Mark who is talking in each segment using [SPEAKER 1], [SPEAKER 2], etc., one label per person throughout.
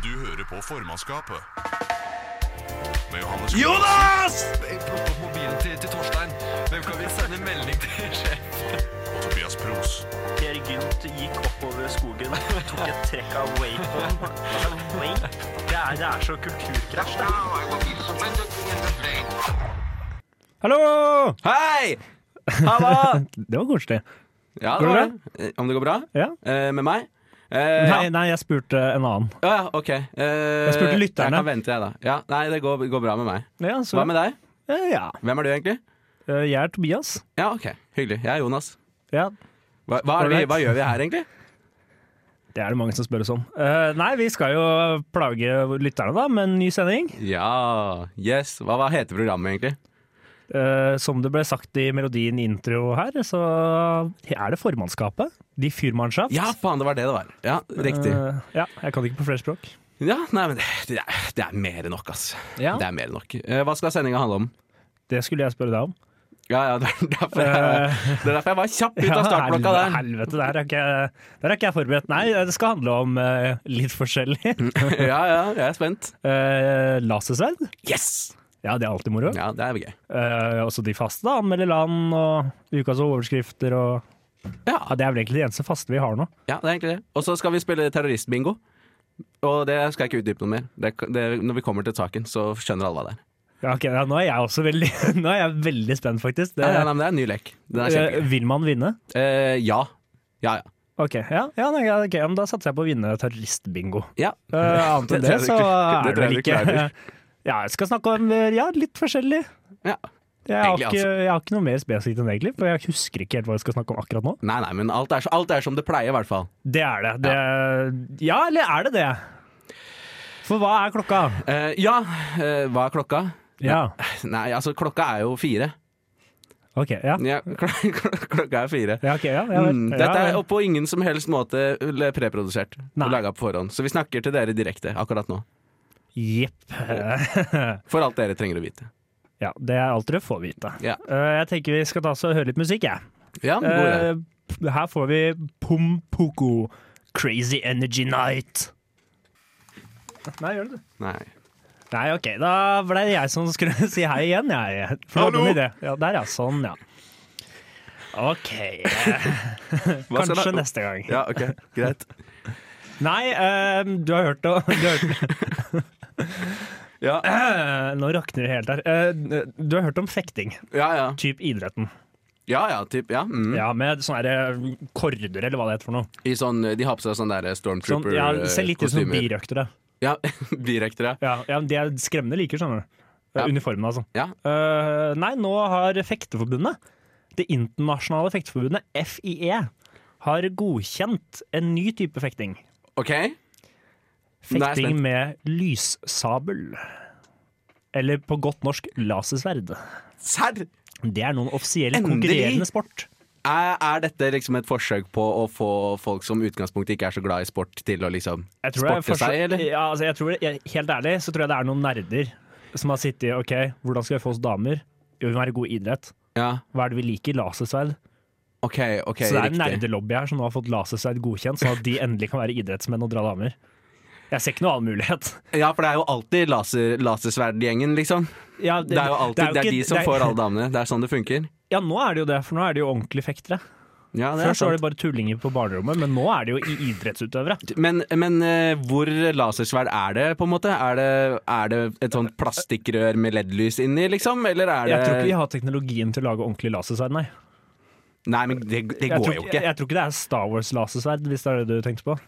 [SPEAKER 1] Du hører på formannskapet. Med Johannes
[SPEAKER 2] Jonas!
[SPEAKER 3] Plukk opp mobilen til, til Torstein. Hvem kan vi sende melding til sjef?
[SPEAKER 1] Kløvedal og Tobias Pros.
[SPEAKER 4] Per Gynt gikk oppover skogen og tok et trekk av wapen. Altså, vape? Det er, det er så kulturkrasj. Det er.
[SPEAKER 5] Hallo!
[SPEAKER 2] Hei! Halla!
[SPEAKER 5] Det var koselig.
[SPEAKER 2] Ja,
[SPEAKER 5] Går det
[SPEAKER 2] det var
[SPEAKER 5] bra?
[SPEAKER 2] det. Eh, Om det går bra?
[SPEAKER 5] Ja.
[SPEAKER 2] Eh, med meg? Eh,
[SPEAKER 5] Nei,
[SPEAKER 2] ja.
[SPEAKER 5] nei, jeg spurte en annen.
[SPEAKER 2] Ja, ja, ok. Eh, jeg
[SPEAKER 5] spurte lytterne.
[SPEAKER 2] Jeg kan vente, jeg, da. Ja, nei, det går, går bra med meg.
[SPEAKER 5] Ja, så,
[SPEAKER 2] Hva med deg?
[SPEAKER 5] Eh, Ja.
[SPEAKER 2] Hvem er du, egentlig?
[SPEAKER 5] Eh, Jeg er Tobias.
[SPEAKER 2] Ja, ok. Hyggelig. Jeg er Jonas.
[SPEAKER 5] Ja,
[SPEAKER 2] Hva, hva, er vi,
[SPEAKER 5] Alright.
[SPEAKER 2] hva gjør vi her, egentlig?
[SPEAKER 5] det er det mange som spør oss om. Eh, Nei, vi skal jo plage lytterne da med en ny sending.
[SPEAKER 2] Ja, yes. Hva, hva heter programmet, egentlig?
[SPEAKER 5] Eh, Som det ble sagt i melodien i intro her, så er det formannskapet. De Fyrmannschaft.
[SPEAKER 2] Ja, faen, det var det det var. Ja, Riktig.
[SPEAKER 5] Eh, Ja, jeg kan det ikke på flere språk.
[SPEAKER 2] Ja, nei, men det, det, er, det er mer enn nok, ass.
[SPEAKER 5] Ja.
[SPEAKER 2] Det er mer enn nok. Eh, hva skal sendinga handle om?
[SPEAKER 5] Det skulle jeg spørre deg om.
[SPEAKER 2] Ja, ja, det er derfor jeg, det er derfor jeg var kjapp ut av startblokka
[SPEAKER 5] Eh. Ja,
[SPEAKER 2] der.
[SPEAKER 5] Helvete, der er, ikke, der er ikke jeg forberedt. Nei, det skal handle om eh, litt forskjellig.
[SPEAKER 2] Ja, ja, jeg er spent.
[SPEAKER 5] Eh, Lasersverd.
[SPEAKER 2] Yes!
[SPEAKER 5] Ja, det er alltid moro.
[SPEAKER 2] Ja, det er gøy.
[SPEAKER 5] Eh, også de faste, da. Anmelde land og ukas overskrifter og
[SPEAKER 2] Ja,
[SPEAKER 5] Ja, det er vel egentlig det eneste faste vi har nå.
[SPEAKER 2] ja, det er egentlig det. Og så skal vi spille terroristbingo. Og det skal jeg ikke utdype noe mer. Det, det, når vi kommer til saken, så skjønner alle hva det er.
[SPEAKER 5] Ja, ok, ja, nå er jeg også veldig Nå er jeg veldig spent, faktisk. Det,
[SPEAKER 2] Nei, nei, nei, men det er en ny lek. Den er
[SPEAKER 5] Eh,
[SPEAKER 2] kjempegøy.
[SPEAKER 5] vil man vinne?
[SPEAKER 2] Eh, ja. Ja, ja.
[SPEAKER 5] Ok, ja, ja, nei, ja, ok, ja, men da satser jeg på å vinne terroristbingo.
[SPEAKER 2] Ja.
[SPEAKER 5] Eh, annet enn
[SPEAKER 2] Det
[SPEAKER 5] det,
[SPEAKER 2] tror jeg
[SPEAKER 5] så
[SPEAKER 2] du
[SPEAKER 5] er
[SPEAKER 2] klarer. Det
[SPEAKER 5] det vel
[SPEAKER 2] tror jeg du
[SPEAKER 5] ikke
[SPEAKER 2] klarer.
[SPEAKER 5] Ja, jeg skal snakke om eh, ja, litt forskjellig.
[SPEAKER 2] ja.
[SPEAKER 5] Jeg har,
[SPEAKER 2] Egentlig,
[SPEAKER 5] ikke, jeg har ikke noe mer spesifikt enn egentlig, for jeg husker ikke helt hva vi skal snakke om akkurat nå.
[SPEAKER 2] Nei, nei, men alt er, så- alt er som det pleier, i hvert fall.
[SPEAKER 5] Det er det. det ja, eller er det det? For hva er klokka?
[SPEAKER 2] Eh, ja, eh, hva er klokka?
[SPEAKER 5] Ja,
[SPEAKER 2] Nei, altså, klokka er jo fire.
[SPEAKER 5] ok, ja.
[SPEAKER 2] Ja, kl- kl- klokka er fire.
[SPEAKER 5] Ja, ok, ja, ja, vel.
[SPEAKER 2] Mm,
[SPEAKER 5] Ja,
[SPEAKER 2] dette er
[SPEAKER 5] vel.
[SPEAKER 2] jo på ingen som helst måte le- preprodusert
[SPEAKER 5] Nei.
[SPEAKER 2] og laga på forhånd. Så vi snakker til dere direkte akkurat nå.
[SPEAKER 5] Jepp.
[SPEAKER 2] For alt dere trenger å vite.
[SPEAKER 5] Ja, det er alt dere får vite.
[SPEAKER 2] Ja,
[SPEAKER 5] Eh, Jeg tenker vi skal ta oss og høre litt musikk, jeg.
[SPEAKER 2] ja god idé.
[SPEAKER 5] Eh, Her får vi Pompoko, Crazy Energy Night. Nei, gjør det du.
[SPEAKER 2] Nei.
[SPEAKER 5] Nei, ok, da ble det jeg som skulle si hei igjen, jeg. For jeg hadde en idé. Ja, der, ja. Sånn, ja. OK. eh,
[SPEAKER 2] Hva skal
[SPEAKER 5] Kanskje
[SPEAKER 2] da-
[SPEAKER 5] neste gang.
[SPEAKER 2] Ja, ok, greit.
[SPEAKER 5] Nei, eh, du har hørt det. Du har hørt,
[SPEAKER 2] Ja,
[SPEAKER 5] Eh, nå rakner det helt her. Eh, du har hørt om fekting,
[SPEAKER 2] ja. Ja,
[SPEAKER 5] typ idretten.
[SPEAKER 2] ja, ja typ. Ja. Mm.
[SPEAKER 5] Ja, med sånne her, eh, korder, eller hva det heter for noe.
[SPEAKER 2] I sånn, de har på seg sånn der
[SPEAKER 5] Sånn, ja, ser litt ut som
[SPEAKER 2] stormtrooper-kostymer.
[SPEAKER 5] birøktere.
[SPEAKER 2] Ja, birøktere.
[SPEAKER 5] Ja, ja, men De er skremmende like, skjønner du. Eh,
[SPEAKER 2] Ja.
[SPEAKER 5] Uniformene, altså.
[SPEAKER 2] Ja.
[SPEAKER 5] Eh, nei, nå har Fekteforbundet, det internasjonale fekteforbundet FIE, har godkjent en ny type fekting.
[SPEAKER 2] OK? Nå er jeg
[SPEAKER 5] Fekting
[SPEAKER 2] spent.
[SPEAKER 5] med lyssabel. Eller på godt norsk lasersverd.
[SPEAKER 2] Serr?
[SPEAKER 5] Det er noen offisiell
[SPEAKER 2] Endelig!
[SPEAKER 5] konkurrerende sport.
[SPEAKER 2] Er, er dette liksom et forsøk på å få folk som i utgangspunktet ikke er så glad i sport, til å liksom
[SPEAKER 5] Jeg tror det er
[SPEAKER 2] sporte
[SPEAKER 5] fortsatt-
[SPEAKER 2] seg, eller?
[SPEAKER 5] Ja, altså, jeg tror, jeg, helt ærlig så tror jeg det er noen nerder som har sittet i OK, hvordan skal vi få oss damer? Jo, vi må være god i idrett.
[SPEAKER 2] Ja.
[SPEAKER 5] Hva er det vi liker? Lasersverd.
[SPEAKER 2] OK, ok,
[SPEAKER 5] så det er en
[SPEAKER 2] riktig.
[SPEAKER 5] nerdelobby her som nå har fått lasersverd godkjent, sånn at de endelig kan være idrettsmenn og dra damer. Jeg ser ikke noen annen mulighet.
[SPEAKER 2] Ja, for det er jo alltid laser, lasersverdgjengen, liksom.
[SPEAKER 5] Ja,
[SPEAKER 2] Det er jo alltid det er
[SPEAKER 5] jo ikke-
[SPEAKER 2] de som
[SPEAKER 5] det er-
[SPEAKER 2] får alle damene. Det er sånn det funker.
[SPEAKER 5] Ja, nå er det jo det, for nå er det jo ordentlige fektere.
[SPEAKER 2] Ja, det er
[SPEAKER 5] Først var det
[SPEAKER 2] sant.
[SPEAKER 5] bare tullinger på barnerommet, men nå er det jo i idrettsutøvere.
[SPEAKER 2] Men, men eh, hvor lasersverd er det, på en måte? Er det, er det et sånt plastikkrør med LED-lys inni, liksom? Eller er det
[SPEAKER 5] Jeg tror ikke vi har teknologien til å lage ordentlig lasersverd, nei.
[SPEAKER 2] Nei, men det, det
[SPEAKER 5] Jeg
[SPEAKER 2] går
[SPEAKER 5] tror,
[SPEAKER 2] jo
[SPEAKER 5] ikke,
[SPEAKER 2] ikke.
[SPEAKER 5] jeg, jeg tror ikke det er Star Wars-lasersverd, hvis det er det du tenkte på.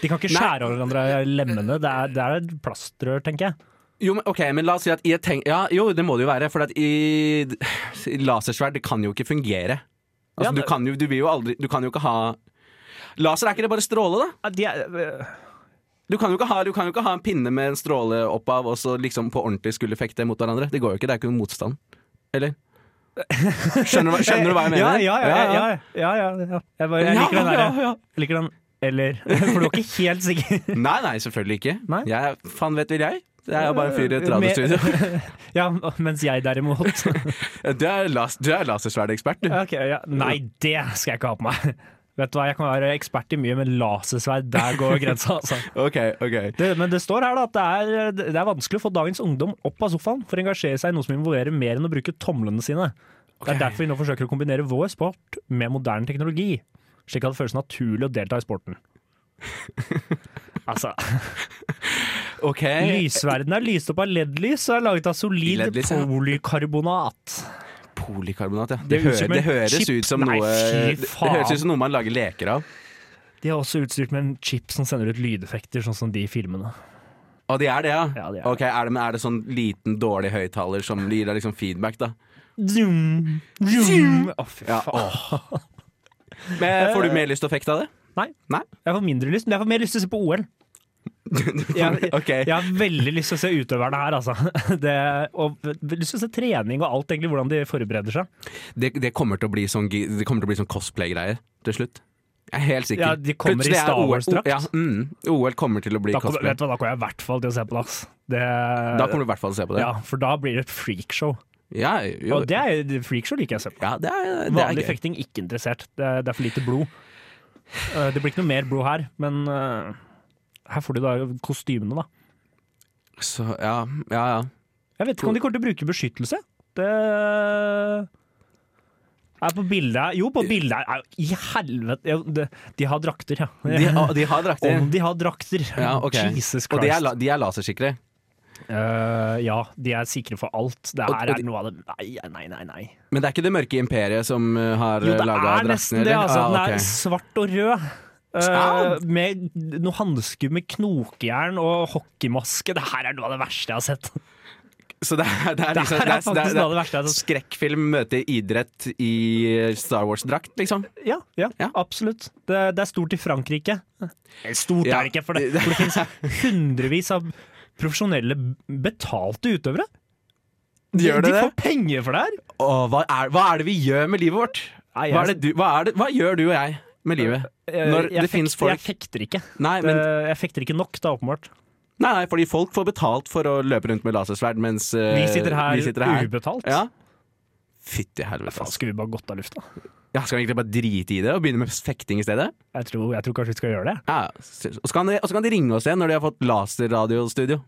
[SPEAKER 5] De kan ikke
[SPEAKER 2] Nei.
[SPEAKER 5] skjære av hverandre i lemmene. Det er, det er et plastrør, tenker jeg.
[SPEAKER 2] Jo, men, ok, men la oss si at i et tenk... Ja, jo, det må det jo være. For at i i lasersverd, det kan jo ikke fungere. Altså,
[SPEAKER 5] Ja, men-
[SPEAKER 2] du kan jo Du vil jo aldri Du kan jo ikke ha Laser, er ikke det bare stråle, da?
[SPEAKER 5] Ja, de er,
[SPEAKER 2] Du kan jo ikke ha, du kan jo ikke ha en pinne med en stråle opp av og så liksom på ordentlig skulle fekte mot hverandre. Det går jo ikke, det er ikke noen motstand. Eller? Skjønner du, hva- skjønner du hva jeg
[SPEAKER 5] Ja,
[SPEAKER 2] mener?
[SPEAKER 5] ja, ja. ja, ja, ja, ja, ja. Jeg, bare, jeg
[SPEAKER 2] Ja,
[SPEAKER 5] liker den der.
[SPEAKER 2] ja, ja.
[SPEAKER 5] Jeg liker den. Eller For du var ikke helt sikker.
[SPEAKER 2] Nei, nei, selvfølgelig ikke.
[SPEAKER 5] Nei. Eh,
[SPEAKER 2] Jeg, faen vet vel jeg? Det er jo bare en fyr i et radiostudio.
[SPEAKER 5] Ja, mens jeg derimot
[SPEAKER 2] Du er, las, du er lasersverdekspert, du.
[SPEAKER 5] Ok, ja. Nei, det skal jeg ikke ha på meg. Vet du hva, jeg kan være ekspert i mye, men lasersverd, der går grensa, altså.
[SPEAKER 2] Ok, ok.
[SPEAKER 5] Det, men det står her da at det er, det er vanskelig å få dagens ungdom opp av sofaen for å engasjere seg i noe som involverer mer enn å bruke tomlene sine. Det
[SPEAKER 2] Ok.
[SPEAKER 5] er derfor vi nå forsøker å kombinere vår sport med moderne teknologi, slik at det føles naturlig å delta i sporten. altså,
[SPEAKER 2] Ok.
[SPEAKER 5] lysverden er lyst opp av LED-lys og er laget av solid
[SPEAKER 2] LED-lys, ja.
[SPEAKER 5] polykarbonat.
[SPEAKER 2] Polikarbonat, ja.
[SPEAKER 5] Det
[SPEAKER 2] Det,
[SPEAKER 5] er
[SPEAKER 2] hø-
[SPEAKER 5] ut som en
[SPEAKER 2] det høres
[SPEAKER 5] chip.
[SPEAKER 2] ut som
[SPEAKER 5] Nei,
[SPEAKER 2] noe
[SPEAKER 5] fy
[SPEAKER 2] det, det høres
[SPEAKER 5] faen.
[SPEAKER 2] ut som noe man lager leker av.
[SPEAKER 5] De er også utstyrt med en chip som sender ut lydeffekter, sånn som de i filmene.
[SPEAKER 2] Å, de er det, ja?
[SPEAKER 5] Ja, de er det.
[SPEAKER 2] Ok, er det, men er det sånn liten, dårlig høyttaler som gir deg liksom feedback, da?
[SPEAKER 5] Zoom, zoom. Å, fy
[SPEAKER 2] Ja,
[SPEAKER 5] faen.
[SPEAKER 2] Men eh,
[SPEAKER 5] Eh.
[SPEAKER 2] Får du mer lyst til å fekte av det?
[SPEAKER 5] Nei.
[SPEAKER 2] Nei?
[SPEAKER 5] Jeg får mindre lyst, men jeg får mer lyst til å se på OL. Jeg,
[SPEAKER 2] Ok.
[SPEAKER 5] jeg har veldig lyst til å se utøverne her, altså. Det, og lyst til å se trening og alt, egentlig, hvordan de forbereder seg.
[SPEAKER 2] Det, det kommer til å bli sånn, gi- det kommer til å bli sånn cosplay-greier til slutt. Jeg er helt sikker.
[SPEAKER 5] Ja, de kommer i
[SPEAKER 2] Plutselig er
[SPEAKER 5] Star
[SPEAKER 2] OL
[SPEAKER 5] Wars-drakt.
[SPEAKER 2] Ja, mm, OL kommer til å bli
[SPEAKER 5] Da kommer,
[SPEAKER 2] cosplay.
[SPEAKER 5] vet du hva, da kommer jeg i hvert fall til å se på det, ass. Det,
[SPEAKER 2] Da kommer du i hvert fall til å se på det.
[SPEAKER 5] ja, for da blir det et freakshow.
[SPEAKER 2] Ja, jo.
[SPEAKER 5] Og det er, det freakshow liker jeg å se på.
[SPEAKER 2] ja, det er, det er
[SPEAKER 5] Vanlig
[SPEAKER 2] gøy.
[SPEAKER 5] fekting, ikke interessert. Det er, det er for lite blod. Eh, Det blir ikke noe mer blod her, men eh, her får du da kostymene, da.
[SPEAKER 2] Så, ja, ja, ja.
[SPEAKER 5] Jeg vet ikke om de kommer til å bruke beskyttelse. Det er på bildet her- Jo, på bildet her er jo- I helvete! Ja, det- De har drakter, ja.
[SPEAKER 2] De, å, de har drakter.
[SPEAKER 5] Om de har drakter!
[SPEAKER 2] Ja, ok.
[SPEAKER 5] Jesus Christ.
[SPEAKER 2] Og de er, la- de er lasersikre.
[SPEAKER 5] Eh, ja, de er sikre for alt. Det
[SPEAKER 2] Og-
[SPEAKER 5] her
[SPEAKER 2] og
[SPEAKER 5] er
[SPEAKER 2] de-
[SPEAKER 5] noe av det Nei, nei, nei. nei.
[SPEAKER 2] Men det er ikke det mørke imperiet som uh, har
[SPEAKER 5] Jo, det
[SPEAKER 2] laga
[SPEAKER 5] er
[SPEAKER 2] draktene?
[SPEAKER 5] nesten det,
[SPEAKER 2] eller?
[SPEAKER 5] altså.
[SPEAKER 2] Ah,
[SPEAKER 5] Den
[SPEAKER 2] ok.
[SPEAKER 5] er svart og rød. Eh,
[SPEAKER 2] Sant.
[SPEAKER 5] med noen hansker med knokejern og hockeymaske. Det her er noe av det verste jeg har sett.
[SPEAKER 2] Så det er, det er,
[SPEAKER 5] Det
[SPEAKER 2] liksom,
[SPEAKER 5] her er faktisk
[SPEAKER 2] det er-
[SPEAKER 5] noe av det verste altså. jeg har sett.
[SPEAKER 2] Skrekkfilm møter idrett i eh, Star Wars-drakt, liksom.
[SPEAKER 5] Ja, ja,
[SPEAKER 2] Ja.
[SPEAKER 5] absolutt. Det, det er stort i Frankrike. Stort er
[SPEAKER 2] Ja.
[SPEAKER 5] det ikke, for det, for det finnes hundrevis av profesjonelle betalte utøvere. De,
[SPEAKER 2] Gjør det
[SPEAKER 5] de
[SPEAKER 2] det?
[SPEAKER 5] får penger for det her!
[SPEAKER 2] Åh, hva, er, hva er det vi gjør med livet vårt?
[SPEAKER 5] Nei, jeg-
[SPEAKER 2] Hva, er det du, hva, er det, hva gjør du og jeg med livet?
[SPEAKER 5] Eh,
[SPEAKER 2] Når
[SPEAKER 5] jeg
[SPEAKER 2] det
[SPEAKER 5] fekt-
[SPEAKER 2] finnes folk
[SPEAKER 5] Jeg fekter ikke.
[SPEAKER 2] nei, men,
[SPEAKER 5] det, jeg fekter ikke nok, da, åpenbart.
[SPEAKER 2] nei, nei, fordi folk får betalt for å løpe rundt med lasersverd, mens eh,
[SPEAKER 5] Vi sitter her,
[SPEAKER 2] vi sitter her.
[SPEAKER 5] ubetalt.
[SPEAKER 2] Ja. Fytti helvete.
[SPEAKER 5] Faen,
[SPEAKER 2] altså.
[SPEAKER 5] skulle vi bare gått av lufta?
[SPEAKER 2] Ja, skal vi egentlig bare drite i det og begynne med fekting i stedet?
[SPEAKER 5] Jeg tror, jeg tror kanskje vi skal gjøre det.
[SPEAKER 2] Ja, og så kan, de, og så kan de ringe oss igjen når de har fått laserradiostudio.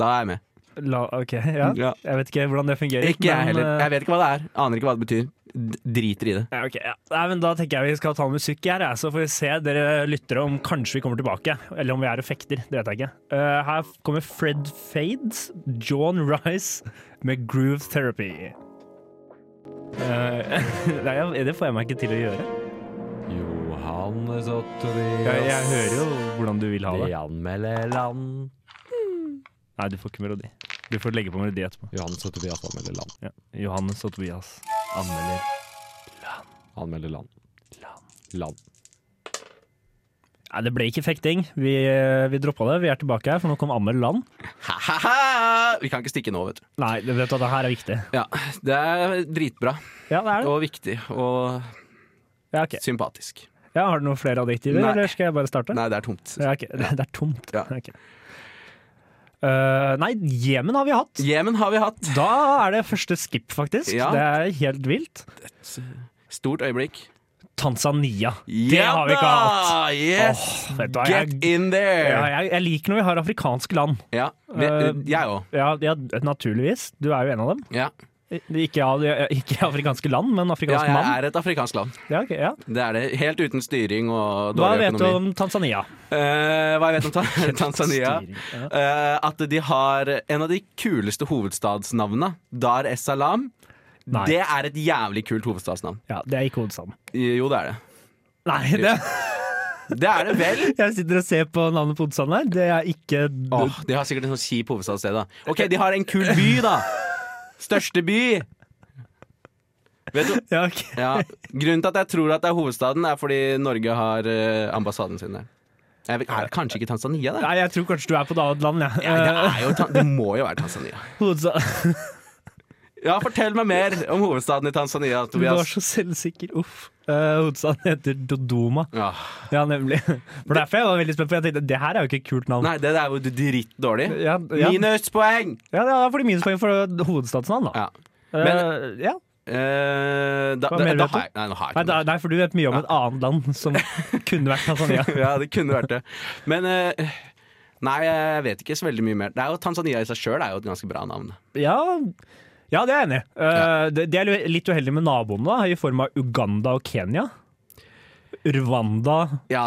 [SPEAKER 2] Da er jeg med.
[SPEAKER 5] La, ok, ja.
[SPEAKER 2] Ja.
[SPEAKER 5] Jeg vet ikke hvordan det fungerer.
[SPEAKER 2] Ikke jeg
[SPEAKER 5] men,
[SPEAKER 2] heller.
[SPEAKER 5] eh,
[SPEAKER 2] Jeg vet ikke hva det er. Aner ikke hva det betyr. D driter i det.
[SPEAKER 5] Ja, ok, ja. Nei, men Da tenker jeg vi skal ta noe musikk her, jeg, så får vi se dere lyttere om kanskje vi kommer tilbake. Eller om vi er og fekter, det vet jeg ikke. Eh, her kommer Fred Fades, John Rice med Groove Therapy. Eh, nei, jeg- det får jeg meg ikke til å gjøre.
[SPEAKER 3] Johannes og
[SPEAKER 5] Jeg, jeg
[SPEAKER 3] Tobias.
[SPEAKER 5] hører jo hvordan du vil ha
[SPEAKER 3] De
[SPEAKER 5] det.
[SPEAKER 3] anmelder land.
[SPEAKER 5] Nei, du får ikke melodi. Du får legge på melodi etterpå.
[SPEAKER 3] Johannes altså og Tobias anmelder land.
[SPEAKER 5] Ja. Johannes og Tobias anmelder
[SPEAKER 3] Anmelder land. Land.
[SPEAKER 5] Nei, Det ble ikke fekting. Vi, eh, vi droppa det. Vi er tilbake her, for nå kom Ammel Land.
[SPEAKER 2] Ha-ha-ha! Vi kan ikke stikke nå, vet du.
[SPEAKER 5] Nei, det, vet du, det her er viktig.
[SPEAKER 2] Ja, Det er dritbra
[SPEAKER 5] Ja, det er det.
[SPEAKER 2] og viktig og
[SPEAKER 5] Ja, ok.
[SPEAKER 2] sympatisk.
[SPEAKER 5] Ja, har du noen flere adjektiver,
[SPEAKER 2] Nei.
[SPEAKER 5] eller skal jeg bare starte?
[SPEAKER 2] Nei, det er tomt.
[SPEAKER 5] Ja, ok. Det det er tomt.
[SPEAKER 2] Ja.
[SPEAKER 5] Ok. Eh, nei, Jemen har vi hatt.
[SPEAKER 2] Jemen har vi hatt.
[SPEAKER 5] Da er det første skip, faktisk.
[SPEAKER 2] Ja.
[SPEAKER 5] Det er helt vilt.
[SPEAKER 2] Stort øyeblikk.
[SPEAKER 5] Tanzania. det har vi
[SPEAKER 2] Ja
[SPEAKER 5] ikke hatt.
[SPEAKER 2] da! Yes!
[SPEAKER 5] Åh, vet du hva,
[SPEAKER 2] Get
[SPEAKER 5] jeg,
[SPEAKER 2] in
[SPEAKER 5] ja,
[SPEAKER 2] there!
[SPEAKER 5] jeg, jeg liker når vi har afrikanske land.
[SPEAKER 2] Ja, vi,
[SPEAKER 5] Eh,
[SPEAKER 2] jeg òg.
[SPEAKER 5] Ja, ja, naturligvis. Du er jo en av dem.
[SPEAKER 2] Ja.
[SPEAKER 5] Ikke, av- ikke afrikanske land, men
[SPEAKER 2] ja,
[SPEAKER 5] afrikansk
[SPEAKER 2] jeg
[SPEAKER 5] mann.
[SPEAKER 2] er et afrikansk land.
[SPEAKER 5] Ja, ok, ja.
[SPEAKER 2] Det er det. Helt uten styring og
[SPEAKER 5] Hva
[SPEAKER 2] dårlig
[SPEAKER 5] vet du
[SPEAKER 2] økonomi.
[SPEAKER 5] om Tanzania?
[SPEAKER 2] Eh, hva jeg vet om ta Tanzania?
[SPEAKER 5] Styring, ja.
[SPEAKER 2] Eh, at de har en av de kuleste hovedstadsnavnene, Dar es Salaam.
[SPEAKER 5] Nei.
[SPEAKER 2] Det er et jævlig kult hovedstadsnavn.
[SPEAKER 5] Ja, det er ikke hovedstaden.
[SPEAKER 2] Jo, det er det.
[SPEAKER 5] Nei, det,
[SPEAKER 2] Det er det vel!
[SPEAKER 5] jeg sitter og ser på navnet på hovedstaden her. Det er ikke
[SPEAKER 2] Åh, de har sikkert en sånn kjip hovedstadssted, da. OK, de har en kul by, da! Største by! Vet du
[SPEAKER 5] Ja, ok.
[SPEAKER 2] ja, Grunnen til at jeg tror at det er hovedstaden, er fordi Norge har eh, ambassaden sin der. Jeg vet, er det kanskje ikke Tanzania, det?
[SPEAKER 5] Nei, jeg tror kanskje du er på et annet land, jeg.
[SPEAKER 2] Ja, det, er jo, Tan- det må jo være Tanzania.
[SPEAKER 5] Eh, hovedstad-
[SPEAKER 2] Ja, fortell meg mer om hovedstaden i Tanzania,
[SPEAKER 5] Du var
[SPEAKER 2] Tobias.
[SPEAKER 5] så selvsikker. Uff. Eh, hovedstaden heter Dodoma.
[SPEAKER 2] Ja.
[SPEAKER 5] Ja, nemlig. For derfor jeg var veldig spent, for jeg tenkte det her er jo ikke et kult navn.
[SPEAKER 2] Nei, det er jo drittdårlig.
[SPEAKER 5] Ja, ja.
[SPEAKER 2] Minuspoeng!
[SPEAKER 5] Ja, det er fordi minuspoeng for hovedstadsnavn, da.
[SPEAKER 2] Ja.
[SPEAKER 5] Eh,
[SPEAKER 2] men-
[SPEAKER 5] ja.
[SPEAKER 2] Eh, da,
[SPEAKER 5] Hva
[SPEAKER 2] da,
[SPEAKER 5] mener
[SPEAKER 2] da
[SPEAKER 5] du?
[SPEAKER 2] har jeg, nei, nå har jeg
[SPEAKER 5] Nei,
[SPEAKER 2] ikke
[SPEAKER 5] da,
[SPEAKER 2] noe.
[SPEAKER 5] nei, for du vet mye om et annet land som kunne vært Tanzania.
[SPEAKER 2] Ja, det kunne vært det. Men eh, nei, jeg vet ikke så veldig mye mer. Det er jo Tanzania i seg sjøl er jo et ganske bra navn.
[SPEAKER 5] Ja, ja det er jeg enig i. Eh, det, det er li- litt uheldig med naboene, da, i form av Uganda og Kenya. Rwanda,
[SPEAKER 2] Ja,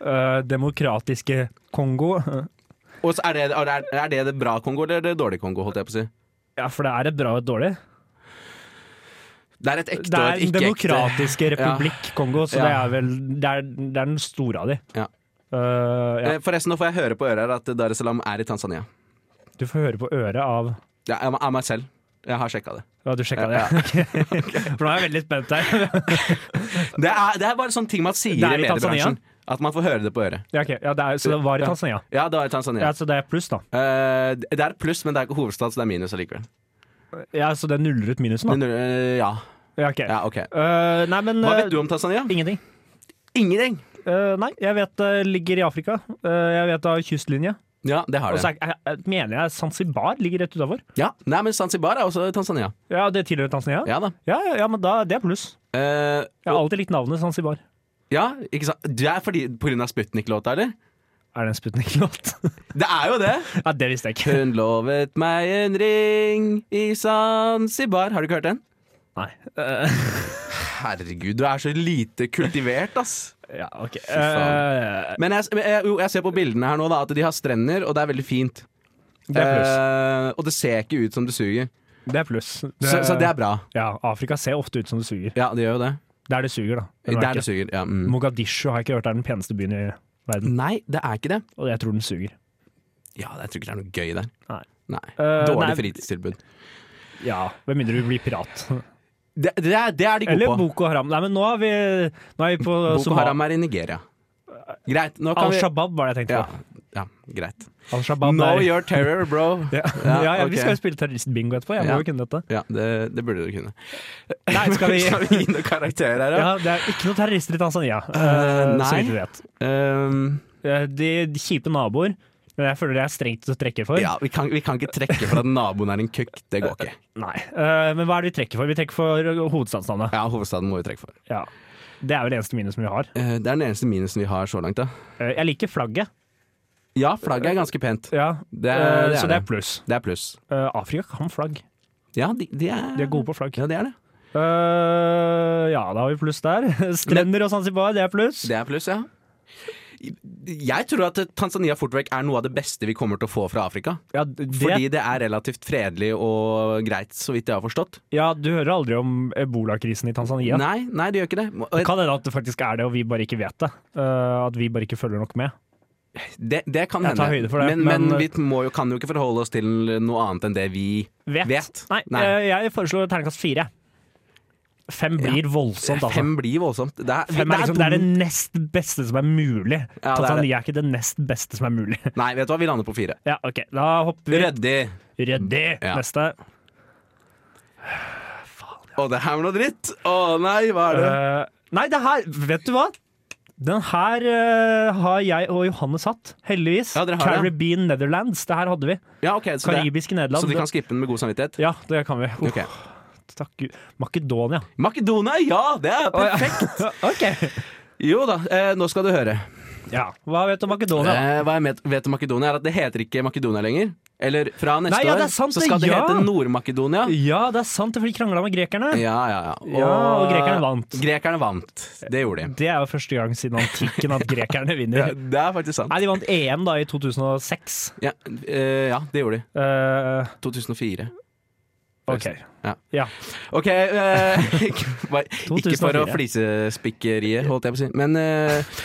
[SPEAKER 5] eh, demokratiske Kongo.
[SPEAKER 2] og så er, det, er, det- er det det bra Kongo eller det dårlige Kongo? holdt jeg på å si
[SPEAKER 5] Ja, for det er et bra og et dårlig.
[SPEAKER 2] Det er et ekte
[SPEAKER 5] Det
[SPEAKER 2] og
[SPEAKER 5] er
[SPEAKER 2] et
[SPEAKER 5] Den
[SPEAKER 2] ikke ekte.
[SPEAKER 5] demokratiske republikk Kongo, så det
[SPEAKER 2] Ja.
[SPEAKER 5] er vel det er, det er den store av de.
[SPEAKER 2] Ja.
[SPEAKER 5] Eh, ja.
[SPEAKER 2] Eh, Forresten, nå får jeg høre på øret her at Dar es Salaam er i Tanzania.
[SPEAKER 5] Du får høre på øret av
[SPEAKER 2] Ja, av av meg selv. Jeg har sjekka det.
[SPEAKER 5] Ja, du sjekka det?
[SPEAKER 2] Ja.
[SPEAKER 5] For nå er jeg veldig spent her.
[SPEAKER 2] Det er, det er bare sånn ting man sier i
[SPEAKER 5] Det er i
[SPEAKER 2] mediebransjen.
[SPEAKER 5] Tanzania?
[SPEAKER 2] At man får høre det på øret.
[SPEAKER 5] Ja, ok. ja, det er, så det var i
[SPEAKER 2] Ja.
[SPEAKER 5] Tanzania.
[SPEAKER 2] Ja, det var i Tanzania.
[SPEAKER 5] Ja, så det er pluss, da.
[SPEAKER 2] Eh, det er et pluss, men det er ikke hovedstad, så det er minus allikevel.
[SPEAKER 5] Ja, Så det nuller ut minusen, da.
[SPEAKER 2] Men, eh, ja.
[SPEAKER 5] Ja, ok.
[SPEAKER 2] ja, ok.
[SPEAKER 5] Eh, nei, men
[SPEAKER 2] Hva
[SPEAKER 5] eh,
[SPEAKER 2] vet du om Tanzania?
[SPEAKER 5] Ingenting.
[SPEAKER 2] Ingenting!
[SPEAKER 5] Eh, nei, jeg vet det ligger i Afrika. Eh, jeg vet av kystlinje.
[SPEAKER 2] Ja, det har
[SPEAKER 5] Og
[SPEAKER 2] det.
[SPEAKER 5] så er- er- er- mener jeg Zanzibar ligger rett utafor.
[SPEAKER 2] Ja, Nei, men Zanzibar er også i Tanzania.
[SPEAKER 5] Ja, det tilhører Tanzania?
[SPEAKER 2] Ja da.
[SPEAKER 5] Ja, ja, ja, men da, det er pluss.
[SPEAKER 2] Eh,
[SPEAKER 5] Jeg har alltid likt navnet Zanzibar.
[SPEAKER 2] ja, ikke sant? Det er fordi, på grunn av Sputnik-låta, eller?
[SPEAKER 5] Er det en Sputnik-låt?
[SPEAKER 2] Det er jo det!
[SPEAKER 5] ja, det visste jeg ikke.
[SPEAKER 2] Hun lovet meg en ring i Zanzibar. Har du ikke hørt den?
[SPEAKER 5] Nei. Eh,
[SPEAKER 2] Herregud, du er så lite kultivert, ass.
[SPEAKER 5] ja, ok.
[SPEAKER 2] faen.
[SPEAKER 5] Eh,
[SPEAKER 2] Men jeg, men jeg, jo, jeg ser på bildene her nå da, at de har strender, og det er veldig fint.
[SPEAKER 5] det er pluss.
[SPEAKER 2] Eh, og det ser ikke ut som det suger.
[SPEAKER 5] Det er pluss.
[SPEAKER 2] Så, så det er bra.
[SPEAKER 5] Ja, Afrika ser ofte ut som det suger.
[SPEAKER 2] Ja, det gjør jo det.
[SPEAKER 5] Der det suger, da. Den
[SPEAKER 2] Der
[SPEAKER 5] merker
[SPEAKER 2] det
[SPEAKER 5] jeg.
[SPEAKER 2] suger. Ja, mm.
[SPEAKER 5] Mogadishu har jeg ikke hørt er den peneste byen i verden,
[SPEAKER 2] Nei, det er ikke det.
[SPEAKER 5] og jeg tror den suger.
[SPEAKER 2] Ja, jeg tror ikke det er noe gøy der.
[SPEAKER 5] Nei.
[SPEAKER 2] Nei.
[SPEAKER 5] Eh,
[SPEAKER 2] Dårlig
[SPEAKER 5] nei.
[SPEAKER 2] fritidstilbud.
[SPEAKER 5] Ja, Med mindre du blir pirat.
[SPEAKER 2] Det, det, er, det er de gode
[SPEAKER 5] Eller
[SPEAKER 2] på.
[SPEAKER 5] Boko Haram. Nei, men nå er vi, nå er vi på
[SPEAKER 2] Boko
[SPEAKER 5] Somal-
[SPEAKER 2] Haram er i Nigeria. Greit, nå kan
[SPEAKER 5] Al
[SPEAKER 2] vi
[SPEAKER 5] Shabaab var det jeg tenkte
[SPEAKER 2] ja,
[SPEAKER 5] på.
[SPEAKER 2] ja, greit.
[SPEAKER 5] Al Shabaab
[SPEAKER 2] Know
[SPEAKER 5] er ja.
[SPEAKER 2] your terror, bro.
[SPEAKER 5] Ja,
[SPEAKER 2] Ja,
[SPEAKER 5] ja,
[SPEAKER 2] ok.
[SPEAKER 5] Vi skal jo spille terroristbingo etterpå. Jeg må
[SPEAKER 2] Ja.
[SPEAKER 5] jo kunne dette.
[SPEAKER 2] Ja, det, det burde du kunne.
[SPEAKER 5] Nei, skal vi
[SPEAKER 2] Skal vi gi noen karakterer her, da?
[SPEAKER 5] ja, Det er ikke noen terrorister i Tanzania,
[SPEAKER 2] Eh,
[SPEAKER 5] eh, så
[SPEAKER 2] nei.
[SPEAKER 5] vidt vi vet.
[SPEAKER 2] Ehm,
[SPEAKER 5] Eh, De, de kjipe naboer. Men jeg føler det er strengt å trekke for.
[SPEAKER 2] ja vi, kan, vi kan ikke trekke for at naboen er en kukk. Det går ikke.
[SPEAKER 5] Nei. Eh, Men hva er det vi trekker for? Vi trekker for hovedstadsnavnet.
[SPEAKER 2] Ja, Hovedstaden må vi trekke for.
[SPEAKER 5] Ja. Det er vel eneste minusen vi har.
[SPEAKER 2] Eh, det er den eneste minusen vi har så langt, da.
[SPEAKER 5] Eh, Jeg liker flagget.
[SPEAKER 2] Ja, flagget er ganske pent.
[SPEAKER 5] Ja.
[SPEAKER 2] Det
[SPEAKER 5] Eh,
[SPEAKER 2] er, det
[SPEAKER 5] så
[SPEAKER 2] er,
[SPEAKER 5] det er
[SPEAKER 2] det.
[SPEAKER 5] pluss.
[SPEAKER 2] Det er pluss.
[SPEAKER 5] Eh, Afrika kan flagg.
[SPEAKER 2] Ja, de, de, er,
[SPEAKER 5] De er gode på flagg.
[SPEAKER 2] Ja, det er det.
[SPEAKER 5] Eh, ja, da har vi pluss der. Strender og Zanzibar, det er pluss.
[SPEAKER 2] Det er pluss, ja. Jeg tror at Tanzania fort vekk er noe av det beste vi kommer til å få fra Afrika.
[SPEAKER 5] Ja, d- det,
[SPEAKER 2] Fordi det er relativt fredelig og greit, så vidt jeg har forstått.
[SPEAKER 5] ja, du hører aldri om ebolakrisen i Tanzania.
[SPEAKER 2] Nei, nei, det gjør ikke det. Og
[SPEAKER 5] Det kan hende at det faktisk er det, og vi bare ikke vet det. Eh, at vi bare ikke følger nok med.
[SPEAKER 2] Det, det kan
[SPEAKER 5] Jeg tar
[SPEAKER 2] hende.
[SPEAKER 5] høyde for det,
[SPEAKER 2] men, men,
[SPEAKER 5] men- eh,
[SPEAKER 2] vi må jo, kan jo ikke forholde oss til noe annet enn det vi
[SPEAKER 5] Vet.
[SPEAKER 2] Vet.
[SPEAKER 5] Nei,
[SPEAKER 2] Nei.
[SPEAKER 5] eh, jeg foreslår terningkast fire. Fem blir voldsomt, altså.
[SPEAKER 2] Fem blir voldsomt. Det er,
[SPEAKER 5] Fem er liksom, det er det nest beste som er mulig.
[SPEAKER 2] Ja, det er
[SPEAKER 5] Tanzania er ikke det nest beste som er mulig.
[SPEAKER 2] Nei, vet du hva, vi lander på fire.
[SPEAKER 5] Ja, ok, Da hopper vi
[SPEAKER 2] Ryddig.
[SPEAKER 5] Ryddig.
[SPEAKER 2] Ja.
[SPEAKER 5] Neste.
[SPEAKER 2] Å, det her var noe dritt. Å nei, hva er det?
[SPEAKER 5] Eh, nei, det her Vet du hva? Den her eh, har jeg og Johannes hatt, heldigvis.
[SPEAKER 2] Ja, dere har det.
[SPEAKER 5] Caribbean Netherlands. Det her hadde vi.
[SPEAKER 2] ja, ok, så, det,
[SPEAKER 5] Karibiske Nederland.
[SPEAKER 2] så de kan skippe den med god samvittighet?
[SPEAKER 5] Ja, det kan vi. Oh,
[SPEAKER 2] Ok.
[SPEAKER 5] Takk Gud. Makedonia.
[SPEAKER 2] Makedonia, ja! Det er perfekt.
[SPEAKER 5] ok.
[SPEAKER 2] Jo da, eh, nå skal du høre.
[SPEAKER 5] Ja. Hva vet du om Makedonia? da?
[SPEAKER 2] Eh, hva jeg met- vet om Makedonia, er at det heter ikke Makedonia lenger. Eller fra neste
[SPEAKER 5] Nei, ja, det er
[SPEAKER 2] år
[SPEAKER 5] sant
[SPEAKER 2] så
[SPEAKER 5] det,
[SPEAKER 2] skal det
[SPEAKER 5] ja.
[SPEAKER 2] hete Nord-Makedonia.
[SPEAKER 5] Ja, det er sant, for de krangla med grekerne.
[SPEAKER 2] Ja, ja, ja. Og,
[SPEAKER 5] Ja, og grekerne vant.
[SPEAKER 2] Grekerne vant. Det gjorde de.
[SPEAKER 5] Det er jo første gang siden antikken at grekerne
[SPEAKER 2] Ja,
[SPEAKER 5] vinner.
[SPEAKER 2] det er faktisk sant.
[SPEAKER 5] Nei, de vant EM da i 2006.
[SPEAKER 2] Ja, eh, ja, det gjorde de.
[SPEAKER 5] Eh,
[SPEAKER 2] 2004.
[SPEAKER 5] OK.
[SPEAKER 2] Ja.
[SPEAKER 5] Ja.
[SPEAKER 2] Ok, eh, ikke, bare- ikke for å
[SPEAKER 5] 2004.
[SPEAKER 2] flisespikkeriet, holdt jeg på å si. Men eh,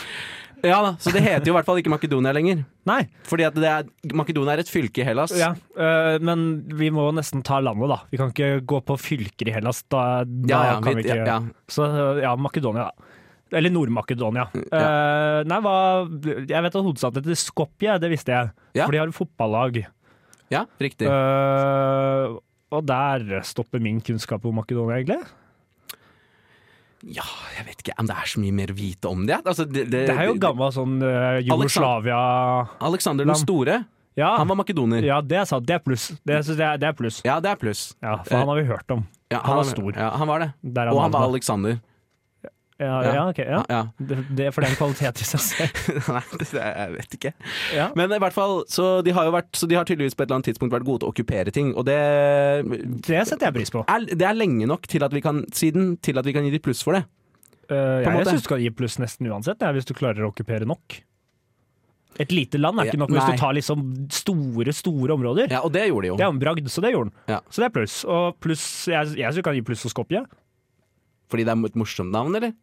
[SPEAKER 2] ja da, så det heter jo i hvert fall ikke Makedonia lenger.
[SPEAKER 5] Nei.
[SPEAKER 2] Fordi at det er, Makedonia er et fylke i Hellas.
[SPEAKER 5] Ja, øh, men vi må nesten ta landet, da. Vi kan ikke gå på fylker i Hellas. Da, da
[SPEAKER 2] Ja, ja,
[SPEAKER 5] kan vi
[SPEAKER 2] vi-
[SPEAKER 5] ikke
[SPEAKER 2] ja, ja.
[SPEAKER 5] Så øh, ja, Makedonia, da. Eller Nord-Makedonia. Eh, nei, hva Jeg vet at hovedstaden heter Skopje, det visste jeg.
[SPEAKER 2] Ja.
[SPEAKER 5] For de har et fotballag.
[SPEAKER 2] Ja, riktig.
[SPEAKER 5] Eh, og der stopper min kunnskap om Makedonia, egentlig.
[SPEAKER 2] Ja, jeg vet ikke om det er så mye mer å vite om det. Altså, det,
[SPEAKER 5] Det er jo gammel sånn øh, Jugoslavia
[SPEAKER 2] Alexander den
[SPEAKER 5] Land.
[SPEAKER 2] store
[SPEAKER 5] Ja,
[SPEAKER 2] Han var makedoner. Ja,
[SPEAKER 5] ja det er sant. Det er pluss. Det, synes jeg, det er pluss.
[SPEAKER 2] det er pluss.
[SPEAKER 5] Ja, for han har vi hørt om.
[SPEAKER 2] Ja,
[SPEAKER 5] Han var stor.
[SPEAKER 2] Ja, han var det.
[SPEAKER 5] Der er
[SPEAKER 2] Eh. Og han
[SPEAKER 5] navnet.
[SPEAKER 2] var Alexander.
[SPEAKER 5] Ja,
[SPEAKER 2] ja.
[SPEAKER 5] ja, ok. Ja.
[SPEAKER 2] Ja. ja.
[SPEAKER 5] Det, det, for det er en kvalitet i seg selv.
[SPEAKER 2] Nei, det, jeg vet ikke.
[SPEAKER 5] Ja.
[SPEAKER 2] Men i hvert fall, så de har jo vært Så de har tydeligvis på et eller annet tidspunkt vært gode til å okkupere ting, og det
[SPEAKER 5] Det setter jeg pris på.
[SPEAKER 2] er, det er lenge nok til at vi kan siden til at vi kan gi de pluss for det.
[SPEAKER 5] Eh,
[SPEAKER 2] en
[SPEAKER 5] jeg
[SPEAKER 2] måte.
[SPEAKER 5] syns du skal gi pluss nesten uansett, ja, hvis du klarer å okkupere nok. Et lite land er
[SPEAKER 2] Ja,
[SPEAKER 5] ikke nok hvis
[SPEAKER 2] nei.
[SPEAKER 5] du tar liksom store, store områder.
[SPEAKER 2] Ja, Og det gjorde de jo.
[SPEAKER 5] Det er jo en bragd, så det gjorde den.
[SPEAKER 2] Ja.
[SPEAKER 5] Så det er pluss. Og pluss, jeg, jeg syns du kan gi pluss for Skopje.
[SPEAKER 2] Fordi det er et morsomt navn, eller?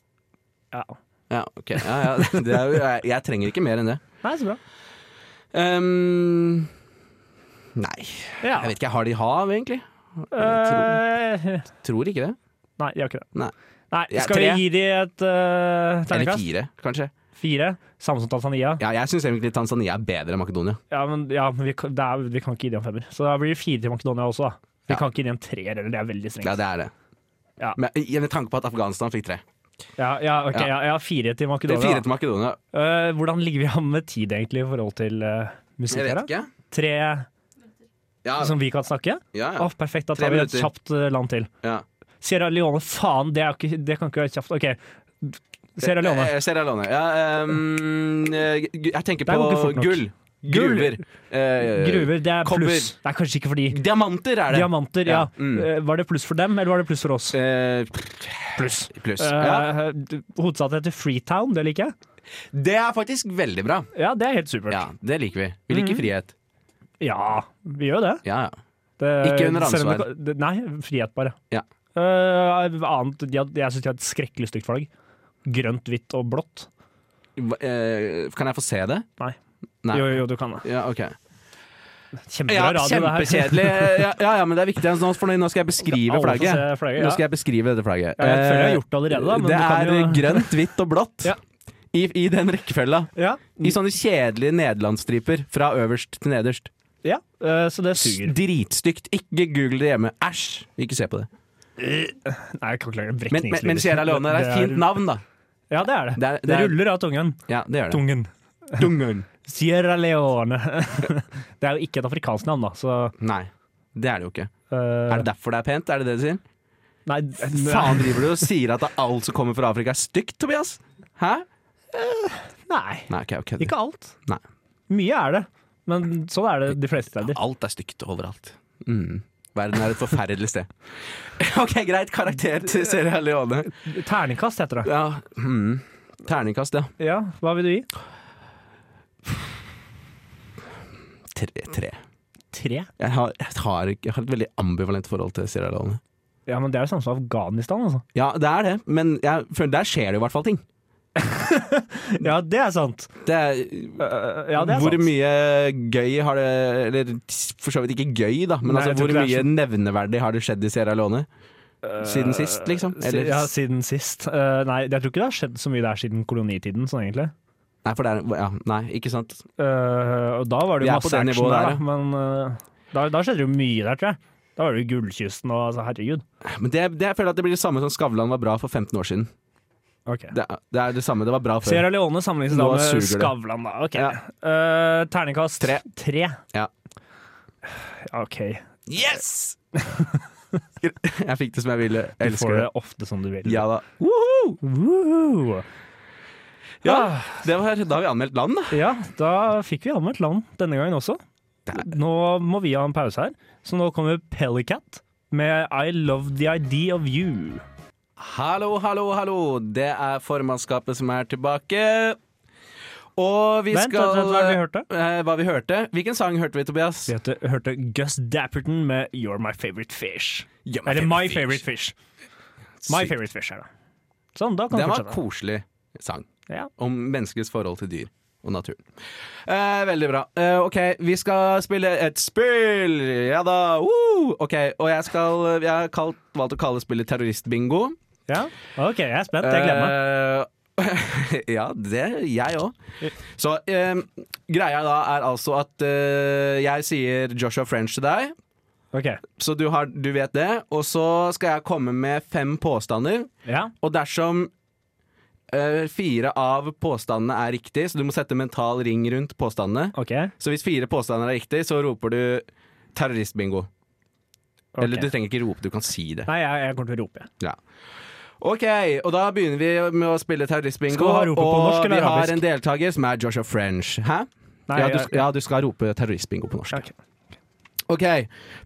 [SPEAKER 5] Ja.
[SPEAKER 2] Ja, ok. Ja, ja, det er, jo- jeg, jeg trenger ikke mer enn det.
[SPEAKER 5] Nei, så bra.
[SPEAKER 2] Ehm, nei,
[SPEAKER 5] Ja.
[SPEAKER 2] jeg vet ikke. Har de hav, egentlig?
[SPEAKER 5] Eh,
[SPEAKER 2] Tror ikke det.
[SPEAKER 5] nei, jeg har ikke det.
[SPEAKER 2] Nei.
[SPEAKER 5] Nei,
[SPEAKER 2] Ja,
[SPEAKER 5] Skal vi
[SPEAKER 2] tre.
[SPEAKER 5] gi de et uh,
[SPEAKER 2] Eller
[SPEAKER 5] terningkast?
[SPEAKER 2] fire, kanskje.
[SPEAKER 5] Fire? Samme som Tanzania?
[SPEAKER 2] Ja, jeg syns egentlig Tanzania er bedre enn Makedonia.
[SPEAKER 5] Ja, men, ja, men vi, kan- det er, vi kan ikke gi dem femmer. Så da blir det fire til Makedonia også. da. Vi
[SPEAKER 2] Ja.
[SPEAKER 5] kan ikke gi dem treer, eller det er veldig strengt.
[SPEAKER 2] Ja, det er det.
[SPEAKER 5] Ja.
[SPEAKER 2] Men, med tanke på at Afghanistan fikk tre.
[SPEAKER 5] Ja, ja, ok,
[SPEAKER 2] Ja.
[SPEAKER 5] ja. ja, fire til
[SPEAKER 2] Det
[SPEAKER 5] Makedonia.
[SPEAKER 2] er fire
[SPEAKER 5] da.
[SPEAKER 2] til Makedonia.
[SPEAKER 5] Eh, hvordan ligger vi an med tid egentlig i forhold til eh, musikk?
[SPEAKER 2] Jeg
[SPEAKER 5] her,
[SPEAKER 2] vet
[SPEAKER 5] da?
[SPEAKER 2] ikke.
[SPEAKER 5] Tre
[SPEAKER 2] Ja,
[SPEAKER 5] som vi kan snakke?
[SPEAKER 2] ja, ja.
[SPEAKER 5] Åh, perfekt, da
[SPEAKER 2] Tre
[SPEAKER 5] tar vi et
[SPEAKER 2] minutter.
[SPEAKER 5] kjapt eh, land til.
[SPEAKER 2] ja.
[SPEAKER 5] Sierra Leone, faen, det, er jo ikke, det kan ikke være kjapt. OK, Sierra Leone.
[SPEAKER 2] Eh, Sierra Leone. Ja, ehm, eh, gu- jeg tenker
[SPEAKER 5] Det er jo ikke
[SPEAKER 2] på
[SPEAKER 5] fort nok.
[SPEAKER 2] gull. Gruver. Eh,
[SPEAKER 5] Gruver, det er
[SPEAKER 2] kobber.
[SPEAKER 5] pluss. Det er kanskje ikke for de.
[SPEAKER 2] Diamanter er det.
[SPEAKER 5] Diamanter, ja.
[SPEAKER 2] Ja, mm.
[SPEAKER 5] Eh, Var det pluss for dem, eller var det pluss for oss?
[SPEAKER 2] Eh,
[SPEAKER 5] Pluss.
[SPEAKER 2] pluss. Ja.
[SPEAKER 5] Uh, Hovedstaden heter Freetown, det liker jeg.
[SPEAKER 2] Det er faktisk veldig bra.
[SPEAKER 5] Ja, det er helt supert.
[SPEAKER 2] Ja, Det liker vi. Vi
[SPEAKER 5] Mhm.
[SPEAKER 2] liker frihet.
[SPEAKER 5] Ja, vi gjør jo det.
[SPEAKER 2] Ja, ja.
[SPEAKER 5] det
[SPEAKER 2] Ikke under
[SPEAKER 5] selv om det
[SPEAKER 2] ansvar.
[SPEAKER 5] kan- det- Nei, frihet bare.
[SPEAKER 2] Ja.
[SPEAKER 5] Eh, annet, de had, jeg syns de hadde et skrekkelig stygt flagg. Grønt, hvitt og blått.
[SPEAKER 2] Hva- eh, kan jeg få se det?
[SPEAKER 5] Nei.
[SPEAKER 2] Nei.
[SPEAKER 5] Jo, jo, du kan det.
[SPEAKER 2] Ja, ok.
[SPEAKER 5] Kjempebra
[SPEAKER 2] Ja,
[SPEAKER 5] radio, det her.
[SPEAKER 2] kjempekjedelig. Eh, Ja, ja, ja, men det er viktig. Nå, for nå skal jeg beskrive
[SPEAKER 5] Alle får
[SPEAKER 2] flagget.
[SPEAKER 5] se flagget,
[SPEAKER 2] Nå
[SPEAKER 5] ja.
[SPEAKER 2] skal jeg beskrive dette flagget. Eh,
[SPEAKER 5] Ja, jeg føler jeg har gjort det allerede, da, men
[SPEAKER 2] det
[SPEAKER 5] du kan
[SPEAKER 2] er
[SPEAKER 5] jo-
[SPEAKER 2] eh, grønt, hvitt og blått.
[SPEAKER 5] Ja.
[SPEAKER 2] I, I den rekkefølga.
[SPEAKER 5] Ja,
[SPEAKER 2] I sånne kjedelige nederlandsstriper fra øverst til nederst.
[SPEAKER 5] ja. eh, så det
[SPEAKER 2] S-
[SPEAKER 5] suger.
[SPEAKER 2] Dritstygt. Ikke google det hjemme. Æsj! Ikke se på det.
[SPEAKER 5] Nei, jeg kan ikke lage
[SPEAKER 2] Men, men,
[SPEAKER 5] brekningslyder.
[SPEAKER 2] men Sierra Leone det er et fint navn, da.
[SPEAKER 5] Ja, det er det.
[SPEAKER 2] Det er-
[SPEAKER 5] Det,
[SPEAKER 2] det er-
[SPEAKER 5] ruller av tungen.
[SPEAKER 2] Ja, det gjør det.
[SPEAKER 5] Tungen. Sierra Leone. det er jo ikke et afrikansk navn, da, så
[SPEAKER 2] Nei, det er det jo ikke.
[SPEAKER 5] eh,
[SPEAKER 2] Er det derfor det er pent? Er det det du sier?
[SPEAKER 5] Nei,
[SPEAKER 2] Faen driver du og sier at alt som kommer fra Afrika er stygt, Tobias? Hæ?
[SPEAKER 5] Nei.
[SPEAKER 2] Nei, ok, jeg kødder.
[SPEAKER 5] Ikke alt.
[SPEAKER 2] Nei.
[SPEAKER 5] Mye er det, men sånn er det de fleste steder.
[SPEAKER 2] Alt er stygt overalt. Mm. Verden er et forferdelig sted. OK, greit. Karakter til Sierra Leone.
[SPEAKER 5] Terningkast heter det.
[SPEAKER 2] Ja. Mm. Terningkast, ja.
[SPEAKER 5] Ja, hva vil du gi?
[SPEAKER 2] Tre. tre.
[SPEAKER 5] Tre?
[SPEAKER 2] Jeg, har, jeg, har, ikke- jeg har et veldig ambivalent forhold til Sierra Leone.
[SPEAKER 5] Ja, men det er jo samme som Afghanistan, altså.
[SPEAKER 2] Ja, det er det, men jeg føler der skjer det jo i hvert fall ting.
[SPEAKER 5] Ja, det er sant.
[SPEAKER 2] Det er,
[SPEAKER 5] Øh, ja, det er
[SPEAKER 2] hvor
[SPEAKER 5] sant.
[SPEAKER 2] mye gøy har det Eller for så vidt ikke gøy, da, men
[SPEAKER 5] Nei, jeg
[SPEAKER 2] altså,
[SPEAKER 5] tror
[SPEAKER 2] hvor
[SPEAKER 5] ikke det
[SPEAKER 2] mye
[SPEAKER 5] er Eh,
[SPEAKER 2] nevneverdig har det skjedd i Sierra Leone? Siden sist, liksom?
[SPEAKER 5] Si-
[SPEAKER 2] Eller,
[SPEAKER 5] Ja, siden sist. Øh, nei, jeg tror ikke det har skjedd så mye der siden kolonitiden, sånn egentlig.
[SPEAKER 2] Nei, for det er, ja, nei, ikke sant.
[SPEAKER 5] Øh, og da var det
[SPEAKER 2] Vi
[SPEAKER 5] jo
[SPEAKER 2] er på
[SPEAKER 5] masse
[SPEAKER 2] det
[SPEAKER 5] action
[SPEAKER 2] nivået
[SPEAKER 5] der,
[SPEAKER 2] der,
[SPEAKER 5] da, men øh, da, da skjedde det jo mye der, tror jeg. Da var det jo Gullkysten og altså, herregud.
[SPEAKER 2] Men det, det, jeg føler at det blir det samme som Skavlan var bra for 15 år siden.
[SPEAKER 5] Ok.
[SPEAKER 2] Det, er- det er det samme. Det var bra før.
[SPEAKER 5] Sierra Leone sammenlignes da
[SPEAKER 2] Nå
[SPEAKER 5] med
[SPEAKER 2] suger det.
[SPEAKER 5] Skavlan, da. Ok.
[SPEAKER 2] Ja.
[SPEAKER 5] Eh, terningkast
[SPEAKER 2] Tre.
[SPEAKER 5] Tre.
[SPEAKER 2] Ja.
[SPEAKER 5] OK.
[SPEAKER 2] Yes! jeg fikk det som jeg ville. Jeg
[SPEAKER 5] Du får
[SPEAKER 2] elsker
[SPEAKER 5] det
[SPEAKER 2] det.
[SPEAKER 5] ofte som du vil.
[SPEAKER 2] Ja da.
[SPEAKER 5] Woohoo!
[SPEAKER 2] Ja,
[SPEAKER 5] Ah,
[SPEAKER 2] det var, da har vi anmeldt land, da.
[SPEAKER 5] ja, da fikk vi anmeldt land denne gangen også. Nå må vi ha en pause her, så nå kommer Pellycat med I Love The Idea of You.
[SPEAKER 2] Hallo, hallo, hallo. Det er formannskapet som er tilbake. Og vi
[SPEAKER 5] Vent,
[SPEAKER 2] skal
[SPEAKER 5] vent, vent, hva er det vi hørte?
[SPEAKER 2] Eh, hva vi hørte? Hvilken sang hørte vi, Tobias?
[SPEAKER 5] Vi hørte, hørte Gus Dapperton med You're My Favorite Fish.
[SPEAKER 2] You're my
[SPEAKER 5] Eller My
[SPEAKER 2] favorite
[SPEAKER 5] Favorite Fish. My
[SPEAKER 2] Sykt.
[SPEAKER 5] Favorite Fish er det. Sånn, da kan
[SPEAKER 2] Det
[SPEAKER 5] du
[SPEAKER 2] var en
[SPEAKER 5] fortsette.
[SPEAKER 2] koselig sang.
[SPEAKER 5] Ja.
[SPEAKER 2] Om menneskets forhold til dyr og naturen. Eh, veldig bra. Eh, ok, vi skal spille et spill! Ja da! Woo! Ok, Og jeg, skal, jeg har kalt, valgt å kalle spillet terroristbingo.
[SPEAKER 5] ja. OK, jeg er spent. Jeg gleder meg.
[SPEAKER 2] Eh, ja, det jeg òg. Så eh, greia da er altså at eh, jeg sier Joshua French til deg,
[SPEAKER 5] Ok,
[SPEAKER 2] så du, har, du vet det. Og så skal jeg komme med fem påstander,
[SPEAKER 5] ja.
[SPEAKER 2] og dersom Eh, fire av påstandene er riktig, så du må sette mental ring rundt påstandene.
[SPEAKER 5] Ok.
[SPEAKER 2] Så hvis fire påstander er riktig, så roper du terroristbingo.
[SPEAKER 5] ok.
[SPEAKER 2] Eller du trenger ikke rope, du kan si det.
[SPEAKER 5] Nei, jeg, jeg kommer til å rope. jeg.
[SPEAKER 2] Ja. OK, og da begynner vi med å spille terroristbingo.
[SPEAKER 5] Skal du ha ropet på norsk
[SPEAKER 2] Og
[SPEAKER 5] eller
[SPEAKER 2] vi har
[SPEAKER 5] arabisk?
[SPEAKER 2] en deltaker som er Joshua French. Hæ?
[SPEAKER 5] Nei,
[SPEAKER 2] ja, du,
[SPEAKER 5] jeg-
[SPEAKER 2] ja, du skal rope terroristbingo på norsk.
[SPEAKER 5] Ok.
[SPEAKER 2] Ok,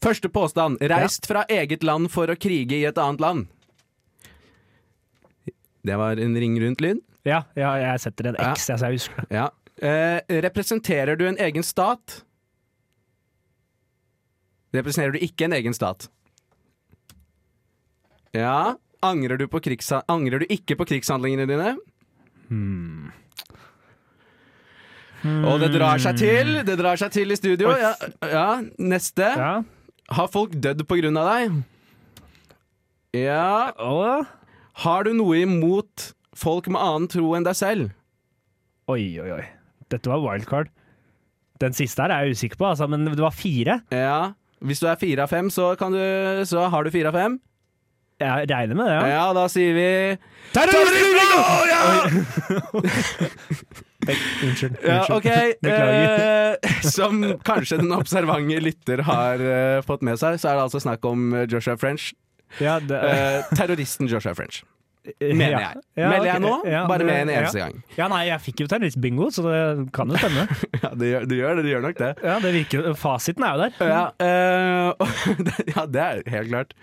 [SPEAKER 2] Første påstand. Reist fra eget land for å krige i et annet land. Det var en ring rundt-lyd.
[SPEAKER 5] Ja, ja, jeg setter en X, altså, jeg, så jeg husker det.
[SPEAKER 2] Ja. Eh, representerer du en egen stat? Representerer du ikke en egen stat? Ja. Angrer du, på krigsha- Angrer du ikke på krigshandlingene dine?
[SPEAKER 5] Hmm.
[SPEAKER 2] Og det drar seg til! Det drar seg til i studio.
[SPEAKER 5] Oi.
[SPEAKER 2] Ja, ja. Neste.
[SPEAKER 5] Ja.
[SPEAKER 2] Har folk dødd på grunn av deg? Ja
[SPEAKER 5] Og
[SPEAKER 2] Har du noe imot folk med annen tro enn deg selv?
[SPEAKER 5] Oi, oi, oi. Dette var wildcard. Den siste her er jeg usikker på, altså, men det var fire.
[SPEAKER 2] Ja Hvis du er fire av fem, så, kan du, så har du fire av fem.
[SPEAKER 5] Jeg regner med det,
[SPEAKER 2] Ja.
[SPEAKER 5] ja.
[SPEAKER 2] da sier vi
[SPEAKER 5] Terrorisme! Unnskyld.
[SPEAKER 2] ja,
[SPEAKER 5] unnskyld.
[SPEAKER 2] OK.
[SPEAKER 5] Beklager.
[SPEAKER 2] Eh, som kanskje den observante lytter har eh, fått med seg, så er det altså snakk om eh, Joshua French.
[SPEAKER 5] ja, det,
[SPEAKER 2] Eh, terroristen Joshua French. Mener jeg. Melder jeg nå? Bare med en eneste gang.
[SPEAKER 5] Ja, nei, jeg fikk jo terroristbingo, så det kan jo stemme.
[SPEAKER 2] Ja, du gjør, du gjør det. Du gjør nok det.
[SPEAKER 5] Ja, det virker jo Fasiten er jo der.
[SPEAKER 2] Ja, eh, ja, det er helt klart.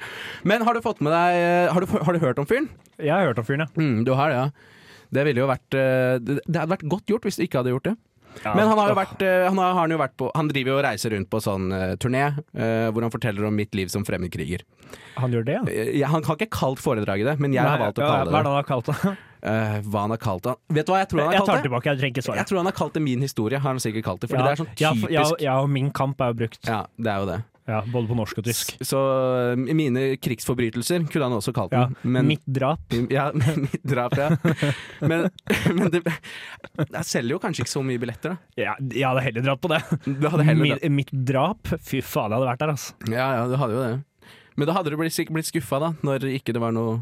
[SPEAKER 2] Men har du fått med deg eh, Har du, har du hørt om fyren?
[SPEAKER 5] Jeg har hørt om fyren, ja.
[SPEAKER 2] Mm, du har det, ja. Det ville jo vært eh, Det det hadde vært godt gjort hvis du ikke hadde gjort det.
[SPEAKER 5] ja.
[SPEAKER 2] Men han har
[SPEAKER 5] åh,
[SPEAKER 2] jo vært, eh, han har, har han jo vært på Han driver jo og reiser rundt på sånn eh, turné eh, hvor han forteller om mitt liv som fremmedkriger.
[SPEAKER 5] Han gjør det, ja.
[SPEAKER 2] Eh, jeg- han har ikke kalt foredraget det, men jeg har
[SPEAKER 5] Nei,
[SPEAKER 2] valgt å
[SPEAKER 5] ja,
[SPEAKER 2] kalle
[SPEAKER 5] Hva er det
[SPEAKER 2] det det.
[SPEAKER 5] han har kalt det?
[SPEAKER 2] Eh, hva han har kalt det? Vet du hva jeg tror han har
[SPEAKER 5] Jeg tar
[SPEAKER 2] kalt det?
[SPEAKER 5] tilbake, jeg trenger ikke svare.
[SPEAKER 2] Jeg tror han har kalt det Min historie, har han sikkert kalt det. Fordi det er sånn
[SPEAKER 5] Ja,
[SPEAKER 2] typisk
[SPEAKER 5] ja, ja, og Min kamp er jo brukt,
[SPEAKER 2] ja, det er jo det.
[SPEAKER 5] ja, både på norsk og tysk.
[SPEAKER 2] Så eh, mine krigsforbrytelser kunne han også kalt
[SPEAKER 5] Ja,
[SPEAKER 2] den. men-
[SPEAKER 5] Mitt drap.
[SPEAKER 2] Ja, mitt drap, ja. Men, men det, jeg selger jo kanskje ikke så mye billetter, da.
[SPEAKER 5] Ja, jeg hadde heller dratt på det.
[SPEAKER 2] Du hadde heller
[SPEAKER 5] Mitt, mitt drap? Fy faen, jeg hadde vært der, altså.
[SPEAKER 2] Ja, ja, du hadde jo det. Men da hadde du blitt, sikkert blitt skuffa, da, når ikke det var noe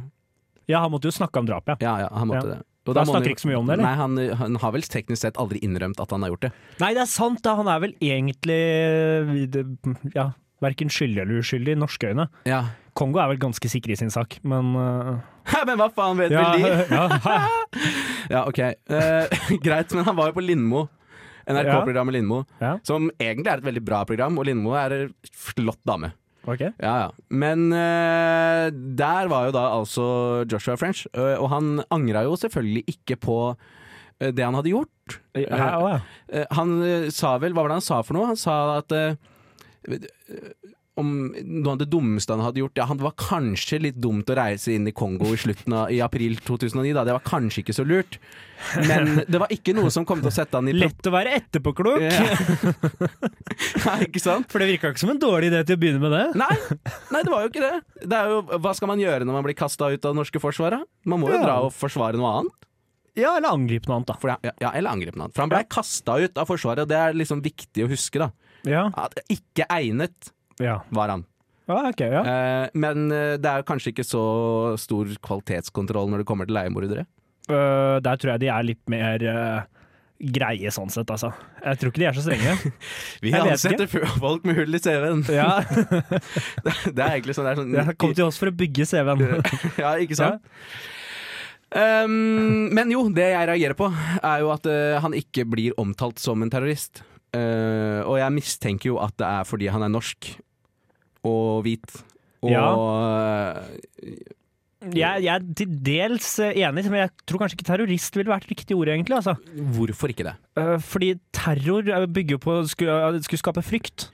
[SPEAKER 5] Ja, han måtte jo snakke om drap, ja.
[SPEAKER 2] Ja, ja, han måtte
[SPEAKER 5] Ja.
[SPEAKER 2] det. Og
[SPEAKER 5] Han
[SPEAKER 2] må
[SPEAKER 5] snakker
[SPEAKER 2] jo-
[SPEAKER 5] ikke så mye om det, eller?
[SPEAKER 2] Nei, han, han har vel teknisk sett aldri innrømt at han har gjort det.
[SPEAKER 5] Nei, det er sant, da. Han er vel egentlig eh, det- ja, verken skyldig eller uskyldig i norske øyne.
[SPEAKER 2] Ja.
[SPEAKER 5] Kongo er vel ganske sikre i sin sak, men øh,
[SPEAKER 2] Men hva faen vet
[SPEAKER 5] ja,
[SPEAKER 2] vel de?
[SPEAKER 5] ja, hæ?
[SPEAKER 2] Ja, ok. Eh, greit, men han var jo på Lindmo. NRK-programmet Lindmo,
[SPEAKER 5] Ja.
[SPEAKER 2] som egentlig er et veldig bra program, og Lindmo er en flott dame.
[SPEAKER 5] Ok.
[SPEAKER 2] Ja, ja. Men eh, der var jo da altså Joshua French, eh, og han angra jo selvfølgelig ikke på eh, det han hadde gjort.
[SPEAKER 5] Ja, å, ja.
[SPEAKER 2] Eh, han eh, sa vel Hva var det han sa for noe? Han sa at eh, eh, om noe av det dummeste han hadde gjort Ja, han var kanskje litt dumt å reise inn i Kongo i slutten av i april 2009, da. Det var kanskje ikke så lurt. Men det var ikke noe som kom til å sette han i pro-
[SPEAKER 5] Lett å være etterpåklok,
[SPEAKER 2] Ja, ikke sant?
[SPEAKER 5] for det virka ikke som en dårlig idé til å begynne med det.
[SPEAKER 2] Nei, nei, det var jo ikke det. det er jo, hva skal man gjøre når man blir kasta ut av det norske forsvaret? Man må jo
[SPEAKER 5] Ja.
[SPEAKER 2] dra og forsvare noe annet.
[SPEAKER 5] Ja, eller angripe noe annet, da.
[SPEAKER 2] For ja, ja, eller angripe noe annet. For han blei kasta ut av Forsvaret, og det er liksom viktig å huske. da
[SPEAKER 5] Ja,
[SPEAKER 2] At Ikke egnet
[SPEAKER 5] ja.
[SPEAKER 2] var han.
[SPEAKER 5] ja ok, ja.
[SPEAKER 2] Eh, men eh, det er jo kanskje ikke så stor kvalitetskontroll når det kommer til leiemordere.
[SPEAKER 5] Øh, der tror jeg de er litt mer øh, greie sånn sett, altså. Jeg tror ikke de er så strenge.
[SPEAKER 2] Vi
[SPEAKER 5] Jeg vet
[SPEAKER 2] ansetter fu- folk med hull i CV-en.
[SPEAKER 5] Ja,
[SPEAKER 2] Det er egentlig sånn det er sånn
[SPEAKER 5] ja, Kom til oss for å bygge CV-en.
[SPEAKER 2] Ja, ikke sant? Um, men jo, det jeg reagerer på, er jo at eh, han ikke blir omtalt som en terrorist. Eh, og jeg mistenker jo at det er fordi han er norsk og hvit. Og eh,
[SPEAKER 5] Jeg, jeg er til dels eh, enig, men jeg tror kanskje ikke terrorist ville vært riktig ord, egentlig. Altså.
[SPEAKER 2] hvorfor ikke det?
[SPEAKER 5] Eh, Fordi terror eh, bygger jo på å skulle, skulle skape frykt.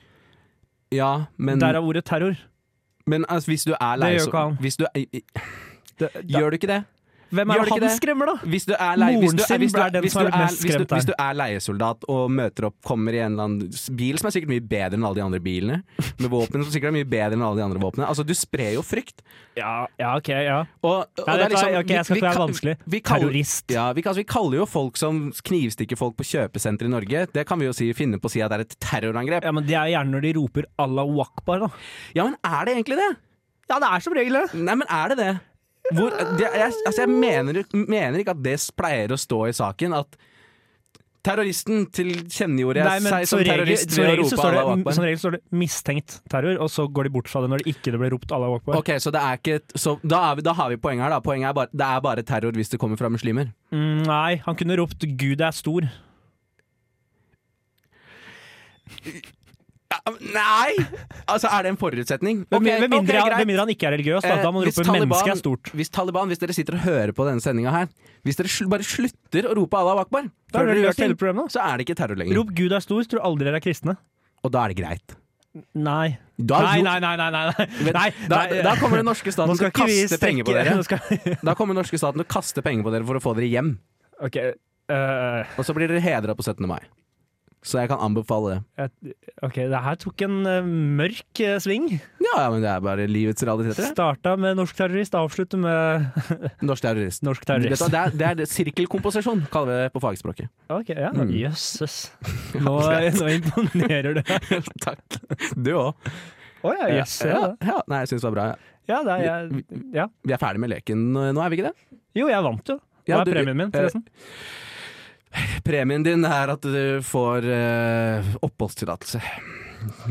[SPEAKER 2] Ja, men,
[SPEAKER 5] Derav ordet terror.
[SPEAKER 2] men altså, hvis du er lei
[SPEAKER 5] Det gjør
[SPEAKER 2] så-
[SPEAKER 5] ikke han.
[SPEAKER 2] hvis du er-
[SPEAKER 5] Det,
[SPEAKER 2] Gjør du ikke det?
[SPEAKER 5] hvem
[SPEAKER 2] gjør
[SPEAKER 5] er
[SPEAKER 2] det
[SPEAKER 5] det
[SPEAKER 2] ikke
[SPEAKER 5] han
[SPEAKER 2] det?
[SPEAKER 5] skremmer, da?
[SPEAKER 2] Hvis du er, lei, hvis
[SPEAKER 5] Moren
[SPEAKER 2] du,
[SPEAKER 5] sin
[SPEAKER 2] hvis du,
[SPEAKER 5] ble den
[SPEAKER 2] hvis,
[SPEAKER 5] som
[SPEAKER 2] du
[SPEAKER 5] er
[SPEAKER 2] er,
[SPEAKER 5] mest
[SPEAKER 2] hvis, du,
[SPEAKER 5] skremt her.
[SPEAKER 2] hvis du er leiesoldat og møter opp, kommer i en eller annen bil som er sikkert mye bedre enn alle de andre bilene, med våpen som sikkert er mye bedre enn alle de andre våpnene Altså, du sprer jo frykt.
[SPEAKER 5] Ja, ja ok, ja.
[SPEAKER 2] Og,
[SPEAKER 5] Nei,
[SPEAKER 2] og det er
[SPEAKER 5] vet du hva,
[SPEAKER 2] liksom-
[SPEAKER 5] ok, jeg skal
[SPEAKER 2] vi-
[SPEAKER 5] ikke være
[SPEAKER 2] vi-
[SPEAKER 5] vanskelig.
[SPEAKER 2] vi kaller-
[SPEAKER 5] Terrorist.
[SPEAKER 2] Ja, vi, altså, vi kaller jo folk som knivstikker folk på kjøpesentre i Norge, det kan vi jo si, finne på å si at det er et terrorangrep.
[SPEAKER 5] Ja, men Det er gjerne når de roper 'Allah wakbar', da.
[SPEAKER 2] Ja, men er det egentlig det?
[SPEAKER 5] Ja, det er som regel det.
[SPEAKER 2] Nei, men er det det? Hvor, det, jeg, altså jeg mener, mener ikke at det pleier å stå i saken at Terroristen tilkjennegjorde
[SPEAKER 5] Nei,
[SPEAKER 2] jeg
[SPEAKER 5] men
[SPEAKER 2] seg som
[SPEAKER 5] som regel,
[SPEAKER 2] terrorist
[SPEAKER 5] som,
[SPEAKER 2] ved å
[SPEAKER 5] regel så
[SPEAKER 2] rope
[SPEAKER 5] står
[SPEAKER 2] Allahu
[SPEAKER 5] det,
[SPEAKER 2] akbar.
[SPEAKER 5] som regel står det 'mistenkt terror', og så går de bort fra det når det ikke blir ropt 'Allahu akbar'.
[SPEAKER 2] Ok, så det er ikke et- så da, er vi, da har vi poenget her, da. Poenget er bare, det er bare terror hvis det kommer fra muslimer.
[SPEAKER 5] Mm, nei, han kunne ropt 'Gud er stor'.
[SPEAKER 2] Ja, men Nei! Altså, er det en forutsetning?
[SPEAKER 5] Med,
[SPEAKER 2] Ok,
[SPEAKER 5] med, mindre,
[SPEAKER 2] ok, greit.
[SPEAKER 5] med mindre han ikke er religiøs, da,
[SPEAKER 2] Eh,
[SPEAKER 5] da må han
[SPEAKER 2] hvis
[SPEAKER 5] rope
[SPEAKER 2] Taliban-
[SPEAKER 5] 'mennesket er stort'.
[SPEAKER 2] Hvis Taliban, hvis dere sitter og hører på denne sendinga her, hvis dere sl bare slutter å rope Allah akbar,
[SPEAKER 5] Da har dere
[SPEAKER 2] før dere gjør
[SPEAKER 5] løst hele
[SPEAKER 2] ting,
[SPEAKER 5] problemet.
[SPEAKER 2] så er det ikke terror lenger.
[SPEAKER 5] Rop 'Gud er stor', så tror du aldri dere er kristne.
[SPEAKER 2] Og da er det greit.
[SPEAKER 5] Nei.
[SPEAKER 2] Da,
[SPEAKER 5] Nei,
[SPEAKER 2] ro-
[SPEAKER 5] nei, nei. nei, nei, nei.
[SPEAKER 2] Men
[SPEAKER 5] nei,
[SPEAKER 2] da,
[SPEAKER 5] nei.
[SPEAKER 2] da kommer den norske staten
[SPEAKER 5] Nå
[SPEAKER 2] til
[SPEAKER 5] skal
[SPEAKER 2] å
[SPEAKER 5] ikke vi
[SPEAKER 2] kaste penger på
[SPEAKER 5] strekke-
[SPEAKER 2] dere.
[SPEAKER 5] Nå skal-
[SPEAKER 2] Da kommer den norske staten til å kaste penger på dere for å få dere hjem.
[SPEAKER 5] Ok, eh,
[SPEAKER 2] Og så blir dere hedra på 17. mai. Så jeg kan anbefale det.
[SPEAKER 5] et- ok, det her tok en eh, mørk eh, sving.
[SPEAKER 2] Ja, ja, men det er bare livets realiteter. det.
[SPEAKER 5] Starta med norsk terrorist, avslutter med
[SPEAKER 2] Norsk terrorist.
[SPEAKER 5] norsk
[SPEAKER 2] Vet du hva,
[SPEAKER 5] terrorist.
[SPEAKER 2] Det er, det er det- sirkelkomposisjon, kaller vi det på fagspråket.
[SPEAKER 5] Ok, ja.
[SPEAKER 2] Mm.
[SPEAKER 5] Jøsses. Nå, nå imponerer du.
[SPEAKER 2] Takk. Du òg.
[SPEAKER 5] Å ja, jøss. Ja,
[SPEAKER 2] Ja, ja. Nei, jeg syns det var bra. ja.
[SPEAKER 5] ja, det er jeg. Ja.
[SPEAKER 2] Vi er ferdig med leken nå, er vi ikke det?
[SPEAKER 5] Jo, jeg vant jo. Hva
[SPEAKER 2] Ja,
[SPEAKER 5] er
[SPEAKER 2] du- eh,
[SPEAKER 5] premien min, forresten?
[SPEAKER 2] Premien din er at du får eh, oppholdstillatelse.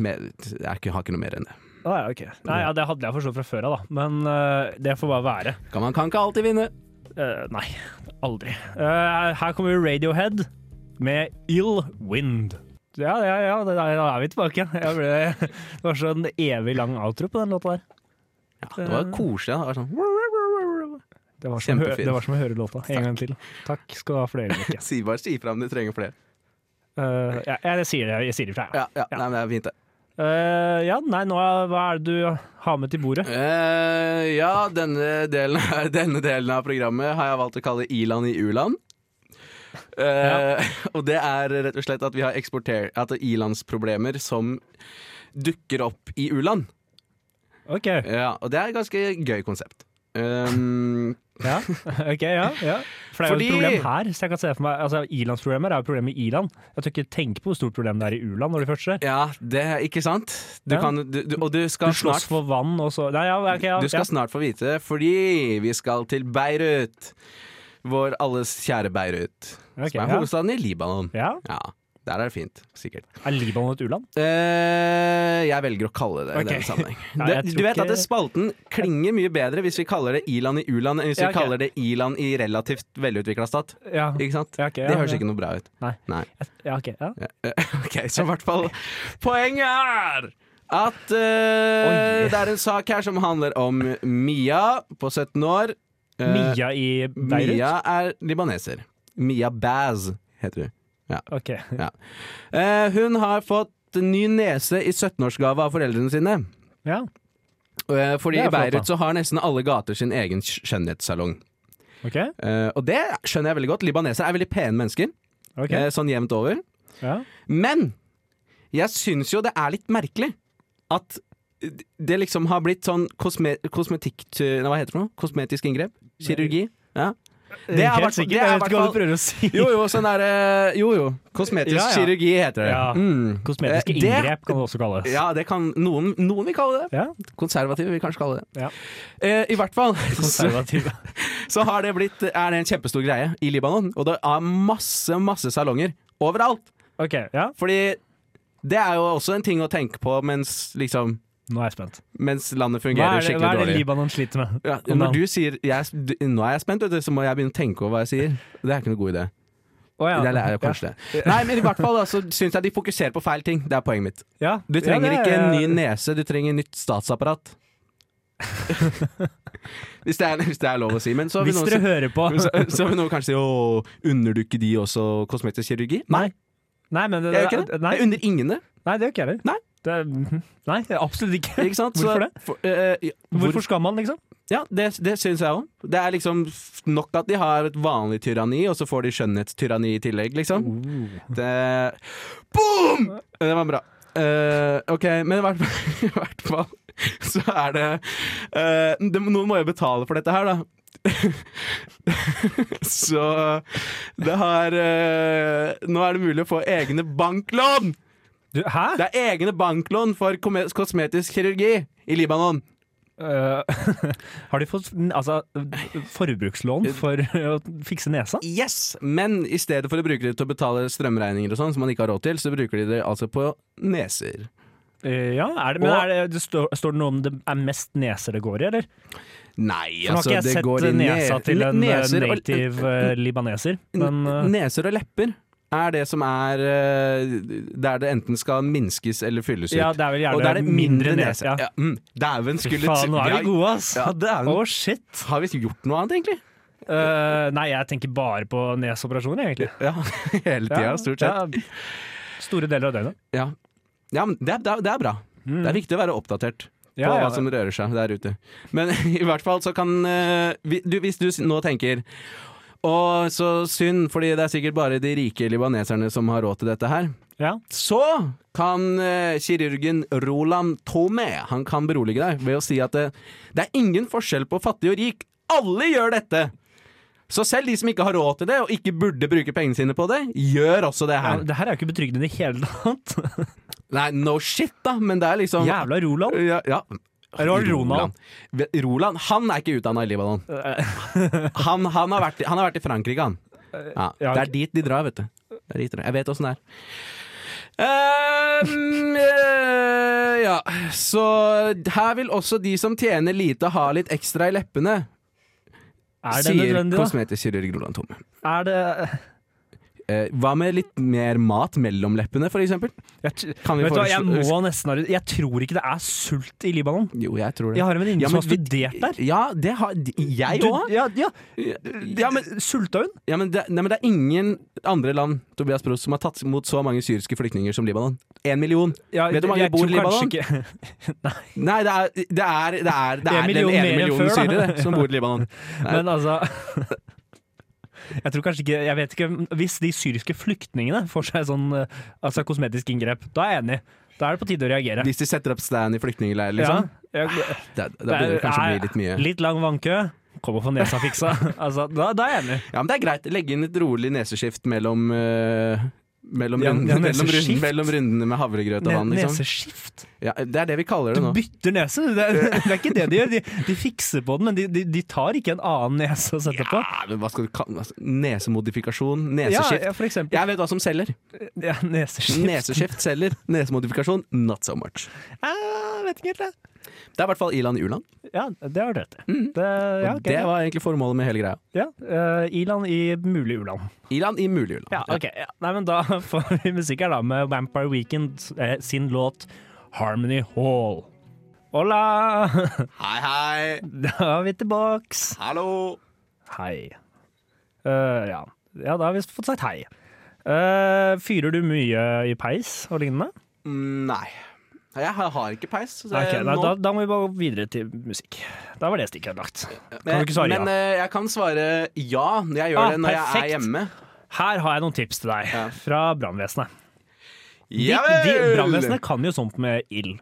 [SPEAKER 2] Med, jeg har ikke- har ikke noe mer enn det.
[SPEAKER 5] Å ja, ok. Nei, ja, det hadde jeg forstått fra før av, da. Men eh, det får bare være.
[SPEAKER 2] Kan man kan ikke alltid vinne.
[SPEAKER 5] Eh, nei, aldri. Eh, her kommer Radiohead med Ill Wind. Ja, ja, ja, det, da er vi tilbake. Jeg ble, det var sånn evig lang outro på den låta der.
[SPEAKER 2] Ja, det var koselig. da. Det
[SPEAKER 5] Det var
[SPEAKER 2] var sånn,
[SPEAKER 5] som, å hø-
[SPEAKER 2] Kjempefin.
[SPEAKER 5] det var som å høre låta en gang til. Takk skal du ha for det øyeblikket.
[SPEAKER 2] si bare si ifra om du trenger flere.
[SPEAKER 5] Eh, ja, jeg, sier det, jeg sier det fra deg.
[SPEAKER 2] Ja, ja, Nei, men det er fint, det.
[SPEAKER 5] Eh, ja, nei, nå er, hva er det du har med til bordet?
[SPEAKER 2] Eh, ja, denne delen, denne delen av programmet har jeg valgt å kalle I-land i u-land. Eh, Og det er rett og slett at vi har eksportert At det er i-landsproblemer som dukker opp i u-land.
[SPEAKER 5] Ok,
[SPEAKER 2] Ja, og det er et ganske gøy konsept. Um,
[SPEAKER 5] ja, ok, ja, ja. For det er jo
[SPEAKER 2] Fordi-
[SPEAKER 5] et problem her, så jeg kan se for meg Altså, I-landsproblemer er jo problemer i i-land. Jeg tør ikke tenke på hvor stort problem det er i u-land når det først skjer.
[SPEAKER 2] ja, det er ikke sant? Du
[SPEAKER 5] Ja.
[SPEAKER 2] kan, du, du, og du skal,
[SPEAKER 5] Du slåss
[SPEAKER 2] snart,
[SPEAKER 5] for vann og så Nei, ja, ok, ja.
[SPEAKER 2] du skal snart få vite det, fordi vi skal til Beirut. Vår alles kjære Beirut,
[SPEAKER 5] Ok,
[SPEAKER 2] som er
[SPEAKER 5] ja.
[SPEAKER 2] hovedstaden i Libanon.
[SPEAKER 5] ja.
[SPEAKER 2] Ja, der er det fint, sikkert.
[SPEAKER 5] ja. Er Libanon et u-land?
[SPEAKER 2] Eh, jeg velger å kalle det det i
[SPEAKER 5] Ok.
[SPEAKER 2] denne sammenheng.
[SPEAKER 5] Nei,
[SPEAKER 2] Det,
[SPEAKER 5] jeg tror
[SPEAKER 2] du vet
[SPEAKER 5] ikke-
[SPEAKER 2] at det spalten klinger mye bedre hvis vi kaller det i-land i u-land enn hvis vi
[SPEAKER 5] Ja, ok.
[SPEAKER 2] kaller det i-land i relativt velutvikla stat.
[SPEAKER 5] Ja.
[SPEAKER 2] Ikke sant?
[SPEAKER 5] Ja, ok, ja,
[SPEAKER 2] det høres
[SPEAKER 5] ja.
[SPEAKER 2] ikke noe bra ut.
[SPEAKER 5] Nei.
[SPEAKER 2] Nei.
[SPEAKER 5] ja, ok, ja.
[SPEAKER 2] Ok, så i hvert fall Poenget er at eh,
[SPEAKER 5] Oi.
[SPEAKER 2] det er en sak her som handler om Mia på 17 år. Eh,
[SPEAKER 5] Mia i Beirut?
[SPEAKER 2] Mia er libaneser. Mia Baz heter hun.
[SPEAKER 5] Ok.
[SPEAKER 2] Eh, hun har fått ny nese i 17-årsgave av foreldrene sine.
[SPEAKER 5] Ja,
[SPEAKER 2] Eh, fordi
[SPEAKER 5] Det er
[SPEAKER 2] i
[SPEAKER 5] flott, da.
[SPEAKER 2] Beirut så har nesten alle gater sin egen skj- skjønnhetssalong.
[SPEAKER 5] ok.
[SPEAKER 2] Eh, og det skjønner jeg veldig godt. Libanesere er veldig pene mennesker.
[SPEAKER 5] ok
[SPEAKER 2] eh, sånn jevnt over.
[SPEAKER 5] ja.
[SPEAKER 2] Men jeg syns jo det er litt merkelig at det liksom har blitt sånn kosme kosmetikk... Nei, hva heter det for noe? Kosmetisk inngrep? Kirurgi? Ja. Det er
[SPEAKER 5] Helt
[SPEAKER 2] hvert fall-
[SPEAKER 5] sikkert,
[SPEAKER 2] det
[SPEAKER 5] Jeg
[SPEAKER 2] er
[SPEAKER 5] vet
[SPEAKER 2] hvert
[SPEAKER 5] ikke hva
[SPEAKER 2] fall-
[SPEAKER 5] du prøver å si.
[SPEAKER 2] Jo jo, sånn derre Jo jo. Kosmetisk
[SPEAKER 5] Ja, ja.
[SPEAKER 2] kirurgi heter det.
[SPEAKER 5] Ja.
[SPEAKER 2] Mm.
[SPEAKER 5] Kosmetiske
[SPEAKER 2] Eh, det-
[SPEAKER 5] inngrep kan det også kalles.
[SPEAKER 2] Ja, det kan noen, noen vil kalle det.
[SPEAKER 5] Ja,
[SPEAKER 2] Konservative vil kanskje kalle det.
[SPEAKER 5] Ja.
[SPEAKER 2] Eh, I hvert fall så,
[SPEAKER 5] konservativ.
[SPEAKER 2] så har det blitt, er det en kjempestor greie i Libanon. Og det er masse, masse salonger overalt.
[SPEAKER 5] Ok, ja.
[SPEAKER 2] Fordi det er jo også en ting å tenke på mens, liksom,
[SPEAKER 5] Nå er jeg spent.
[SPEAKER 2] mens landet
[SPEAKER 5] Hva
[SPEAKER 2] fungerer
[SPEAKER 5] er det, hva
[SPEAKER 2] skikkelig
[SPEAKER 5] er det
[SPEAKER 2] dårlig.
[SPEAKER 5] Libanon sliter med?
[SPEAKER 2] Ja,
[SPEAKER 5] Om
[SPEAKER 2] når
[SPEAKER 5] dagen?
[SPEAKER 2] du sier jeg, du, 'nå er jeg spent', vet du, så må jeg begynne å tenke over hva jeg sier. Det er ikke noe god idé.
[SPEAKER 5] Å, ja.
[SPEAKER 2] Det lærer jeg kanskje det. Nei, men i hvert fall da, så syns jeg de fokuserer på feil ting. Det er poenget mitt.
[SPEAKER 5] Ja.
[SPEAKER 2] Du
[SPEAKER 5] ja,
[SPEAKER 2] trenger
[SPEAKER 5] det
[SPEAKER 2] ikke en
[SPEAKER 5] er-
[SPEAKER 2] ny nese, du trenger nytt statsapparat. hvis, det er, hvis det er lov å si. Men så vil
[SPEAKER 5] Hvis
[SPEAKER 2] noen,
[SPEAKER 5] dere
[SPEAKER 2] si-
[SPEAKER 5] hører på
[SPEAKER 2] så, så vil noen kanskje si 'å, unner du ikke de også kosmetisk kirurgi'? Nei,
[SPEAKER 5] Nei, men det,
[SPEAKER 2] jeg gjør ikke det.
[SPEAKER 5] Nei,
[SPEAKER 2] Jeg unner ingen det.
[SPEAKER 5] nei det gjør ikke jeg heller.
[SPEAKER 2] Nei.
[SPEAKER 5] Det er- mhm. Nei, det er absolutt ikke.
[SPEAKER 2] Ikke sant?
[SPEAKER 5] Hvorfor
[SPEAKER 2] så,
[SPEAKER 5] det?
[SPEAKER 2] For, eh, ja, hvor-
[SPEAKER 5] Hvorfor skal man, liksom?
[SPEAKER 2] Ja, det, det syns jeg òg. Det er liksom f- nok at de har et vanlig tyranni, og så får de skjønnhetstyranni i tillegg, liksom.
[SPEAKER 5] Oh.
[SPEAKER 2] Det Boom! Det var bra. Eh, ok, men i hvert, fall- i hvert fall så er det, eh, det Noen må jo betale for dette her, da. så det har eh, Nå er det mulig å få egne banklån!
[SPEAKER 5] Du, hæ?
[SPEAKER 2] Det er egne banklån for kome- kosmetisk kirurgi i Libanon.
[SPEAKER 5] Øh, har de fått altså, forbrukslån for å fikse nesa?
[SPEAKER 2] Yes! Men i stedet for å bruke det til å betale strømregninger og sånn, som man ikke har råd til, så bruker de det altså på neser.
[SPEAKER 5] Eh, Ja, er det, men
[SPEAKER 2] Og-
[SPEAKER 5] er det, det står, står det noe om det er mest neser det går i, eller?
[SPEAKER 2] Nei,
[SPEAKER 5] Nå har
[SPEAKER 2] altså,
[SPEAKER 5] ikke jeg
[SPEAKER 2] det
[SPEAKER 5] sett
[SPEAKER 2] går i
[SPEAKER 5] nesa
[SPEAKER 2] ne-
[SPEAKER 5] til en eh,
[SPEAKER 2] neser og-
[SPEAKER 5] native eh, libaneser, men eh,
[SPEAKER 2] Neser og lepper er det som er eh, der det enten skal minskes eller fylles ut.
[SPEAKER 5] ja, det er vel
[SPEAKER 2] og
[SPEAKER 5] gjerne
[SPEAKER 2] da er det
[SPEAKER 5] mindre
[SPEAKER 2] mindre
[SPEAKER 5] nese.
[SPEAKER 2] nese. Ja. mm. Dæven
[SPEAKER 5] Fy
[SPEAKER 2] skulle
[SPEAKER 5] faen, nå er
[SPEAKER 2] Ja,
[SPEAKER 5] vi gode, ass!
[SPEAKER 2] Ja,
[SPEAKER 5] Å,
[SPEAKER 2] dæven.
[SPEAKER 5] shit!
[SPEAKER 2] Har vi gjort noe annet, egentlig?
[SPEAKER 5] Eh, nei, jeg tenker bare på nesoperasjoner, egentlig.
[SPEAKER 2] Ja, hele tida, stort sett.
[SPEAKER 5] ja, store deler av døgnet.
[SPEAKER 2] Ja, ja men det, er- det, er- det er bra. Det er viktig å være oppdatert. På
[SPEAKER 5] Mm. Ja, ja.
[SPEAKER 2] hva som rører seg der ute. Men i hvert fall så kan eh, vi- du, Hvis du s- nå tenker Å, så synd, fordi det er sikkert bare de rike libaneserne som har råd til dette her.
[SPEAKER 5] Ja.
[SPEAKER 2] Så kan eh, kirurgen Roland Tome Han kan berolige deg ved å si at eh, det er ingen forskjell på fattig og rik. Alle gjør dette! Så selv de som ikke har råd til det, og ikke burde bruke pengene sine på det, gjør også det
[SPEAKER 5] Ja,
[SPEAKER 2] her.
[SPEAKER 5] det her er jo ikke betryggende i det hele tatt.
[SPEAKER 2] Nei, no shit, da, men det er liksom
[SPEAKER 5] Jævla Roland.
[SPEAKER 2] ja, ja.
[SPEAKER 5] Eller var det Ronald?
[SPEAKER 2] Roland. Roland, han er ikke utdanna i Libanon. Han, han, har vært, i- han har vært i Frankrike, han. Ja,
[SPEAKER 5] Eh, ja,
[SPEAKER 2] det
[SPEAKER 5] ok.
[SPEAKER 2] er dit de drar, vet du. Det er dit de drar. Jeg vet åssen det er. Ehm, eh, ja, så her vil også de som tjener lite, ha litt ekstra i leppene,
[SPEAKER 5] Er det
[SPEAKER 2] sier
[SPEAKER 5] nødvendig, da?
[SPEAKER 2] kosmetikkirurg Roland Tomme.
[SPEAKER 5] Er det
[SPEAKER 2] Eh, hva med litt mer mat mellom leppene, for eksempel?
[SPEAKER 5] jeg, t-
[SPEAKER 2] Kan vi
[SPEAKER 5] Vet du hva, jeg
[SPEAKER 2] foreslå-
[SPEAKER 5] må nesten ha Jeg tror ikke det er sult i Libanon.
[SPEAKER 2] Jo, jeg tror det.
[SPEAKER 5] Jeg har en venninne
[SPEAKER 2] Ja,
[SPEAKER 5] som
[SPEAKER 2] men
[SPEAKER 5] har studert der.
[SPEAKER 2] Ja, det har de- jeg
[SPEAKER 5] Du-
[SPEAKER 2] òg.
[SPEAKER 5] ja, ja.
[SPEAKER 2] Ja, men,
[SPEAKER 5] Sulta hun?
[SPEAKER 2] ja, men, det- nei, men det er ingen andre land Tobias Prost, som har tatt imot så mange syriske flyktninger som Libanon. Én million.
[SPEAKER 5] Ja,
[SPEAKER 2] Vet du hvor mange
[SPEAKER 5] jeg
[SPEAKER 2] bor i
[SPEAKER 5] tror kanskje
[SPEAKER 2] Libanon?
[SPEAKER 5] ikke-
[SPEAKER 2] Nei, det er, det er, det er, det er
[SPEAKER 5] En million
[SPEAKER 2] den ene
[SPEAKER 5] mer enn
[SPEAKER 2] millionen
[SPEAKER 5] før, da.
[SPEAKER 2] syrere det, som bor i Libanon.
[SPEAKER 5] Men altså Jeg tror kanskje ikke Jeg vet ikke Hvis de syriske flyktningene får seg sånn eh, altså kosmetisk inngrep, da er jeg enig. Da er det på tide å reagere.
[SPEAKER 2] Hvis de setter opp stand i flyktningleir, liksom.
[SPEAKER 5] Ja, jeg,
[SPEAKER 2] Da, da begynner det kanskje å bli litt mye.
[SPEAKER 5] Litt lang vannkø. Kom og få nesa fiksa. altså, da, da er jeg enig.
[SPEAKER 2] Ja, men det er greit. Legge inn et rolig neseskift mellom eh, mellom,
[SPEAKER 5] Ja,
[SPEAKER 2] runden,
[SPEAKER 5] ja,
[SPEAKER 2] mellom, runden,
[SPEAKER 5] neseskift.
[SPEAKER 2] mellom rundene med havregrøt og vann. Liksom.
[SPEAKER 5] Neseskift?
[SPEAKER 2] Ja, det er det vi kaller det
[SPEAKER 5] Du
[SPEAKER 2] nå.
[SPEAKER 5] bytter nese. Det er, det er ikke det de gjør. De, de fikser på den, men de, de, de tar ikke en annen nese og setter på.
[SPEAKER 2] Ja, men hva skal du kalle det? Nesemodifikasjon?
[SPEAKER 5] Ja,
[SPEAKER 2] Neseskift?
[SPEAKER 5] ja, for eksempel.
[SPEAKER 2] Jeg vet hva som selger.
[SPEAKER 5] Ja, neseskift.
[SPEAKER 2] Neseskift selger. Nesemodifikasjon not so much.
[SPEAKER 5] Ah, vet ikke helt, det.
[SPEAKER 2] Det er i hvert fall i-land i-land.
[SPEAKER 5] Ja, det har du rett i. Det, ja, ok.
[SPEAKER 2] Det var egentlig formålet med hele greia.
[SPEAKER 5] ja, eh, I-land i mulig u-land.
[SPEAKER 2] I-land i mulig u-land.
[SPEAKER 5] Ja, ok. Ja. Nei, men da får vi musikk her da med Vampire Weekend eh, sin låt Harmony Hall. Hola!
[SPEAKER 2] Hei, hei!
[SPEAKER 5] Da er vi tilbake.
[SPEAKER 2] Hallo!
[SPEAKER 5] Hei. Eh, ja. ja, da har vi fått sagt hei. Eh, fyrer du mye i peis og lignende?
[SPEAKER 2] Mm, Nei. Jeg har har ikke peis. Så
[SPEAKER 5] Ok,
[SPEAKER 2] jeg-
[SPEAKER 5] da,
[SPEAKER 2] Eh, nå-
[SPEAKER 5] da, da må vi bare gå videre til musikk. Da var det stikket lagt. Kan du ikke svare
[SPEAKER 2] Men
[SPEAKER 5] ja?
[SPEAKER 2] eh, jeg kan svare ja. Jeg gjør
[SPEAKER 5] Ah,
[SPEAKER 2] det når jeg
[SPEAKER 5] perfekt.
[SPEAKER 2] er hjemme.
[SPEAKER 5] Her har jeg noen tips til deg
[SPEAKER 2] Ja.
[SPEAKER 5] fra brannvesenet. De,
[SPEAKER 2] Javel!
[SPEAKER 5] de, brannvesenet kan jo sånt med ild.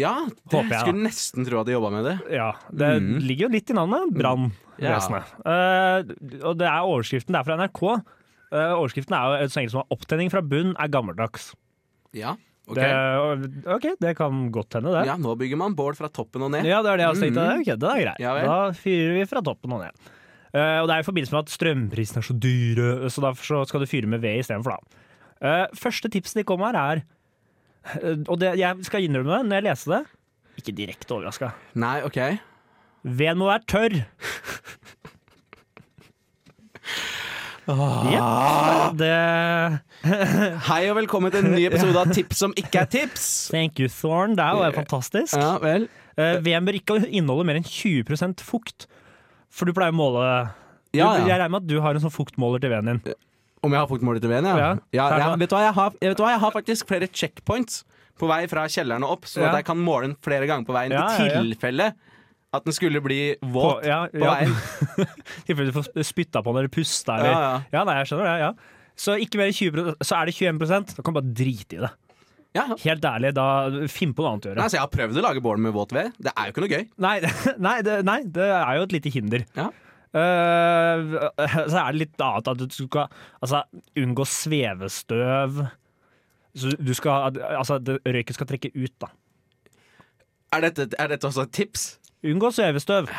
[SPEAKER 2] Ja, det
[SPEAKER 5] Håper jeg, da.
[SPEAKER 2] skulle nesten tro at de jobba med det.
[SPEAKER 5] Ja, det
[SPEAKER 2] Mm.
[SPEAKER 5] ligger jo litt i navnet. Brannvesenet. Eh, og det er overskriften. Det er fra NRK. Eh, overskriften er jo så enkelt som at 'opptenning fra bunn er gammeldags'.
[SPEAKER 2] Ja, ok.
[SPEAKER 5] Det, ok, det kan godt hende, det.
[SPEAKER 2] Ja, nå bygger man bål fra toppen og ned.
[SPEAKER 5] Ja, det er det jeg også tenkte. Ok, det er greit.
[SPEAKER 2] Ja vel.
[SPEAKER 5] da fyrer vi fra toppen og ned. Eh, og det er i forbindelse med at strømprisene er så dyre, så derfor så skal du fyre med ved istedenfor, da. Eh, første tipset de kom her, er eh, Og det, jeg skal innrømme det, når jeg leste det Ikke direkte overraska.
[SPEAKER 2] Nei, ok.
[SPEAKER 5] Veden må være tørr!
[SPEAKER 2] Ah.
[SPEAKER 5] Jepp. Det
[SPEAKER 2] Hei og velkommen til en ny episode av Tips som ikke er tips.
[SPEAKER 5] Thank you, Thorn. Det er jo helt fantastisk.
[SPEAKER 2] Ja vel.
[SPEAKER 5] Eh, Veden bør ikke inneholde mer enn 20 fukt, for du pleier å måle du,
[SPEAKER 2] Ja,
[SPEAKER 5] Jeg
[SPEAKER 2] ja.
[SPEAKER 5] regner med at du har en sånn fuktmåler til veden din.
[SPEAKER 2] Om jeg har fuktmåler til veden, ja.
[SPEAKER 5] Ja.
[SPEAKER 2] ja,
[SPEAKER 5] Her
[SPEAKER 2] ja
[SPEAKER 5] da.
[SPEAKER 2] vet, du hva, jeg har, vet du hva, jeg har faktisk flere checkpoints på vei fra kjelleren og opp, sånn
[SPEAKER 5] Ja.
[SPEAKER 2] at jeg kan måle den flere ganger på veien
[SPEAKER 5] Ja, ja,
[SPEAKER 2] i
[SPEAKER 5] ja.
[SPEAKER 2] tilfelle at den skulle bli våt på,
[SPEAKER 5] ja, ja.
[SPEAKER 2] veien.
[SPEAKER 5] I tilfelle du får spytta på den eller pusta eller
[SPEAKER 2] Ja,
[SPEAKER 5] ja, nei, jeg skjønner det. ja Så ikke mer enn 20 Så er det 21 Da kan du bare drite i det.
[SPEAKER 2] Ja, ja.
[SPEAKER 5] Helt ærlig, da finn på noe annet å
[SPEAKER 2] Nei,
[SPEAKER 5] gjøre.
[SPEAKER 2] altså, jeg har prøvd å lage bål med våt ved. Det er jo ikke noe gøy.
[SPEAKER 5] Nei, nei, det, nei, det er jo et lite hinder.
[SPEAKER 2] Ja.
[SPEAKER 5] Eh, så er det litt annet at du skal altså, unngå svevestøv. Så du skal Altså, det- røyken skal trekke ut, da.
[SPEAKER 2] Er, dette, er dette også et tips?
[SPEAKER 5] Unngå svevestøv.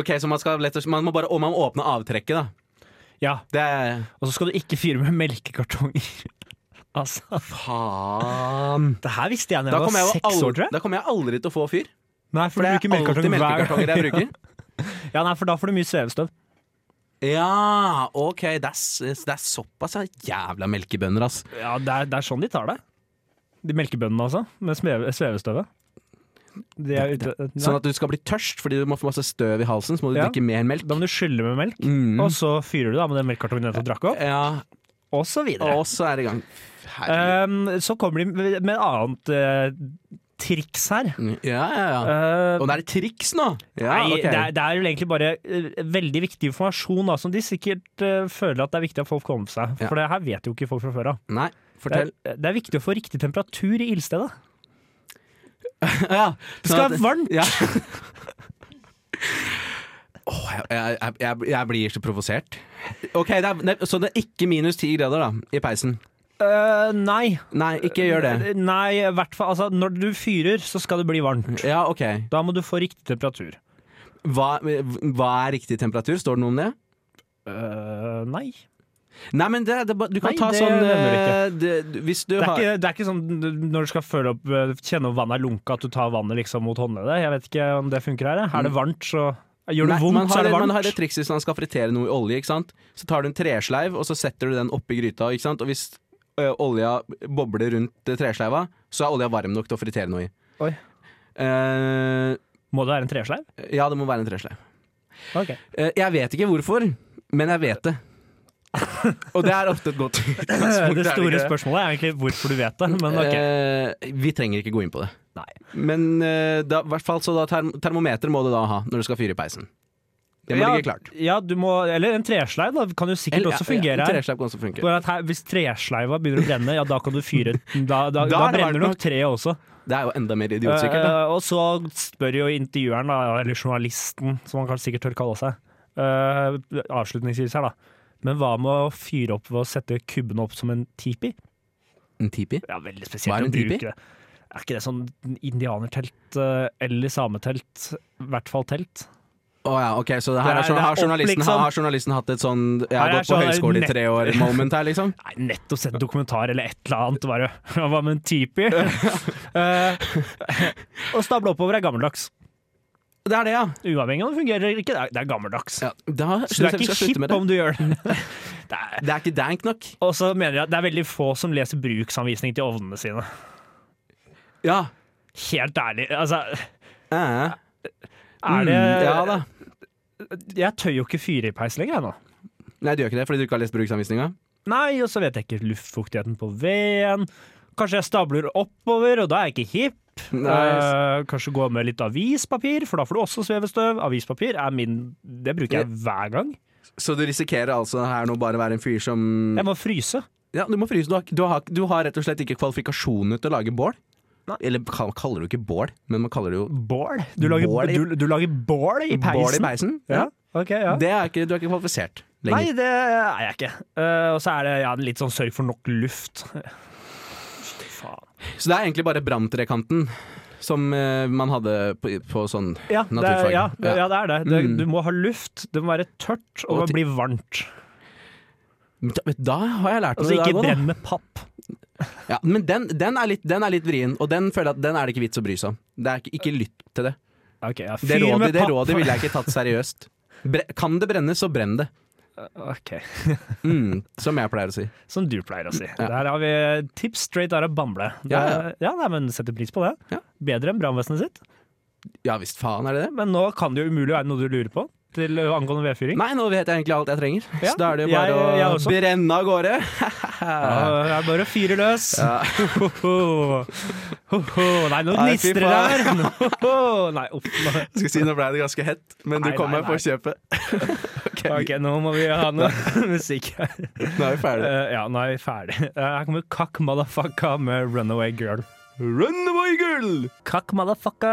[SPEAKER 2] Ok, så man skal lett og slett Man må bare og man må åpne avtrekket, da.
[SPEAKER 5] Ja,
[SPEAKER 2] Det er
[SPEAKER 5] Og så skal du ikke fyre med melkekartonger. altså,
[SPEAKER 2] Faen.
[SPEAKER 5] det her visste jeg da
[SPEAKER 2] Da
[SPEAKER 5] jeg
[SPEAKER 2] kommer
[SPEAKER 5] var
[SPEAKER 2] jeg, jo
[SPEAKER 5] seks år,
[SPEAKER 2] aldri,
[SPEAKER 5] tror jeg.
[SPEAKER 2] da kommer jeg aldri til å få fyr.
[SPEAKER 5] Nei, for,
[SPEAKER 2] For det
[SPEAKER 5] du
[SPEAKER 2] er
[SPEAKER 5] bruker
[SPEAKER 2] alltid
[SPEAKER 5] melkekartonger hver gang.
[SPEAKER 2] melkekartonger jeg bruker.
[SPEAKER 5] Ja, nei, for da får du mye svevestøv.
[SPEAKER 2] Ja, OK. Det er, s- det er såpass, ja. Jævla melkebønder, ass.
[SPEAKER 5] Ja, det er, det er sånn de tar det. De melkebøndene, altså. Med sveve, svevestøvet. De er ute
[SPEAKER 2] Sånn at du skal bli tørst fordi du må få masse støv i halsen, så må du
[SPEAKER 5] Ja.
[SPEAKER 2] drikke mer melk.
[SPEAKER 5] Da må du skylle med melk,
[SPEAKER 2] Mm.
[SPEAKER 5] og så fyrer du da med den melkekartongen du nettopp drakk opp,
[SPEAKER 2] Ja,
[SPEAKER 5] og så videre.
[SPEAKER 2] og så er det i gang. Herregud.
[SPEAKER 5] Um, så kommer de med med et annet eh, triks her.
[SPEAKER 2] Ja, ja, ja.
[SPEAKER 5] Eh,
[SPEAKER 2] Og det er et triks nå! Ja,
[SPEAKER 5] nei,
[SPEAKER 2] Ah, ok.
[SPEAKER 5] det, er, det er jo egentlig bare eh, veldig viktig informasjon da, som de sikkert eh, føler at det er viktig at folk får med seg.
[SPEAKER 2] Ja.
[SPEAKER 5] For det her vet jo ikke folk fra før av.
[SPEAKER 2] Nei,
[SPEAKER 5] Det, er-
[SPEAKER 2] fortell.
[SPEAKER 5] det er viktig å få riktig temperatur i ildstedet.
[SPEAKER 2] Ja,
[SPEAKER 5] Eh, Det skal
[SPEAKER 2] sånn
[SPEAKER 5] være
[SPEAKER 2] at-
[SPEAKER 5] varmt!
[SPEAKER 2] Ja. Åh, jeg, jeg, jeg, jeg blir så provosert. Ok, det er, det, Så det er ikke minus ti grader da i peisen?
[SPEAKER 5] Eh, nei.
[SPEAKER 2] Nei, ikke gjør
[SPEAKER 5] Eh,
[SPEAKER 2] det.
[SPEAKER 5] Nei, i hvert fall altså, Når du fyrer, så skal det bli varmt.
[SPEAKER 2] Ja, ok.
[SPEAKER 5] Da må du få riktig temperatur.
[SPEAKER 2] Hva, hva er riktig temperatur? Står det noe om det?
[SPEAKER 5] Eh, nei.
[SPEAKER 2] Nei, men det, det, du kan
[SPEAKER 5] Nei,
[SPEAKER 2] ta
[SPEAKER 5] det
[SPEAKER 2] sånn
[SPEAKER 5] nevner
[SPEAKER 2] eh, det, Hvis du
[SPEAKER 5] Det er,
[SPEAKER 2] har
[SPEAKER 5] ikke, det er ikke sånn når du skal føle opp, eh, kjenne om vannet er lunka, at du tar vannet liksom mot håndleddet. Jeg vet ikke om det funker her. jeg. Er det varmt, så Gjør det
[SPEAKER 2] Mm. Nei, man
[SPEAKER 5] vondt, så
[SPEAKER 2] har,
[SPEAKER 5] er det varmt.
[SPEAKER 2] Man har det trikset hvis man skal fritere noe i olje. ikke sant? Så tar du en tresleiv og så setter du den oppi gryta. ikke sant? Og hvis ø, olja bobler rundt ø, tresleiva, så er olja varm nok til å fritere noe i.
[SPEAKER 5] Oi.
[SPEAKER 2] Eh,
[SPEAKER 5] Må det være en tresleiv?
[SPEAKER 2] ja, det må være en tresleiv.
[SPEAKER 5] Ok.
[SPEAKER 2] Eh, jeg vet ikke hvorfor, men jeg vet det. og det er ofte et godt utgangspunkt.
[SPEAKER 5] Det
[SPEAKER 2] er ikke
[SPEAKER 5] store
[SPEAKER 2] det?
[SPEAKER 5] spørsmålet er egentlig hvorfor du vet det, men ok.
[SPEAKER 2] Eh, vi trenger ikke gå inn på det.
[SPEAKER 5] Nei.
[SPEAKER 2] Men eh, da, i hvert fall så da term termometer må du da ha når du skal fyre i peisen. Det må
[SPEAKER 5] ja,
[SPEAKER 2] ligge klart.
[SPEAKER 5] Ja, du må, eller en tresleiv da, kan jo sikkert
[SPEAKER 2] Eller-
[SPEAKER 5] også
[SPEAKER 2] ja, ja,
[SPEAKER 5] fungere her.
[SPEAKER 2] tresleiv kan også funke.
[SPEAKER 5] Bare at her. Hvis tresleiva begynner å brenne, ja da kan du fyre Da, da, da,
[SPEAKER 2] er det varmt
[SPEAKER 5] brenner
[SPEAKER 2] nok.
[SPEAKER 5] nok treet også.
[SPEAKER 2] Det er jo enda mer idiotsikkert. da.
[SPEAKER 5] Eh, og så spør jo intervjueren, da, eller journalisten, som han kanskje sikkert tør kalle seg, eh, avslutningsvis her, da. Men hva med å fyre opp ved å sette kubben opp som en tipi?
[SPEAKER 2] En tipi?
[SPEAKER 5] Ja, veldig
[SPEAKER 2] Hva
[SPEAKER 5] spesielt
[SPEAKER 2] er en
[SPEAKER 5] å bruke
[SPEAKER 2] tipi?
[SPEAKER 5] det. Er ikke det sånn indianertelt eh, eller sametelt? I hvert fall telt.
[SPEAKER 2] Å ja, ok, så det
[SPEAKER 5] Det
[SPEAKER 2] her er,
[SPEAKER 5] er-
[SPEAKER 2] sånn-
[SPEAKER 5] det er
[SPEAKER 2] har,
[SPEAKER 5] opp,
[SPEAKER 2] journalisten,
[SPEAKER 5] liksom.
[SPEAKER 2] har journalisten hatt et sånn Jeg
[SPEAKER 5] Her
[SPEAKER 2] har
[SPEAKER 5] er
[SPEAKER 2] gått på
[SPEAKER 5] sånn
[SPEAKER 2] høyskole i
[SPEAKER 5] nett-
[SPEAKER 2] tre år-moment her, liksom?
[SPEAKER 5] Nei, nettopp sett en dokumentar eller et eller annet. Bare, hva med en tipi? Eh, Å stable oppover er gammeldags.
[SPEAKER 2] Det er det, ja.
[SPEAKER 5] Uavhengig om det fungerer eller ikke, det er- det er gammeldags.
[SPEAKER 2] ja da
[SPEAKER 5] Så du
[SPEAKER 2] syns
[SPEAKER 5] er
[SPEAKER 2] jeg
[SPEAKER 5] ikke
[SPEAKER 2] vi skal slutte
[SPEAKER 5] hipp
[SPEAKER 2] med det.
[SPEAKER 5] om du gjør det. det er,
[SPEAKER 2] Det er ikke dank nok.
[SPEAKER 5] Og så mener jeg at det er veldig få som leser bruksanvisning til ovnene sine.
[SPEAKER 2] Ja.
[SPEAKER 5] Helt ærlig. Altså,
[SPEAKER 2] Eh.
[SPEAKER 5] er det
[SPEAKER 2] Mm, ja da.
[SPEAKER 5] Jeg tør jo ikke fyre i peis lenger, jeg nå.
[SPEAKER 2] Nei, du gjør ikke det fordi du ikke har lest bruksanvisninga?
[SPEAKER 5] Nei, og så vet jeg ikke luftfuktigheten på veden. Kanskje jeg stabler oppover, og da er jeg ikke hipp.
[SPEAKER 2] Nei.
[SPEAKER 5] Eh, kanskje gå med litt avispapir, for da får du også svevestøv. Avispapir er min Det bruker jeg hver gang.
[SPEAKER 2] Så du risikerer altså her nå bare å være en fyr som
[SPEAKER 5] Jeg må fryse.
[SPEAKER 2] Ja, du må fryse. Du har, du har, du har rett og slett ikke kvalifikasjoner til å lage bål.
[SPEAKER 5] Nei.
[SPEAKER 2] Eller kall- kaller du ikke bål, men man kaller det jo
[SPEAKER 5] Bål? Du lager
[SPEAKER 2] Bål
[SPEAKER 5] bål
[SPEAKER 2] i-
[SPEAKER 5] i, du, du lager bål i peisen?
[SPEAKER 2] bål i peisen.
[SPEAKER 5] Ja. ok, ja.
[SPEAKER 2] Det er ikke, du er ikke kvalifisert lenger.
[SPEAKER 5] Nei, det er jeg ikke. Eh, og så er det ja, litt sånn sørg for nok luft. Faen.
[SPEAKER 2] Så det er egentlig bare branntrekanten som eh, man hadde på, på sånn
[SPEAKER 5] Ja, det er,
[SPEAKER 2] Naturfag.
[SPEAKER 5] ja,
[SPEAKER 2] Ja.
[SPEAKER 5] ja, det er det. det.
[SPEAKER 2] Mm.
[SPEAKER 5] Du må ha luft, det må være tørt, og,
[SPEAKER 2] Og
[SPEAKER 5] det må
[SPEAKER 2] ti-
[SPEAKER 5] bli varmt.
[SPEAKER 2] Men da, men da har jeg lært noe
[SPEAKER 5] Altså
[SPEAKER 2] i
[SPEAKER 5] ikke
[SPEAKER 2] dag også, da.
[SPEAKER 5] brenn med papp.
[SPEAKER 2] Ja, men den, den, er litt, den er litt vrien, og den føler jeg at den er det ikke vits å bry seg om. Det er ikke, ikke lytt til det.
[SPEAKER 5] Ok, ja,
[SPEAKER 2] Det
[SPEAKER 5] fyr
[SPEAKER 2] rådet,
[SPEAKER 5] med
[SPEAKER 2] det
[SPEAKER 5] papp.
[SPEAKER 2] rådet ville jeg ikke tatt seriøst. Bre kan det brenne, så brenn det.
[SPEAKER 5] Ok,
[SPEAKER 2] Mm, som jeg pleier å si.
[SPEAKER 5] Som du pleier å si. Der har vi tips straight out of bamble. Det
[SPEAKER 2] Ja,
[SPEAKER 5] er- ja. nei, men setter pris på det.
[SPEAKER 2] Ja.
[SPEAKER 5] Bedre enn brannvesenet sitt.
[SPEAKER 2] Ja visst faen er det det.
[SPEAKER 5] Men nå kan det jo umulig være noe du lurer på til eh, angående vedfyring.
[SPEAKER 2] Nei, nå vet jeg egentlig alt jeg trenger.
[SPEAKER 5] Ja,
[SPEAKER 2] Så da er det jo
[SPEAKER 5] jeg-
[SPEAKER 2] bare
[SPEAKER 5] jeg
[SPEAKER 2] å
[SPEAKER 5] også.
[SPEAKER 2] brenne av gårde.
[SPEAKER 5] Ja, det er bare å fyre løs. Ho, ho. Ho, ho. Nei, nå
[SPEAKER 2] Nei, fy
[SPEAKER 5] gnistrer det her! Ho, ho. Nei, opp nå.
[SPEAKER 2] Jeg Skal si, Nå ble det ganske hett, men
[SPEAKER 5] Nei, nei, nei.
[SPEAKER 2] kjøpet. Ok,
[SPEAKER 5] OK, nå må vi ha noe musikk her.
[SPEAKER 2] Nå er vi
[SPEAKER 5] Eh,
[SPEAKER 2] ferdige.
[SPEAKER 5] ja, nå er vi ferdig. Eh, her kommer Kakk Motherfucka med Runaway Girl.
[SPEAKER 2] Runaway girl!
[SPEAKER 5] Kakk Motherfucka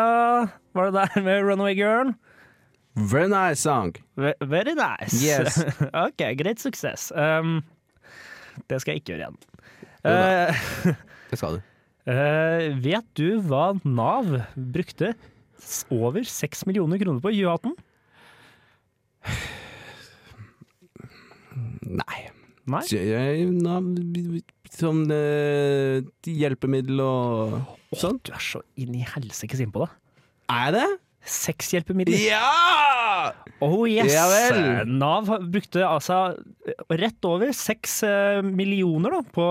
[SPEAKER 5] var det der med Runaway Girl. Eh.
[SPEAKER 2] Very nice song.
[SPEAKER 5] Ve- Very nice.
[SPEAKER 2] Yes.
[SPEAKER 5] OK, greit suksess. Um, det skal jeg ikke gjøre igjen.
[SPEAKER 2] Jo da.
[SPEAKER 5] Eh,
[SPEAKER 2] Det skal du.
[SPEAKER 5] eh, vet du hva Nav brukte s- over 6 millioner kroner på i 2018?
[SPEAKER 2] Nei.
[SPEAKER 5] Nei?
[SPEAKER 2] Så jeg- na, Sånn eh, hjelpemiddel og sånn.
[SPEAKER 5] Du er så inn i helsikes innpå det.
[SPEAKER 2] Er det?
[SPEAKER 5] Sexhjelpemidler.
[SPEAKER 2] Ja!
[SPEAKER 5] Oh yes!
[SPEAKER 2] Ja vel.
[SPEAKER 5] Nav brukte altså rett over seks eh, millioner da, på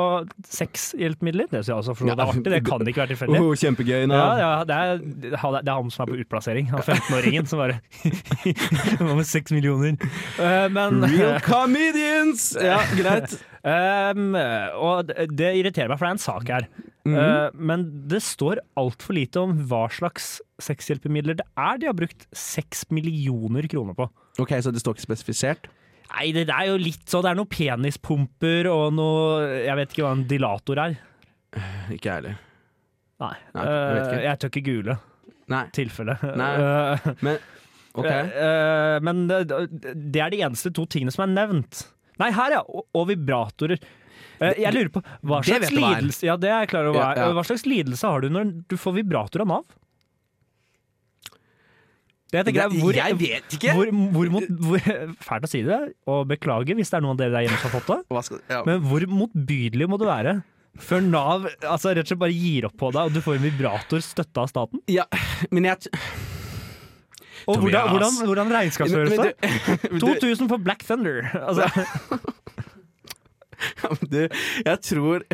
[SPEAKER 5] sexhjelpemidler. Det synes jeg altså, for
[SPEAKER 2] Ja.
[SPEAKER 5] det er artig, det kan ikke være tilfeldig.
[SPEAKER 2] Oh, kjempegøy.
[SPEAKER 5] Ja,
[SPEAKER 2] Nav.
[SPEAKER 5] ja det, er, det er han som er på utplassering, han 15-åringen som bare Hva med seks millioner? Eh, men
[SPEAKER 2] Real comedians! Ja, greit.
[SPEAKER 5] Ehm, og det- det irriterer meg, for det er en sak her.
[SPEAKER 2] Mhm.
[SPEAKER 5] Eh, men det står altfor lite om hva slags sexhjelpemidler det er de har brukt seks millioner kroner på.
[SPEAKER 2] Ok, Så det står ikke spesifisert?
[SPEAKER 5] Nei, det er jo litt sånn Det er noen penispumper og noe Jeg vet ikke hva en dilator er.
[SPEAKER 2] Ikke jeg heller.
[SPEAKER 5] Nei,
[SPEAKER 2] Nei, jeg vet ikke.
[SPEAKER 5] Eh, jeg tør ikke google
[SPEAKER 2] Nei.
[SPEAKER 5] tilfellet.
[SPEAKER 2] Nei.
[SPEAKER 5] Eh,
[SPEAKER 2] Men OK.
[SPEAKER 5] Eh, eh, men det, det er de eneste to tingene som er nevnt. Nei, her, ja! Og, og vibratorer. Eh, jeg lurer på hva
[SPEAKER 2] Det
[SPEAKER 5] slags,
[SPEAKER 2] vet du hva er.
[SPEAKER 5] lidelse, ja, det er jeg klar over hva,
[SPEAKER 2] Ja,
[SPEAKER 5] er.
[SPEAKER 2] ja.
[SPEAKER 5] hva slags lidelse har du når du får vibrator av Nav? Det jeg tenker er hvor,
[SPEAKER 2] jeg vet ikke!
[SPEAKER 5] hvor, hvor mot, hvor, Fælt å si det, og beklager hvis det er noen av dere der hjemme som har fått det,
[SPEAKER 2] Hva skal, ja.
[SPEAKER 5] men hvor motbydelig må du være før Nav altså, rett og slett bare gir opp på deg, og du får en vibrator støtta av staten?
[SPEAKER 2] ja, men jeg
[SPEAKER 5] Og hvordan,
[SPEAKER 2] Tobias.
[SPEAKER 5] hvordan, hvordan regnskapsføres
[SPEAKER 2] Men
[SPEAKER 5] det?
[SPEAKER 2] du- men du-
[SPEAKER 5] 2000 for Black Thunder. Altså,
[SPEAKER 2] Ja, men Du, jeg tror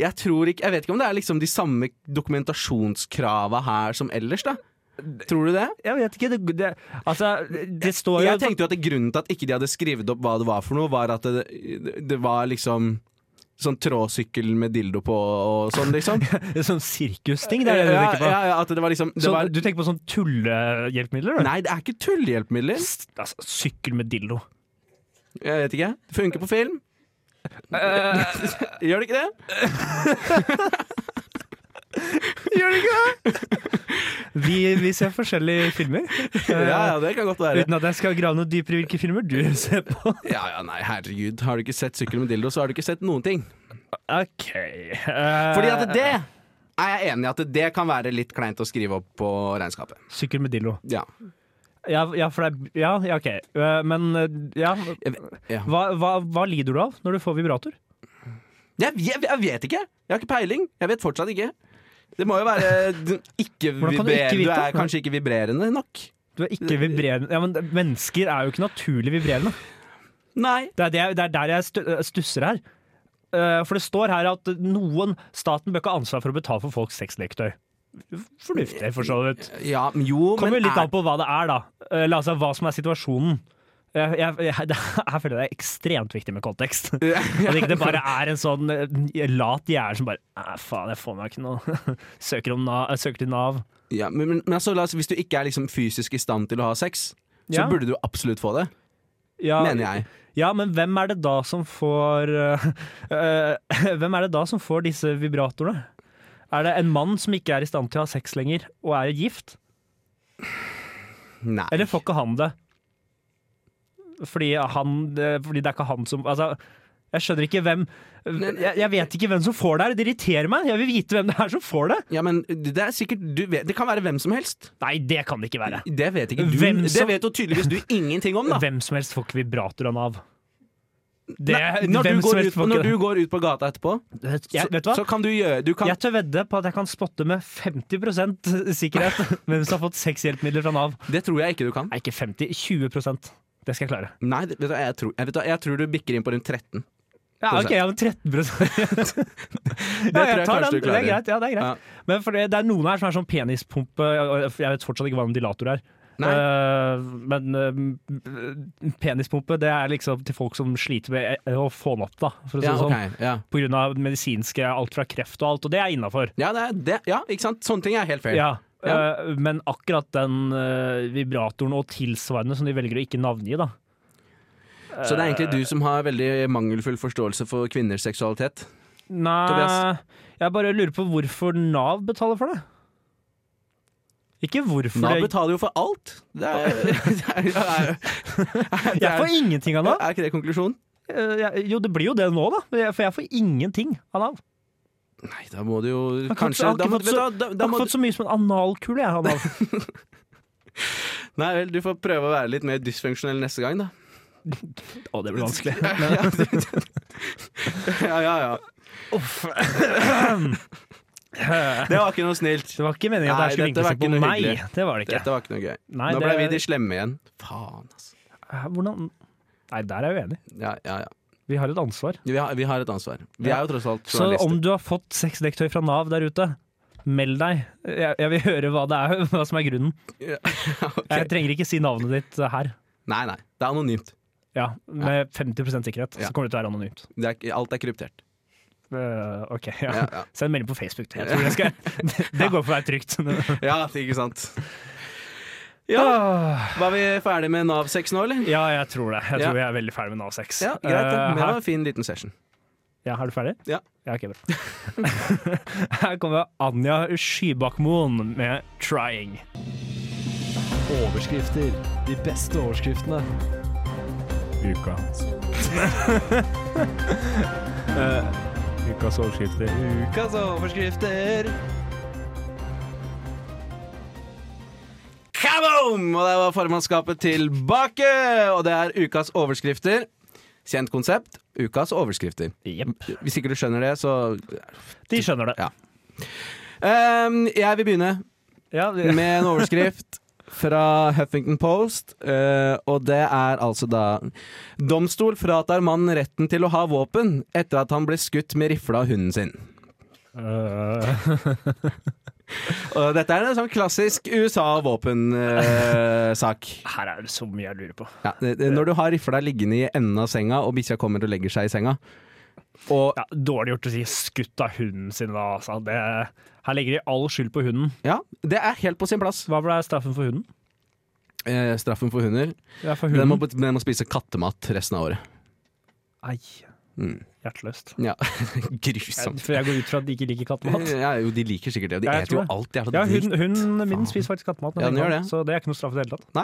[SPEAKER 2] Jeg tror ikke Jeg vet ikke om det er liksom de samme dokumentasjonskrava her som ellers, da. Tror du det?
[SPEAKER 5] jeg vet ikke. Det, det, altså, det står jo
[SPEAKER 2] Jeg tenkte jo at det grunnen til at ikke de hadde skrevet opp hva det var for noe, var at det, det var liksom Sånn tråsykkel med dildo på og sånn, liksom.
[SPEAKER 5] Det er sånn sirkusting. Det
[SPEAKER 2] Ja,
[SPEAKER 5] er det du
[SPEAKER 2] ja,
[SPEAKER 5] tenker på.
[SPEAKER 2] ja, at det var liksom det
[SPEAKER 5] Så
[SPEAKER 2] var,
[SPEAKER 5] du tenker på sånn tullehjelpemidler? du?
[SPEAKER 2] Nei, det er ikke tullehjelpemidler.
[SPEAKER 5] S- Altså, sykkel med dildo.
[SPEAKER 2] Jeg vet ikke. Det funker på film.
[SPEAKER 5] Eh.
[SPEAKER 2] Gjør det ikke det? Gjør det ikke det?
[SPEAKER 5] Vi, vi ser forskjellige filmer.
[SPEAKER 2] Ja, ja, det kan godt være.
[SPEAKER 5] Eh. Uten at jeg skal grave noe dypere i hvilke filmer du ser på.
[SPEAKER 2] Ja, ja, nei, herregud. Har du ikke sett sykkel med dildo, så har du ikke sett noen ting.
[SPEAKER 5] OK. eh,
[SPEAKER 2] Fordi at det er jeg enig i at det kan være litt kleint å skrive opp på regnskapet.
[SPEAKER 5] Sykkel med dildo.
[SPEAKER 2] Ja.
[SPEAKER 5] Ja, ja for det er Ja, ja OK. Eh, Men eh, ja.
[SPEAKER 2] Jeg, ve- ja.
[SPEAKER 5] Hva, hva, hva lider du av når du får vibrator?
[SPEAKER 2] Jeg, jeg, jeg vet ikke! Jeg har ikke peiling. Jeg vet fortsatt ikke. Det må jo være d- ikke
[SPEAKER 5] Hvordan kan du ikke
[SPEAKER 2] vibrerende. Du
[SPEAKER 5] vite?
[SPEAKER 2] er kanskje ikke vibrerende nok.
[SPEAKER 5] Du er ikke vibrerende Ja, men mennesker er jo ikke naturlig vibrerende.
[SPEAKER 2] Nei.
[SPEAKER 5] Det er, det, det er der jeg stu- stusser her. Eh, For det står her at noen Staten bør ikke ha ansvar for å betale for folks sexleketøy. Fornuftig, for så vidt.
[SPEAKER 2] Ja, men jo,
[SPEAKER 5] Kommer
[SPEAKER 2] men
[SPEAKER 5] jo litt
[SPEAKER 2] er-
[SPEAKER 5] an på hva det er, da. Eller altså hva som er situasjonen. Jeg, jeg, jeg, det, jeg føler det er ekstremt viktig med kontekst. At ikke det bare er en sånn eh, lat gjerde som bare Æ, faen, jeg får meg ikke noe. Søker, om NAV, jeg søker til Nav.
[SPEAKER 2] ja, men, men, men altså, la oss, hvis du ikke er liksom fysisk i stand til å ha sex, så
[SPEAKER 5] Ja.
[SPEAKER 2] burde du absolutt få det,
[SPEAKER 5] Ja,
[SPEAKER 2] mener jeg.
[SPEAKER 5] Ja, men hvem er det da som får eh, eh, Hvem er det da som får disse vibratorene? Er det en mann som ikke er i stand til å ha sex lenger, og er gift?
[SPEAKER 2] Nei.
[SPEAKER 5] Eller får ikke han det? Fordi han eh, Fordi det er ikke han som Altså, jeg skjønner ikke hvem jeg, jeg vet ikke hvem som får det her. Det irriterer meg. Jeg vil vite hvem det er som får det.
[SPEAKER 2] Ja, men det er sikkert du vet, Det kan være hvem som helst.
[SPEAKER 5] Nei, det kan det ikke være.
[SPEAKER 2] Det vet ikke du.
[SPEAKER 5] Hvem
[SPEAKER 2] Det
[SPEAKER 5] som-
[SPEAKER 2] vet jo tydeligvis du ingenting om, da.
[SPEAKER 5] Hvem som helst får ikke vibrator av Nav. Det,
[SPEAKER 2] Nei, når,
[SPEAKER 5] hvem
[SPEAKER 2] du går
[SPEAKER 5] som helst
[SPEAKER 2] ut,
[SPEAKER 5] får
[SPEAKER 2] når
[SPEAKER 5] ikke
[SPEAKER 2] du går ut på gata etterpå,
[SPEAKER 5] det.
[SPEAKER 2] så,
[SPEAKER 5] Jeg, vet du hva?
[SPEAKER 2] så kan du gjøre du kan,
[SPEAKER 5] Jeg tør vedde på at jeg kan spotte med 50 sikkerhet hvem som har fått sexhjelpemidler fra Nav.
[SPEAKER 2] Det tror jeg ikke du kan.
[SPEAKER 5] Nei, ikke 50, 20 Det skal jeg klare.
[SPEAKER 2] Nei, det- vet du, hva, jeg, tror, jeg, vet du, hva, jeg tror du bikker inn på rundt 13.
[SPEAKER 5] Ja, ok, ja, men 13 ja,
[SPEAKER 2] tror jeg
[SPEAKER 5] tar
[SPEAKER 2] kanskje
[SPEAKER 5] den. Det
[SPEAKER 2] du klarer.
[SPEAKER 5] er greit. Ja, det er greit. Men for det, det er noen her som er sånn penispumpe Jeg jeg vet fortsatt ikke hva en dilator er.
[SPEAKER 2] Nei.
[SPEAKER 5] Eh, men eh, penispumpe det er liksom til folk som sliter med eh, å få den opp, da. For å si
[SPEAKER 2] Ja,
[SPEAKER 5] det sånn.
[SPEAKER 2] ok, ja.
[SPEAKER 5] På grunn av medisinske alt fra kreft og alt, og det er innafor.
[SPEAKER 2] Ja, det er, det, ja, ikke sant? Sånne ting er helt fair.
[SPEAKER 5] Ja,
[SPEAKER 2] Ja.
[SPEAKER 5] eh, men akkurat den eh, vibratoren og tilsvarende som de velger å ikke navngi, da.
[SPEAKER 2] Så det er egentlig du som har veldig mangelfull forståelse for kvinners seksualitet.
[SPEAKER 5] Nei,
[SPEAKER 2] Tobias?
[SPEAKER 5] jeg bare lurer på hvorfor Nav betaler for det. Ikke hvorfor
[SPEAKER 2] Nav
[SPEAKER 5] det,
[SPEAKER 2] betaler jo for alt! Det er, det er, det er, det
[SPEAKER 5] Jeg får
[SPEAKER 2] er,
[SPEAKER 5] ingenting av Nav.
[SPEAKER 2] er ikke det konklusjonen?
[SPEAKER 5] Eh, jeg- Jo, det blir jo det nå, da. Men jeg- For jeg får ingenting av Nav.
[SPEAKER 2] Nei, da må du jo
[SPEAKER 5] Jeg har ikke fått-
[SPEAKER 2] kanskje
[SPEAKER 5] jeg har
[SPEAKER 2] da
[SPEAKER 5] ikke
[SPEAKER 2] må,
[SPEAKER 5] fått
[SPEAKER 2] vet du
[SPEAKER 5] så-
[SPEAKER 2] hva, da,
[SPEAKER 5] Jeg
[SPEAKER 2] da
[SPEAKER 5] har
[SPEAKER 2] må,
[SPEAKER 5] ikke fått så mye som en analkule, jeg, av Nav.
[SPEAKER 2] Nei vel, du får prøve å være litt mer dysfunksjonell neste gang, da.
[SPEAKER 5] Å, det blir vanskelig.
[SPEAKER 2] Ja, ja, ja.
[SPEAKER 5] Uff.
[SPEAKER 2] Det var ikke noe snilt.
[SPEAKER 5] Det var ikke meningen at det her
[SPEAKER 2] Nei,
[SPEAKER 5] skulle vinkle
[SPEAKER 2] dette var
[SPEAKER 5] seg på
[SPEAKER 2] ikke noe
[SPEAKER 5] meg.
[SPEAKER 2] hyggelig.
[SPEAKER 5] Det var det ikke.
[SPEAKER 2] Dette var ikke noe gøy.
[SPEAKER 5] Nei,
[SPEAKER 2] Nå
[SPEAKER 5] det-
[SPEAKER 2] ble vi de slemme igjen. Faen, altså.
[SPEAKER 5] Hvordan Nei, der er jeg uenig.
[SPEAKER 2] Ja, ja, ja.
[SPEAKER 5] Vi har et ansvar.
[SPEAKER 2] Vi har, vi har et ansvar. Vi
[SPEAKER 5] Ja.
[SPEAKER 2] er jo tross alt
[SPEAKER 5] Så
[SPEAKER 2] journalister.
[SPEAKER 5] om du har fått sexleketøy fra Nav der ute, meld deg. Jeg, jeg vil høre hva det er, hva som er grunnen.
[SPEAKER 2] Ja, ok.
[SPEAKER 5] Jeg trenger ikke si navnet ditt eh, her.
[SPEAKER 2] Nei, nei. Det er anonymt.
[SPEAKER 5] Ja, Med 50 sikkerhet
[SPEAKER 2] Ja.
[SPEAKER 5] så kommer det til å være anonymt.
[SPEAKER 2] Det er, ikke- alt er kryptert.
[SPEAKER 5] Eh, ok, ja.
[SPEAKER 2] Ja, ja.
[SPEAKER 5] Send melding på Facebook. Jeg tror det, skal, det, det går for å være trygt.
[SPEAKER 2] Ja, ikke sant. Ja, Var vi ferdig med Nav-sex nå, eller?
[SPEAKER 5] Ah, Ja, jeg tror det. Jeg
[SPEAKER 2] Ja.
[SPEAKER 5] tror vi er veldig ferdig med Nav 6.
[SPEAKER 2] Ja, greit.
[SPEAKER 5] Eh,
[SPEAKER 2] Det Det
[SPEAKER 5] her-
[SPEAKER 2] var en fin liten session.
[SPEAKER 5] Ja, Er du ferdig?
[SPEAKER 2] Ja.
[SPEAKER 5] ok, bra. Her kommer Anja Skybakmoen med 'Trying'.
[SPEAKER 6] Overskrifter. De beste overskriftene.
[SPEAKER 5] Uka.
[SPEAKER 2] Eh,
[SPEAKER 5] ukas overskrifter.
[SPEAKER 6] Ukas overskrifter.
[SPEAKER 2] Kaboom! Og der var formannskapet tilbake! Og det er ukas overskrifter. Kjent konsept. Ukas overskrifter.
[SPEAKER 5] Jepp.
[SPEAKER 2] Hvis ikke du skjønner det, så
[SPEAKER 5] De skjønner det.
[SPEAKER 2] Ja. Ehm, Jeg vil begynne
[SPEAKER 5] Ja, de-
[SPEAKER 2] med en overskrift fra Huffington Post. eh, og det er altså da Domstol fratar mannen retten til å ha våpen etter at han ble skutt med rifle av hunden sin.
[SPEAKER 5] Eh,
[SPEAKER 2] Og dette er en sånn klassisk USA-våpensak.
[SPEAKER 5] her er det så mye jeg lurer på.
[SPEAKER 2] Ja, det- det- når du har rifla liggende i enden av senga, og bikkja kommer og legger seg i senga og,
[SPEAKER 5] Ja, dårlig gjort å si 'skutt av hunden sin', da. Altså. Det, her legger de all skyld på hunden.
[SPEAKER 2] Ja, det er helt på sin plass.
[SPEAKER 5] Hva ble straffen for hunden?
[SPEAKER 2] Eh, straffen for hunder
[SPEAKER 5] Ja, for
[SPEAKER 2] den
[SPEAKER 5] hunden.
[SPEAKER 2] må, den må spise kattemat resten av året.
[SPEAKER 5] Ei.
[SPEAKER 2] Mm.
[SPEAKER 5] Hjerteløst.
[SPEAKER 2] Ja,
[SPEAKER 5] Jeg,
[SPEAKER 2] Grusomt.
[SPEAKER 5] for jeg går ut fra at de ikke liker kattemat.
[SPEAKER 2] Ja, jo, de liker sikkert det, og de
[SPEAKER 5] Ja, jeg
[SPEAKER 2] eter jo
[SPEAKER 5] tror det.
[SPEAKER 2] alt jævla
[SPEAKER 5] Ja,
[SPEAKER 2] dritt.
[SPEAKER 5] hun, hunden min
[SPEAKER 2] Faen.
[SPEAKER 5] spiser faktisk kattemat, når
[SPEAKER 2] Ja,
[SPEAKER 5] den
[SPEAKER 2] den gjør
[SPEAKER 5] kan,
[SPEAKER 2] det.
[SPEAKER 5] så det er ikke noe straff i det hele tatt.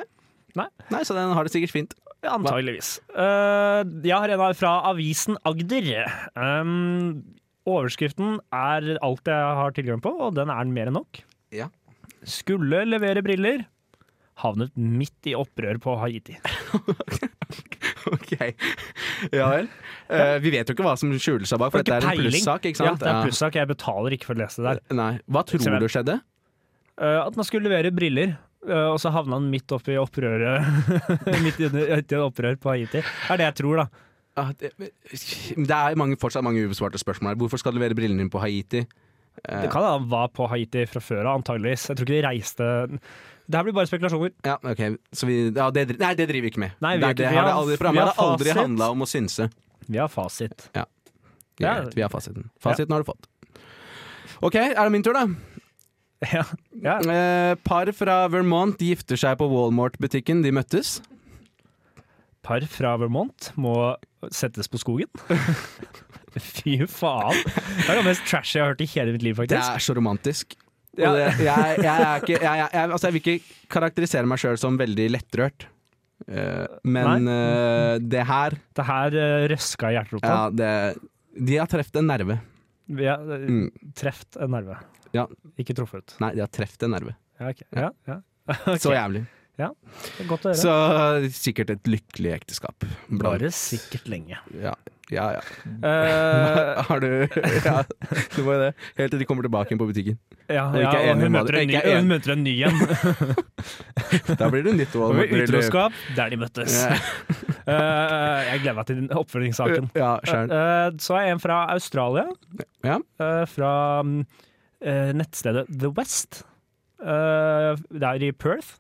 [SPEAKER 2] Nei, så den har det sikkert fint.
[SPEAKER 5] Antageligvis. Eh, jeg har en her fra avisen Agder. Um, overskriften er alt jeg har tilgang på, og den er mer enn nok.
[SPEAKER 2] Ja.
[SPEAKER 5] Skulle levere briller. Havnet midt i opprør på Haiti.
[SPEAKER 2] Ok, ja vel. Eh, vi vet jo ikke hva som skjuler seg bak, for
[SPEAKER 5] Har ikke
[SPEAKER 2] dette er en
[SPEAKER 5] peiling.
[SPEAKER 2] plussak, ikke
[SPEAKER 5] Ja,
[SPEAKER 2] sant?
[SPEAKER 5] det er en plussak. Jeg betaler ikke for å lese det der.
[SPEAKER 2] Nei. Hva tror
[SPEAKER 5] Ser jeg.
[SPEAKER 2] du skjedde?
[SPEAKER 5] Eh, at man skulle levere briller. eh, og så havna han midt oppi opprøret Midt i et opprør på Haiti. Det er det jeg tror, da.
[SPEAKER 2] Ah, Det det er mange, fortsatt mange ubesvarte spørsmål her. Hvorfor skal du levere brillene dine på Haiti? Eh,
[SPEAKER 5] Det kan hende han var på Haiti fra før av, antageligvis. Jeg tror ikke de reiste Det her blir bare spekulasjoner.
[SPEAKER 2] Ja, ok så vi, ja, det, dri- Nei, det driver vi ikke med.
[SPEAKER 5] Nei, vi gjør
[SPEAKER 2] det, er
[SPEAKER 5] ikke-
[SPEAKER 2] det,
[SPEAKER 5] vi
[SPEAKER 2] har det
[SPEAKER 5] har-
[SPEAKER 2] aldri,
[SPEAKER 5] vi
[SPEAKER 2] programmet
[SPEAKER 5] har
[SPEAKER 2] har aldri
[SPEAKER 5] fasit.
[SPEAKER 2] handla om å synse.
[SPEAKER 5] Vi har fasit. Ja.
[SPEAKER 2] Greit, vi har fasiten. Fasiten har du fått. Ok, er det min tur, da?
[SPEAKER 5] Ja. ja.
[SPEAKER 2] Eh, par fra Vermont gifter seg på Walmart-butikken. De møttes.
[SPEAKER 5] Par fra Vermont må settes på skogen. Fy faen. Det er det mest trashy jeg har hørt i hele mitt liv,
[SPEAKER 2] Det
[SPEAKER 5] faktisk.
[SPEAKER 2] er så romantisk. Og
[SPEAKER 5] Ja.
[SPEAKER 2] det, jeg, jeg, er ikke, jeg, jeg, jeg, altså jeg vil ikke karakterisere meg sjøl som veldig lettrørt. Eh, men eh, det her
[SPEAKER 5] Det her eh, røska i hjerterota.
[SPEAKER 2] ja, det, De har truffet en nerve.
[SPEAKER 5] Vi har eh,
[SPEAKER 2] Mm.
[SPEAKER 5] treft en nerve.
[SPEAKER 2] Ja.
[SPEAKER 5] Ikke truffet.
[SPEAKER 2] Nei, de har truffet en nerve.
[SPEAKER 5] Ja, ok. ja, ja. Ok.
[SPEAKER 2] Så jævlig.
[SPEAKER 5] Det er Godt å høre.
[SPEAKER 2] Så sikkert et lykkelig ekteskap. Blant-
[SPEAKER 5] Bare sikkert lenge.
[SPEAKER 2] Ja, ja. ja.
[SPEAKER 5] Eh,
[SPEAKER 2] Har du Ja, du må jo det. Helt til de kommer tilbake igjen på butikken.
[SPEAKER 5] ja,
[SPEAKER 2] Og
[SPEAKER 5] ja,
[SPEAKER 2] ikke
[SPEAKER 5] og
[SPEAKER 2] er enig
[SPEAKER 5] hun
[SPEAKER 2] med
[SPEAKER 5] møter
[SPEAKER 2] det.
[SPEAKER 5] en ny,
[SPEAKER 2] Ikke er enig.
[SPEAKER 5] hun møter en ny en.
[SPEAKER 2] Da blir det nytt
[SPEAKER 5] Og
[SPEAKER 2] Walmart.
[SPEAKER 5] ved utroskap, der de møttes.
[SPEAKER 2] Ja,
[SPEAKER 5] Eh, jeg gleder meg til den oppfølgingssaken.
[SPEAKER 2] ja skjønn.
[SPEAKER 5] Eh, så er jeg en fra Australia.
[SPEAKER 2] Ja.
[SPEAKER 5] Eh, fra mm, eh, nettstedet The West. Eh, det er i Perth.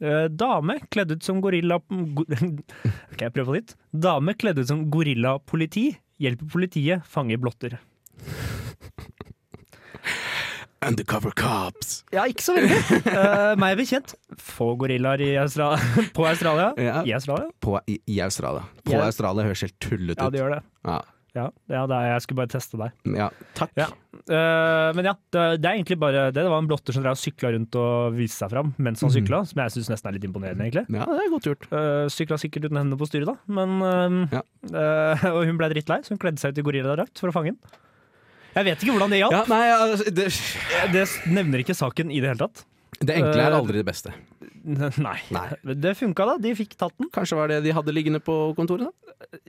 [SPEAKER 5] Eh, dame kledd ut som gorilla go Ok, jeg prøver på nytt. Dame kledd ut som gorillapoliti hjelper politiet fange blotter.
[SPEAKER 2] eh, Undercover cops.
[SPEAKER 5] Ja, ikke så veldig. Eh, meg bekjent. Få gorillaer i Austra- på Australia.
[SPEAKER 2] Ja.
[SPEAKER 5] I Australia?
[SPEAKER 2] På, i, I Australia. På
[SPEAKER 5] Ja.
[SPEAKER 2] Australia høres helt tullete
[SPEAKER 5] Ja,
[SPEAKER 2] ut.
[SPEAKER 5] det gjør det.
[SPEAKER 2] Ja,
[SPEAKER 5] Ja, ja det er, jeg skulle bare teste deg.
[SPEAKER 2] ja. Takk.
[SPEAKER 5] Ja. Eh, men ja, det, det er egentlig bare det. Det var en blotter som drev og sykla rundt og viste seg fram mens han sykla, som jeg syns nesten er litt imponerende, egentlig.
[SPEAKER 2] Ja, det er godt gjort.
[SPEAKER 5] Uh, sykla sikkert uten hendene på styret, da, men eh, eh, Og hun ble drittlei, så hun kledde seg ut i gorilladrakt for å fange den. Jeg vet ikke hvordan det hjalp.
[SPEAKER 2] Ja, nei, altså, det,
[SPEAKER 5] Det nevner ikke saken i det hele tatt.
[SPEAKER 2] det enkle er
[SPEAKER 5] Eh,
[SPEAKER 2] aldri det beste.
[SPEAKER 5] Nei.
[SPEAKER 2] Nei.
[SPEAKER 5] Det funka, da. De fikk tatt den.
[SPEAKER 2] Kanskje var det de hadde liggende på kontoret? da?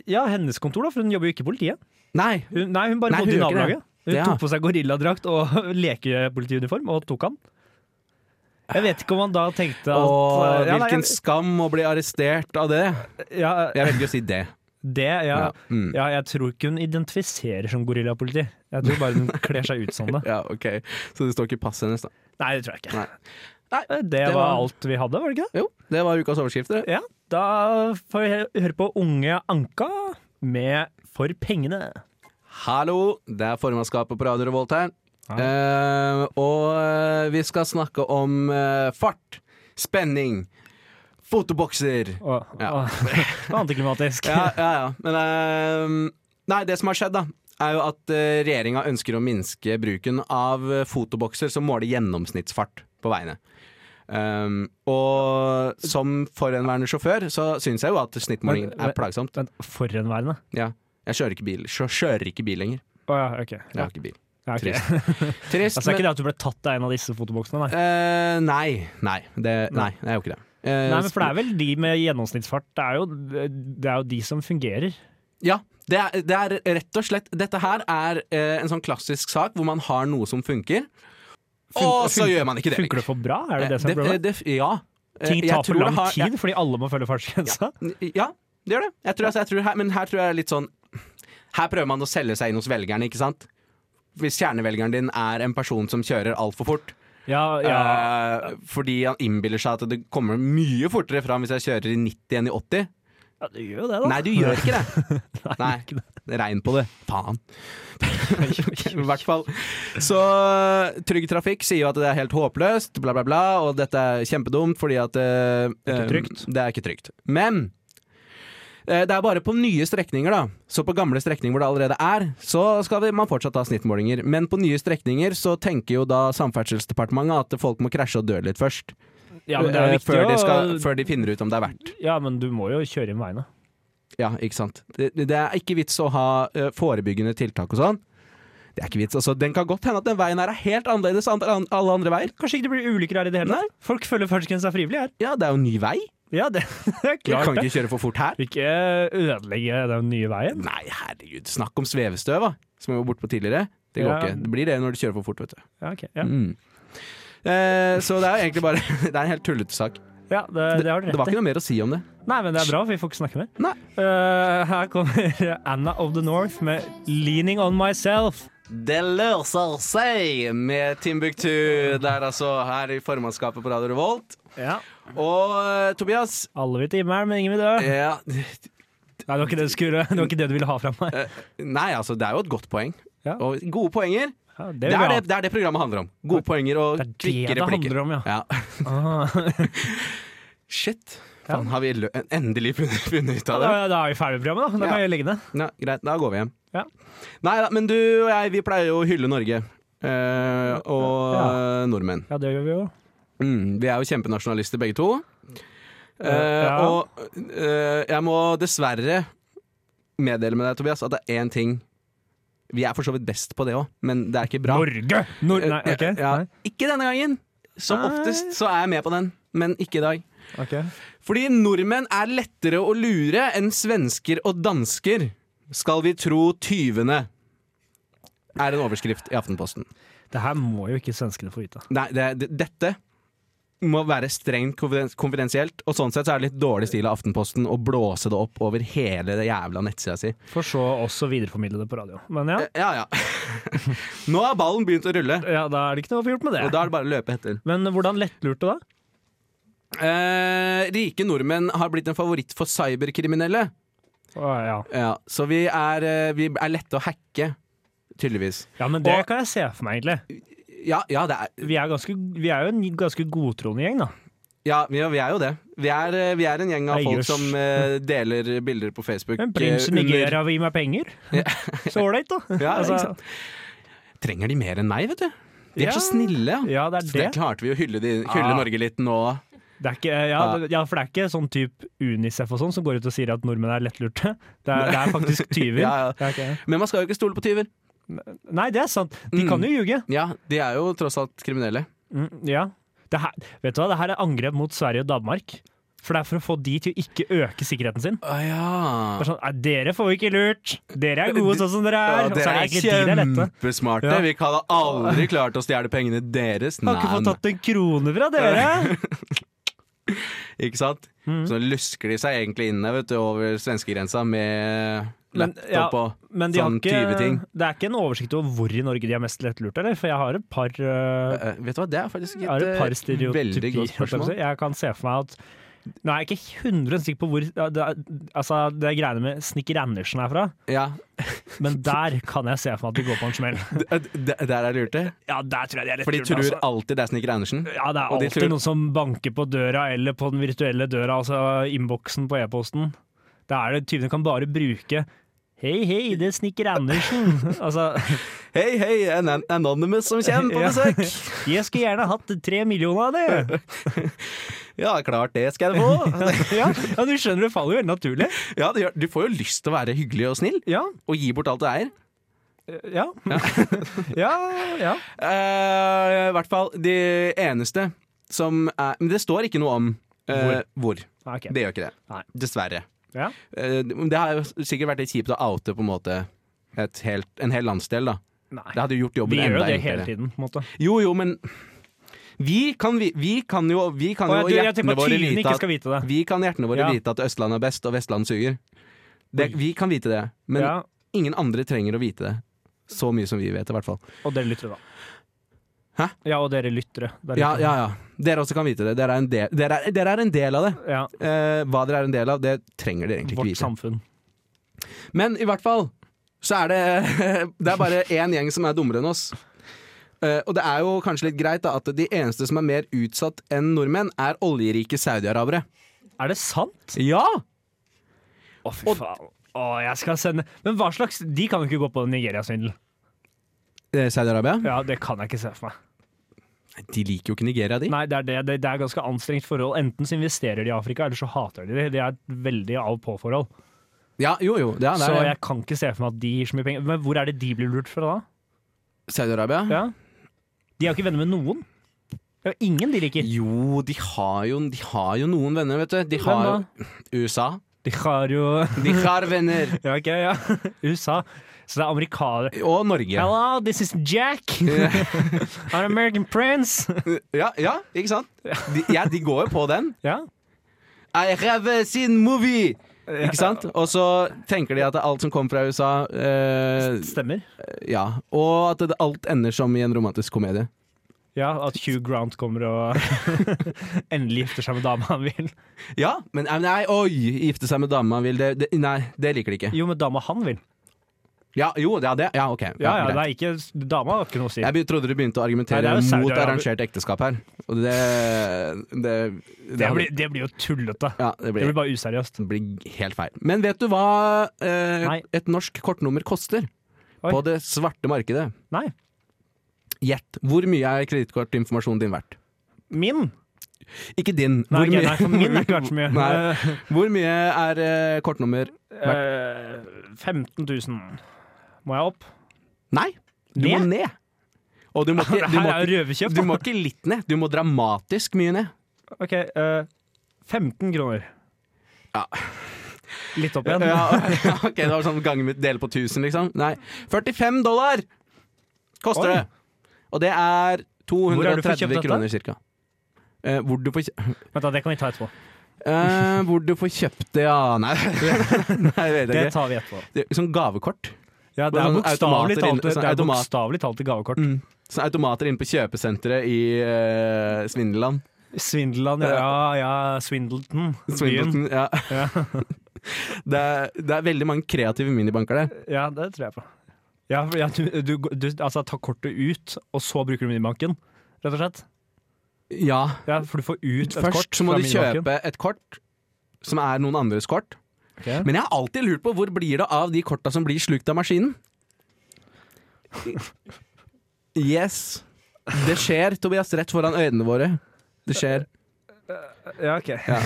[SPEAKER 5] Ja, hennes kontor, da, for hun jobber jo ikke i politiet.
[SPEAKER 2] Nei!
[SPEAKER 5] Hun, nei, hun bare
[SPEAKER 2] Nei, hun
[SPEAKER 5] bodde i
[SPEAKER 2] gjør ikke det.
[SPEAKER 5] nabolaget. Hun
[SPEAKER 2] Ja.
[SPEAKER 5] tok på seg gorilladrakt og lekepolitiuniform og tok han. Jeg vet ikke om han da tenkte at eh,
[SPEAKER 2] Og
[SPEAKER 5] ja, nei,
[SPEAKER 2] hvilken
[SPEAKER 5] jeg-
[SPEAKER 2] skam å bli arrestert av det.
[SPEAKER 5] ja,
[SPEAKER 2] Jeg velger å si det.
[SPEAKER 5] Det, ja.
[SPEAKER 2] Ja, mm.
[SPEAKER 5] ja. Jeg tror ikke hun identifiserer som gorillapoliti. Jeg tror bare hun kler seg ut som det.
[SPEAKER 2] Ja, ok. Så det står ikke i passet hennes, da. Eh,
[SPEAKER 5] Nei, det tror jeg ikke. Eh,
[SPEAKER 2] Nei.
[SPEAKER 5] Det,
[SPEAKER 2] det
[SPEAKER 5] var,
[SPEAKER 2] var-
[SPEAKER 5] alt vi hadde, var det ikke det?
[SPEAKER 2] Jo, det var ukas overskrifter. det.
[SPEAKER 5] Ja. Da får vi he- høre på Unge Anka med For pengene.
[SPEAKER 2] Hallo, det er formannskapet på Radio Revolt her.
[SPEAKER 5] Ja.
[SPEAKER 2] Eh, og eh, vi skal snakke om eh, fart, spenning, fotobokser.
[SPEAKER 5] Og,
[SPEAKER 2] Ja.
[SPEAKER 5] og, antiklimatisk.
[SPEAKER 2] Ja, ja, ja. Men eh, Nei, det som har skjedd, da, er jo at uh, regjeringa ønsker å minske bruken av eh, fotobokser som måler gjennomsnittsfart på veiene. Um, og som forhenværende sjåfør så syns jeg jo at snittmåling
[SPEAKER 5] Men- men-
[SPEAKER 2] er plagsomt.
[SPEAKER 5] Men forhenværende.
[SPEAKER 2] Ja. Jeg kjører ikke bil. Sjø- Kjører ikke bil lenger.
[SPEAKER 5] Å ja, ok.
[SPEAKER 2] Jeg
[SPEAKER 5] Ja,
[SPEAKER 2] har ikke bil.
[SPEAKER 5] ja, ok.
[SPEAKER 2] Trist.
[SPEAKER 5] Altså,
[SPEAKER 2] Trist,
[SPEAKER 5] det er
[SPEAKER 2] men-
[SPEAKER 5] ikke det at du ble tatt av en av disse fotoboksene, nei.
[SPEAKER 2] Eh, nei, nei, det, nei, det er jo ikke det. Eh,
[SPEAKER 5] Nei, men for det er vel de med gjennomsnittsfart, det er jo, det er jo de som fungerer.
[SPEAKER 2] Ja, det er, det er rett og slett Dette her er eh, en sånn klassisk sak hvor man har noe som funker, og så gjør man ikke det
[SPEAKER 5] Funker det for bra? Er det det som er
[SPEAKER 2] Eh,
[SPEAKER 5] problemet?
[SPEAKER 2] det- det- Ja. Eh,
[SPEAKER 5] Ting
[SPEAKER 2] jeg
[SPEAKER 5] tar
[SPEAKER 2] tror
[SPEAKER 5] for
[SPEAKER 2] det
[SPEAKER 5] lang
[SPEAKER 2] har-
[SPEAKER 5] tid altså? fordi alle må følge fartsgrensa.
[SPEAKER 2] Ja, ja, det gjør det. Jeg tror, altså, jeg tror her, men her tror jeg litt sånn Her prøver man å selge seg inn hos velgerne, ikke sant? Hvis kjernevelgeren din er en person som kjører altfor fort,
[SPEAKER 5] Ja, ja.
[SPEAKER 2] eh, fordi han innbiller seg at det kommer mye fortere fram hvis jeg kjører i 90 enn i 80,
[SPEAKER 5] ja, du gjør jo det, da.
[SPEAKER 2] Nei, du gjør ikke det. Nei, regn på det. Faen. I hvert fall. Så eh, Trygg Trafikk sier jo at det er helt håpløst, bla, bla, bla, og dette er kjempedumt fordi at eh,
[SPEAKER 5] er ikke
[SPEAKER 2] eh,
[SPEAKER 5] trygt.
[SPEAKER 2] Det er ikke trygt. Men eh, det er bare på nye strekninger, da. Så på gamle strekninger hvor det allerede er, så skal vi, man fortsatt ha snittmålinger. Men på nye strekninger så tenker jo da Samferdselsdepartementet at folk må krasje og dø litt først.
[SPEAKER 5] Ja, men det er
[SPEAKER 2] eh,
[SPEAKER 5] viktig
[SPEAKER 2] før, de
[SPEAKER 5] å-
[SPEAKER 2] skal, før de finner ut om det er verdt.
[SPEAKER 5] Ja, men du må jo kjøre inn veiene.
[SPEAKER 2] Ja, ikke sant. Det, det er ikke vits å ha eh, forebyggende tiltak og sånn. Det er ikke vits. Altså, den kan godt hende at den veien her er helt annerledes enn an- alle andre veier.
[SPEAKER 5] Kanskje ikke det blir ulykker her i det hele tatt? Folk følger fartsgrensa frivillig her.
[SPEAKER 2] Ja, det er jo en ny vei.
[SPEAKER 5] Ja, det, det er
[SPEAKER 2] Vi kan
[SPEAKER 5] klart det.
[SPEAKER 2] ikke kjøre for fort her.
[SPEAKER 5] Ikke ødelegge den nye veien.
[SPEAKER 2] Nei, herregud. Snakk om svevestøv, da. Som vi var bortpå tidligere. Det går
[SPEAKER 5] Ja.
[SPEAKER 2] ikke. Det blir det når du kjører for fort, vet du.
[SPEAKER 5] Ja, ok. ja.
[SPEAKER 2] Mm. Eh, så det er jo egentlig bare Det er en helt tullete sak.
[SPEAKER 5] ja det, det har du
[SPEAKER 2] Det
[SPEAKER 5] rett
[SPEAKER 2] var
[SPEAKER 5] i.
[SPEAKER 2] ikke noe mer å si om det.
[SPEAKER 5] Nei, men det er bra, for vi får ikke snakke mer.
[SPEAKER 2] Nei.
[SPEAKER 5] Eh, her kommer Anna of the North med 'Leaning on Myself'.
[SPEAKER 2] Det løser seg med Timbuktu. Det er altså her i formannskapet på Radio Revolt.
[SPEAKER 5] Ja.
[SPEAKER 2] Og eh, Tobias
[SPEAKER 5] Alle vil til himmelen, men ingen vil dø.
[SPEAKER 2] Ja,
[SPEAKER 5] Nei, det var ikke det du skulle Det var ikke det du ville ha fra meg.
[SPEAKER 2] Nei, altså, det er jo et godt poeng.
[SPEAKER 5] Ja.
[SPEAKER 2] Og gode poenger,
[SPEAKER 5] Ja, det
[SPEAKER 2] det
[SPEAKER 5] vil
[SPEAKER 2] er
[SPEAKER 5] jeg
[SPEAKER 2] det, det er det programmet handler om. Gode poenger og
[SPEAKER 5] Det er det
[SPEAKER 2] kvikke
[SPEAKER 5] det
[SPEAKER 2] replikker.
[SPEAKER 5] handler om, ja. Ah. ha.
[SPEAKER 2] Shit.
[SPEAKER 5] Ja.
[SPEAKER 2] Faen, har vi lø endelig funnet, funnet ut
[SPEAKER 5] Ah,
[SPEAKER 2] av det?
[SPEAKER 5] Da, da er vi ferdig med programmet, da. Da
[SPEAKER 2] Ja.
[SPEAKER 5] kan jeg legge ned.
[SPEAKER 2] Ja, greit, da går vi hjem.
[SPEAKER 5] Ja.
[SPEAKER 2] Nei da, men du og jeg, vi pleier jo å hylle Norge. eh, og eh, nordmenn.
[SPEAKER 5] Ja, det gjør vi jo.
[SPEAKER 2] Mm, vi er jo kjempenasjonalister begge to. Eh,
[SPEAKER 5] Ja.
[SPEAKER 2] Og eh, jeg må dessverre meddele med deg, Tobias, at det er én ting Vi er for så vidt best på det òg, men det er ikke bra.
[SPEAKER 5] Norge! Nor nei, ok.
[SPEAKER 2] Eh, Ja,
[SPEAKER 5] Nei.
[SPEAKER 2] Ikke denne gangen. Som
[SPEAKER 5] Nei.
[SPEAKER 2] oftest så er jeg med på den, men ikke i dag.
[SPEAKER 5] ok.
[SPEAKER 2] Fordi nordmenn er lettere å lure enn svensker og dansker, skal vi tro tyvene. Er en overskrift i Aftenposten.
[SPEAKER 5] Det her må jo ikke svenskene få vite.
[SPEAKER 2] Nei, det, det, dette må være strengt konfiden- konfidensielt, og sånn sett så er det litt dårlig stil av Aftenposten å blåse det opp over hele det jævla nettsida si.
[SPEAKER 5] For så også videreformidle det på radio. Men ja,
[SPEAKER 2] Ja ja. Nå har ballen begynt å rulle,
[SPEAKER 5] ja da er det ikke noe å få gjort med
[SPEAKER 2] og
[SPEAKER 5] det.
[SPEAKER 2] da er det bare å løpe etter.
[SPEAKER 5] Men hvordan lettlurte, da?
[SPEAKER 2] Eh, rike nordmenn har blitt en favoritt for cyberkriminelle.
[SPEAKER 5] Å, ja.
[SPEAKER 2] Ja, så vi er, eh, vi er lette å hacke, tydeligvis.
[SPEAKER 5] ja, men det
[SPEAKER 2] Og-
[SPEAKER 5] kan jeg se for meg, egentlig.
[SPEAKER 2] Ja, ja, det er,
[SPEAKER 5] Vi er, ganske, vi er jo en ganske godtroende gjeng, da.
[SPEAKER 2] ja, vi, ja vi er jo det. Vi er, eh, vi er en gjeng av
[SPEAKER 5] Nei,
[SPEAKER 2] folk
[SPEAKER 5] jøss.
[SPEAKER 2] som eh, deler bilder på Facebook.
[SPEAKER 5] En prins i
[SPEAKER 2] eh, under-
[SPEAKER 5] Nigeria vil gi meg penger. Så ålreit, da.
[SPEAKER 2] Ja,
[SPEAKER 5] Altså,
[SPEAKER 2] ikke sant? Trenger de mer enn meg, vet du? De er
[SPEAKER 5] Ja.
[SPEAKER 2] så snille. Ja.
[SPEAKER 5] ja, det
[SPEAKER 2] Så
[SPEAKER 5] er det.
[SPEAKER 2] klarte vi å hylle, de, hylle
[SPEAKER 5] Ah.
[SPEAKER 2] Norge litt nå.
[SPEAKER 5] det er ikke, eh, ja, det- ja, for det er ikke sånn type Unicef og sånn som går ut og sier at nordmenn er lettlurte. Det er, det er faktisk tyver.
[SPEAKER 2] Ja, ja.
[SPEAKER 5] Det er ikke-
[SPEAKER 2] Men man skal jo ikke stole på tyver. Mm.
[SPEAKER 5] Nei, det er sant. De kan jo ljuge.
[SPEAKER 2] Ja, De er jo tross alt kriminelle.
[SPEAKER 5] Mm, ja. Det her, vet du hva? Det her er angrep mot Sverige og Danmark. For det er for å få de til å ikke øke sikkerheten sin.
[SPEAKER 2] Å Ah, ja.
[SPEAKER 5] Det er Sånn, «Nei, dere får ikke lurt! Dere er gode sånn som dere er!
[SPEAKER 2] Ja,
[SPEAKER 5] Og så
[SPEAKER 2] dere
[SPEAKER 5] er det
[SPEAKER 2] er
[SPEAKER 5] egentlig de det er lette.
[SPEAKER 2] kjempesmarte.
[SPEAKER 5] Ja.
[SPEAKER 2] Vi hadde aldri klart å stjele pengene deres.
[SPEAKER 5] Har ikke fått
[SPEAKER 2] Nei,
[SPEAKER 5] tatt en krone fra dere!
[SPEAKER 2] nei. ikke sant?
[SPEAKER 5] Mm.
[SPEAKER 2] Så lusker de seg egentlig inne vet du, over svenskegrensa med
[SPEAKER 5] Men,
[SPEAKER 2] laptop
[SPEAKER 5] ja,
[SPEAKER 2] og
[SPEAKER 5] Men de
[SPEAKER 2] sånn
[SPEAKER 5] har ikke,
[SPEAKER 2] tyveting.
[SPEAKER 5] det er ikke en oversikt over hvor i Norge de er mest lettlurt, eller? For jeg har et par, øh,
[SPEAKER 2] Eh, Vet du hva, det er faktisk
[SPEAKER 5] jeg har
[SPEAKER 2] et,
[SPEAKER 5] et
[SPEAKER 2] eh,
[SPEAKER 5] par stereotypier.
[SPEAKER 2] veldig godt spørsmål.
[SPEAKER 5] kanskje. Jeg kan se for meg at Nå er jeg ikke 100 sikker på hvor ja, det, er- altså, det er greiene med Snikker Andersen er fra,
[SPEAKER 2] Ja,
[SPEAKER 5] men der kan jeg se for meg at de går på en smell.
[SPEAKER 2] d- eh, d- Der er lurte.
[SPEAKER 5] Ja, der tror jeg de er rett
[SPEAKER 2] For de
[SPEAKER 5] rundt,
[SPEAKER 2] tror
[SPEAKER 5] altså.
[SPEAKER 2] alltid det er Snekker Andersen.
[SPEAKER 5] Ja, det er
[SPEAKER 2] og de
[SPEAKER 5] alltid
[SPEAKER 2] tror-
[SPEAKER 5] noen som banker på døra eller på den virtuelle døra, altså innboksen på e-posten. Da er det tydeligvis kan bare bruke Hei, hei, det er Snikker Andersen. altså,
[SPEAKER 2] Hei, hei, en an- Anonymous som kommer på
[SPEAKER 5] Ja.
[SPEAKER 2] besøk!
[SPEAKER 5] jeg skulle gjerne hatt tre millioner av det!
[SPEAKER 2] Ja, klart det skal jeg få!
[SPEAKER 5] ja, ja, du skjønner, det faller jo veldig naturlig.
[SPEAKER 2] Ja, det gjør- Du får jo lyst til å være hyggelig og snill,
[SPEAKER 5] Ja,
[SPEAKER 2] og gi bort alt du eier.
[SPEAKER 5] ja. ja, ja.
[SPEAKER 2] Eh, I hvert fall de eneste som er Men det står ikke noe om eh, hvor.
[SPEAKER 5] Ok.
[SPEAKER 2] Det gjør ikke det.
[SPEAKER 5] Nei.
[SPEAKER 2] Dessverre.
[SPEAKER 5] Ja.
[SPEAKER 2] Eh, det har jo sikkert vært litt kjipt å oute på en måte et helt, en hel landsdel, da. Det
[SPEAKER 5] Nei.
[SPEAKER 2] hadde jo gjort
[SPEAKER 5] Vi
[SPEAKER 2] jobben
[SPEAKER 5] gjør jo
[SPEAKER 2] enda
[SPEAKER 5] det hele
[SPEAKER 2] enklere.
[SPEAKER 5] tiden, på en måte.
[SPEAKER 2] Jo, jo, men vi kan, vi, vi kan jo, vi kan
[SPEAKER 5] Og
[SPEAKER 2] jo
[SPEAKER 5] jeg, jeg
[SPEAKER 2] hjertene
[SPEAKER 5] tenker på at
[SPEAKER 2] våre
[SPEAKER 5] tyvene
[SPEAKER 2] vite
[SPEAKER 5] ikke
[SPEAKER 2] at
[SPEAKER 5] skal vite det.
[SPEAKER 2] Vi kan hjertene våre
[SPEAKER 5] Ja.
[SPEAKER 2] vite at Østlandet er best, og Vestlandet suger. Det, vi kan vite det, men
[SPEAKER 5] Ja,
[SPEAKER 2] ingen andre trenger å vite det. Så mye som vi vet, i hvert fall.
[SPEAKER 5] og dere lyttere, da.
[SPEAKER 2] Hæ?
[SPEAKER 5] Ja, og dere lyttere. Der
[SPEAKER 2] Ja,
[SPEAKER 5] ute.
[SPEAKER 2] ja, ja. Dere også kan vite det. Dere er en del, dere er, dere er en del av det.
[SPEAKER 5] Ja,
[SPEAKER 2] Eh, hva dere er en del av, det trenger dere egentlig ikke
[SPEAKER 5] Vårt
[SPEAKER 2] vite.
[SPEAKER 5] samfunn.
[SPEAKER 2] Men i hvert fall så er det Det er bare én gjeng som er dummere enn oss. Eh, og det er jo kanskje litt greit da, at de eneste som er mer utsatt enn nordmenn, er oljerike saudiarabere.
[SPEAKER 5] Er det sant?
[SPEAKER 2] Ja!
[SPEAKER 5] Å, fy faen. Å, jeg skal sende Men hva slags De kan jo ikke gå på Nigeria-svindel.
[SPEAKER 2] Eh, Saudi-Arabia?
[SPEAKER 5] Ja, det kan jeg ikke se for meg.
[SPEAKER 2] De liker jo ikke Nigeria, de.
[SPEAKER 5] Nei, det er, det, det, det er ganske anstrengt forhold. Enten så investerer de i Afrika, eller så hater de det. Det er et veldig av-på-forhold.
[SPEAKER 2] Ja, jo, jo. Ja, det
[SPEAKER 5] Så
[SPEAKER 2] er det.
[SPEAKER 5] jeg kan ikke se for meg at de gir så mye penger. Men hvor er det de blir lurt fra da?
[SPEAKER 2] Saudi-Arabia?
[SPEAKER 5] Ja. De er jo ikke venner med noen. Det er jo ingen de liker.
[SPEAKER 2] Jo, de har jo, de har jo noen venner, vet du. De
[SPEAKER 5] Hvem
[SPEAKER 2] har
[SPEAKER 5] da?
[SPEAKER 2] jo USA.
[SPEAKER 5] De har jo
[SPEAKER 2] De har venner.
[SPEAKER 5] Ja, ok, ja. USA. Så det er amerikanere.
[SPEAKER 2] Og Norge.
[SPEAKER 5] Hello, this is Jack. I'm an American prince.
[SPEAKER 2] Ja, ja ikke sant? De, ja, de går jo på den.
[SPEAKER 5] Ja.
[SPEAKER 2] I have seen movie! Ikke sant? Og så tenker de at alt som kommer fra USA eh,
[SPEAKER 5] Stemmer.
[SPEAKER 2] Ja. Og at det, alt ender som i en romantisk komedie.
[SPEAKER 5] Ja, at Hugh Grant kommer og endelig gifter seg med dama han vil.
[SPEAKER 2] Ja, men eh, nei, oi! Gifte seg med dama vil det, det Nei, det liker de ikke.
[SPEAKER 5] Jo, med dama han vil.
[SPEAKER 2] Ja, jo, ja, det, ja, ok.
[SPEAKER 5] Ja, ja,
[SPEAKER 2] greit.
[SPEAKER 5] det er ikke, Dama har ikke noe å si.
[SPEAKER 2] jeg be- trodde du begynte å
[SPEAKER 5] Nei,
[SPEAKER 2] argumentere
[SPEAKER 5] det er jo
[SPEAKER 2] mot
[SPEAKER 5] Saudi-Arabia.
[SPEAKER 2] arrangert ekteskap her. Og det Det, det-
[SPEAKER 5] Det blir, det blir jo tullete.
[SPEAKER 2] ja, det
[SPEAKER 5] Det
[SPEAKER 2] blir,
[SPEAKER 5] blir bare useriøst.
[SPEAKER 2] det blir helt feil. Men vet du hva eh,
[SPEAKER 5] Nei.
[SPEAKER 2] et norsk kortnummer koster?
[SPEAKER 5] Oi.
[SPEAKER 2] På det svarte markedet.
[SPEAKER 5] Nei.
[SPEAKER 2] Gjett. Hvor mye er kredittkortinformasjonen din verdt?
[SPEAKER 5] Min?
[SPEAKER 2] Ikke din.
[SPEAKER 5] Nei,
[SPEAKER 2] Hvor
[SPEAKER 5] ok,
[SPEAKER 2] mye-
[SPEAKER 5] nei for min er ikke verdt så mye.
[SPEAKER 2] Nei. Hvor mye er eh, kortnummer
[SPEAKER 5] Eh, 15 000. Må jeg opp?
[SPEAKER 2] Nei, du må ned. Og du må ikke, du
[SPEAKER 5] Her
[SPEAKER 2] må
[SPEAKER 5] er jo
[SPEAKER 2] ikke,
[SPEAKER 5] røverkjøp.
[SPEAKER 2] du må ikke litt ned, du må dramatisk mye ned.
[SPEAKER 5] OK. eh, 15 kroner.
[SPEAKER 2] Ja.
[SPEAKER 5] Litt opp igjen.
[SPEAKER 2] Ja, ok, det var sånn gange med dele på 1000, liksom. Nei. 45 dollar koster
[SPEAKER 5] Oi.
[SPEAKER 2] det. Og det er
[SPEAKER 5] Hvor har du fått kjøpt
[SPEAKER 2] 230
[SPEAKER 5] dette?
[SPEAKER 2] kroner ca. hvor du får kjøpt,
[SPEAKER 5] Vent, da, det kan vi ta etterpå.
[SPEAKER 2] eh, Hvor du får kjøpt det, ja Nei, nei jeg vet
[SPEAKER 5] Det
[SPEAKER 2] ikke.
[SPEAKER 5] tar vi etterpå.
[SPEAKER 2] Det, som gavekort.
[SPEAKER 5] Ja, det er
[SPEAKER 2] Hvor sånn
[SPEAKER 5] bokstavelig
[SPEAKER 2] automater
[SPEAKER 5] talt,
[SPEAKER 2] inne-
[SPEAKER 5] det
[SPEAKER 2] sånn
[SPEAKER 5] er
[SPEAKER 2] automat- Mm.
[SPEAKER 5] bokstavelig talt et gavekort.
[SPEAKER 2] Så automater inne på kjøpesenteret i eh, Svindeland.
[SPEAKER 5] Svindeland, ja. Ja, Swindleton. Byen.
[SPEAKER 2] Swindleton, ja.
[SPEAKER 5] Ja.
[SPEAKER 2] det, er, det er veldig mange kreative minibanker der.
[SPEAKER 5] Ja, det tror jeg på. Ja, for, ja, du, du, du altså, ta kortet ut, og så bruker du minibanken, rett og slett.
[SPEAKER 2] Ja.
[SPEAKER 5] Ja, for du får ut et kort
[SPEAKER 2] Først så må
[SPEAKER 5] fra
[SPEAKER 2] du
[SPEAKER 5] minibanken.
[SPEAKER 2] kjøpe et kort som er noen andres kort.
[SPEAKER 5] Ok.
[SPEAKER 2] Men jeg har alltid lurt på hvor blir det av de korta som blir slukt av maskinen? Yes. Det skjer, Tobias, rett foran øynene våre. Det skjer.
[SPEAKER 5] Ja, ok.
[SPEAKER 2] Ja.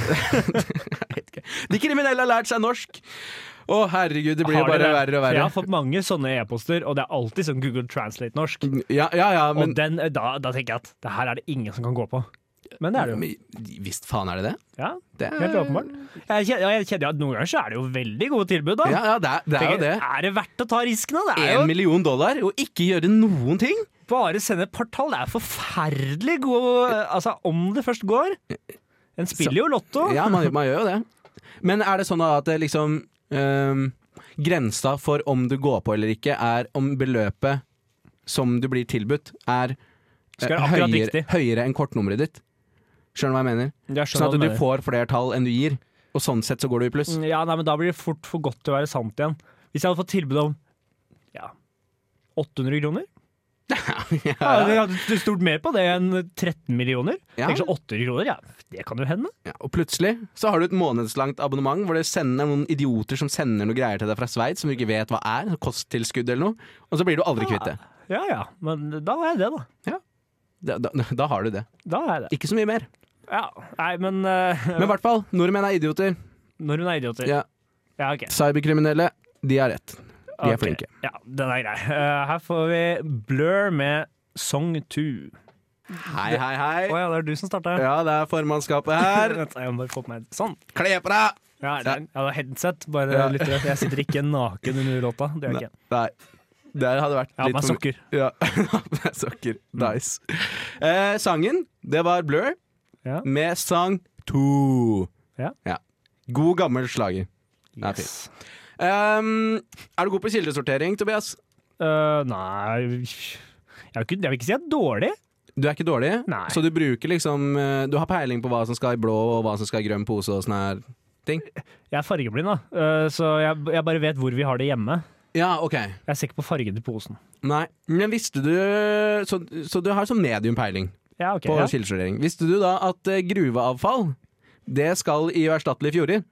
[SPEAKER 2] Jeg vet ikke. de kriminelle har lært seg norsk! Å, herregud, det blir jo
[SPEAKER 5] Har
[SPEAKER 2] bare
[SPEAKER 5] dere-
[SPEAKER 2] verre og
[SPEAKER 5] Jeg
[SPEAKER 2] verre.
[SPEAKER 5] har fått mange sånne e-poster, og det er alltid sånn Google Translate norsk. eh,
[SPEAKER 2] Ja, ja, ja, men
[SPEAKER 5] og den, da, da tenker jeg at det her er det ingen som kan gå på. Men det er det jo.
[SPEAKER 2] Men Visst faen er det det?
[SPEAKER 5] Ja,
[SPEAKER 2] Det er-
[SPEAKER 5] helt åpenbart. Jeg kjenner, ja, jeg kjenner at noen ganger så er det jo veldig gode tilbud, da.
[SPEAKER 2] Ja, ja det, er, det er jo
[SPEAKER 5] Tenker,
[SPEAKER 2] det.
[SPEAKER 5] er det verdt å ta riskene? Det er
[SPEAKER 2] Én
[SPEAKER 5] jo
[SPEAKER 2] million dollar og ikke gjøre noen ting?
[SPEAKER 5] bare sende et par tall. Det er forferdelig god Altså, om det først går. En spiller jo lotto.
[SPEAKER 2] Ja, man, man gjør jo det. Men er det sånn da at det liksom øhm, Grensa for om du går på eller ikke, er om beløpet som du blir tilbudt, er eh,
[SPEAKER 5] Skal være akkurat
[SPEAKER 2] høyere,
[SPEAKER 5] riktig.
[SPEAKER 2] høyere enn kortnummeret ditt. Skjønner du hva jeg mener?
[SPEAKER 5] Jeg
[SPEAKER 2] Sånn
[SPEAKER 5] skjønner
[SPEAKER 2] at
[SPEAKER 5] hva
[SPEAKER 2] du
[SPEAKER 5] mener. Mm.
[SPEAKER 2] får flere tall enn du gir, og sånn sett så går du i pluss.
[SPEAKER 5] Ja, nei, men da blir det fort for godt til å være sant igjen. Hvis jeg hadde fått tilbud om ja, 800 kroner ja, Jeg hadde stort mer på det enn 13 millioner.
[SPEAKER 2] Ja.
[SPEAKER 5] Tenk så 800 kroner, ja. Det kan jo hende.
[SPEAKER 2] Ja, og plutselig så har du et månedslangt abonnement hvor det sender noen idioter som sender noe greier til deg fra Sveits som du ikke vet hva er, kosttilskudd eller noe, og så blir du aldri kvitt det.
[SPEAKER 5] Ja ja, men da har jeg det, da.
[SPEAKER 2] Da, da, da har du det.
[SPEAKER 5] Da har jeg det.
[SPEAKER 2] Ikke så mye mer.
[SPEAKER 5] Ja, nei, men, eh,
[SPEAKER 2] Men i hvert fall, nordmenn er idioter.
[SPEAKER 5] Når hun er idioter.
[SPEAKER 2] Ja,
[SPEAKER 5] Ja, ok.
[SPEAKER 2] cyberkriminelle, de har rett. De er
[SPEAKER 5] Ok.
[SPEAKER 2] flinke.
[SPEAKER 5] Ja, den er grei. Eh, her får vi Blur med Song 2.
[SPEAKER 2] Hei, hei,
[SPEAKER 5] Å
[SPEAKER 2] hei.
[SPEAKER 5] ja, det er du som starta?
[SPEAKER 2] Ja, det er formannskapet her.
[SPEAKER 5] Vent, Jeg må bare få på meg Sånn.
[SPEAKER 2] Kle på deg!
[SPEAKER 5] Ja, det er, ja, det er headset. Bare
[SPEAKER 2] Ja.
[SPEAKER 5] lytter. Jeg sitter ikke naken under låta. Det gjør jeg ikke.
[SPEAKER 2] Nei. Det hadde vært
[SPEAKER 5] Jeg har på
[SPEAKER 2] litt
[SPEAKER 5] meg
[SPEAKER 2] for-
[SPEAKER 5] sokker.
[SPEAKER 2] Ja, det er sokker.
[SPEAKER 5] Mm.
[SPEAKER 2] Nice. Eh, sangen, det var Blur
[SPEAKER 5] Ja.
[SPEAKER 2] med sang 2.
[SPEAKER 5] Ja.
[SPEAKER 2] God gammel slager. Den er
[SPEAKER 5] Yes.
[SPEAKER 2] fin. Ehm, er du god på kildesortering, Tobias?
[SPEAKER 5] Eh, nei jeg vil, ikke, jeg vil ikke si jeg er dårlig.
[SPEAKER 2] Du er ikke dårlig,
[SPEAKER 5] Nei.
[SPEAKER 2] så du bruker liksom eh, Du har peiling på hva som skal i blå, og hva som skal i grønn pose og sånn her ting?
[SPEAKER 5] Jeg er fargeblind, da. Eh, så jeg, jeg bare vet hvor vi har det hjemme.
[SPEAKER 2] Ja, OK.
[SPEAKER 5] Jeg ser ikke på fargen til posen.
[SPEAKER 2] Nei. Men visste du Så, så du har sånn medium peiling
[SPEAKER 5] Ja, ok.
[SPEAKER 2] på
[SPEAKER 5] Ja.
[SPEAKER 2] kildesortering. Visste du da at eh, gruveavfall, det skal i uerstattelige fjorder?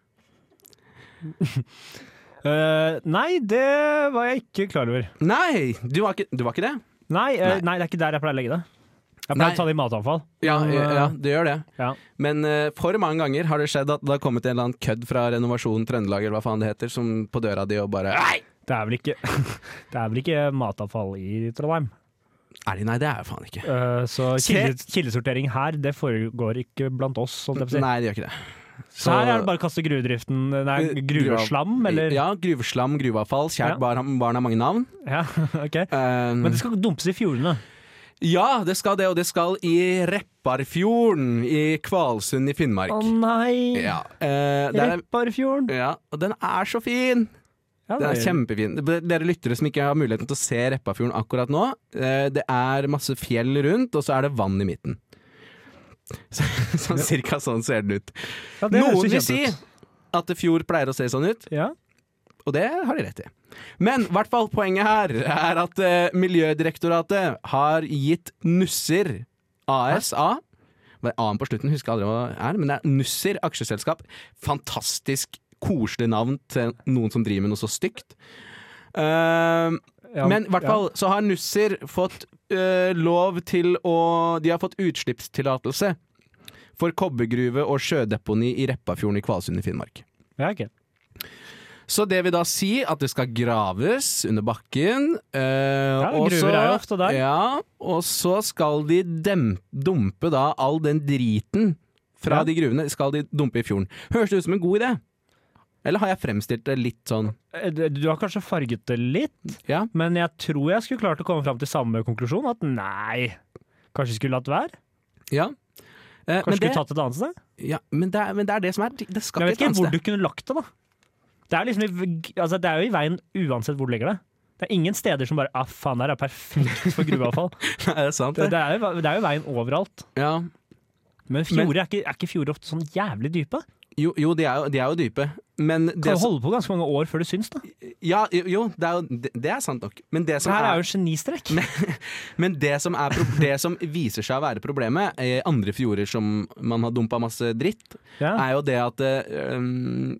[SPEAKER 5] Eh, nei, det var jeg ikke klar over.
[SPEAKER 2] Nei, du var ikke, du var ikke det?
[SPEAKER 5] Nei, eh,
[SPEAKER 2] Nei.
[SPEAKER 5] nei, det er ikke der jeg pleier å legge det. Jeg pleier
[SPEAKER 2] Nei.
[SPEAKER 5] å ta det i matavfall.
[SPEAKER 2] Ja,
[SPEAKER 5] Men,
[SPEAKER 2] ja,
[SPEAKER 5] eh,
[SPEAKER 2] ja, det gjør det.
[SPEAKER 5] ja.
[SPEAKER 2] Men eh, for mange ganger har det skjedd at det har kommet en eller annen kødd fra Renovasjon Trøndelag eller hva faen det heter, som på døra di og bare Nei!
[SPEAKER 5] Det er vel ikke, det er vel ikke matavfall i Trondheim.
[SPEAKER 2] Er de Nei, det er jo faen ikke.
[SPEAKER 5] Eh, så
[SPEAKER 2] Se-
[SPEAKER 5] kilde, kildesortering her, det foregår ikke blant oss. Sånn det
[SPEAKER 2] Nei, de gjør ikke det.
[SPEAKER 5] så her er det bare å kaste gruvedriften Nei,
[SPEAKER 2] Eh,
[SPEAKER 5] gruveslam, eller?
[SPEAKER 2] Ja, gruveslam, gruveavfall. Kjært
[SPEAKER 5] Ja.
[SPEAKER 2] barn, barn har mange navn.
[SPEAKER 5] Ja, ok.
[SPEAKER 2] Eh,
[SPEAKER 5] Men det skal dumpes i fjordene.
[SPEAKER 2] Ja, det skal det, og det skal i Repparfjorden i Kvalsund i Finnmark.
[SPEAKER 5] Å nei!
[SPEAKER 2] Mm. Ja, eh, der er,
[SPEAKER 5] Repparfjorden!
[SPEAKER 2] ja, og den er så fin!
[SPEAKER 5] Ja,
[SPEAKER 2] Den er
[SPEAKER 5] det-
[SPEAKER 2] kjempefin. Dere lyttere som ikke har muligheten til å se Repparfjorden akkurat nå, eh, det er masse fjell rundt, og så er det vann i midten. Så, sånn cirka sånn ser den ut.
[SPEAKER 5] Ja, det høres jo
[SPEAKER 2] Noen vil
[SPEAKER 5] kjent
[SPEAKER 2] si
[SPEAKER 5] ut.
[SPEAKER 2] at fjord pleier å se sånn ut,
[SPEAKER 5] Ja.
[SPEAKER 2] og det har de rett i. Men i hvert fall poenget her er at eh, Miljødirektoratet har gitt Nusser ASA Hva er A-en på slutten? Husker aldri hva det er, men det er Nusser aksjeselskap. Fantastisk koselig navn til noen som driver med noe så stygt. Ehm,
[SPEAKER 5] Ja,
[SPEAKER 2] men i hvert fall så har Nusser fått eh, lov til å De har fått utslippstillatelse for kobbergruve og sjødeponi i Repparfjorden i Kvalsund i Finnmark.
[SPEAKER 5] Ja, ok.
[SPEAKER 2] Så det vil da si at det skal graves under bakken. eh, og
[SPEAKER 5] gruver
[SPEAKER 2] så-
[SPEAKER 5] er jo ofte der.
[SPEAKER 2] Ja, og så skal de dem, dumpe da all den driten fra
[SPEAKER 5] Ja.
[SPEAKER 2] de gruvene skal de dumpe i fjorden. Høres det ut som en god idé? Eller har jeg fremstilt det litt sånn
[SPEAKER 5] Eh, Du du har kanskje farget det litt,
[SPEAKER 2] Ja.
[SPEAKER 5] men jeg tror jeg skulle klart å komme fram til samme konklusjon, at nei, kanskje skulle latt være?
[SPEAKER 2] Ja. Eh,
[SPEAKER 5] Kanskje
[SPEAKER 2] men,
[SPEAKER 5] skulle
[SPEAKER 2] det,
[SPEAKER 5] tatt et annet sted?
[SPEAKER 2] ja men, det, er- men det er det som er Det skal
[SPEAKER 5] Men jeg vet
[SPEAKER 2] ikke et
[SPEAKER 5] ikke
[SPEAKER 2] annet
[SPEAKER 5] hvor
[SPEAKER 2] sted.
[SPEAKER 5] du kunne lagt det, da. Det er, liksom, i- altså, det er jo i veien uansett hvor du legger det. Det er ingen steder som bare ah, faen, det er perfekt for gruveavfall.
[SPEAKER 2] er det sant,
[SPEAKER 5] Det,
[SPEAKER 2] det?
[SPEAKER 5] det, er jo, det er jo veien overalt.
[SPEAKER 2] Ja.
[SPEAKER 5] Men fjorder er ikke, er ikke fjorder ofte sånn jævlig dype?
[SPEAKER 2] Jo, jo, de, er jo de er jo dype. Men
[SPEAKER 5] Kan
[SPEAKER 2] det
[SPEAKER 5] jo
[SPEAKER 2] som,
[SPEAKER 5] holde på ganske mange år før det syns, da.
[SPEAKER 2] ja, jo, det er, jo, det, det er sant nok. Men det
[SPEAKER 5] Så
[SPEAKER 2] som
[SPEAKER 5] her
[SPEAKER 2] er
[SPEAKER 5] er jo genistrek.
[SPEAKER 2] Men det som, er, pro- det som viser seg å være problemet, i andre fjorder som man har dumpa masse dritt,
[SPEAKER 5] Ja.
[SPEAKER 2] er jo det at eh, um,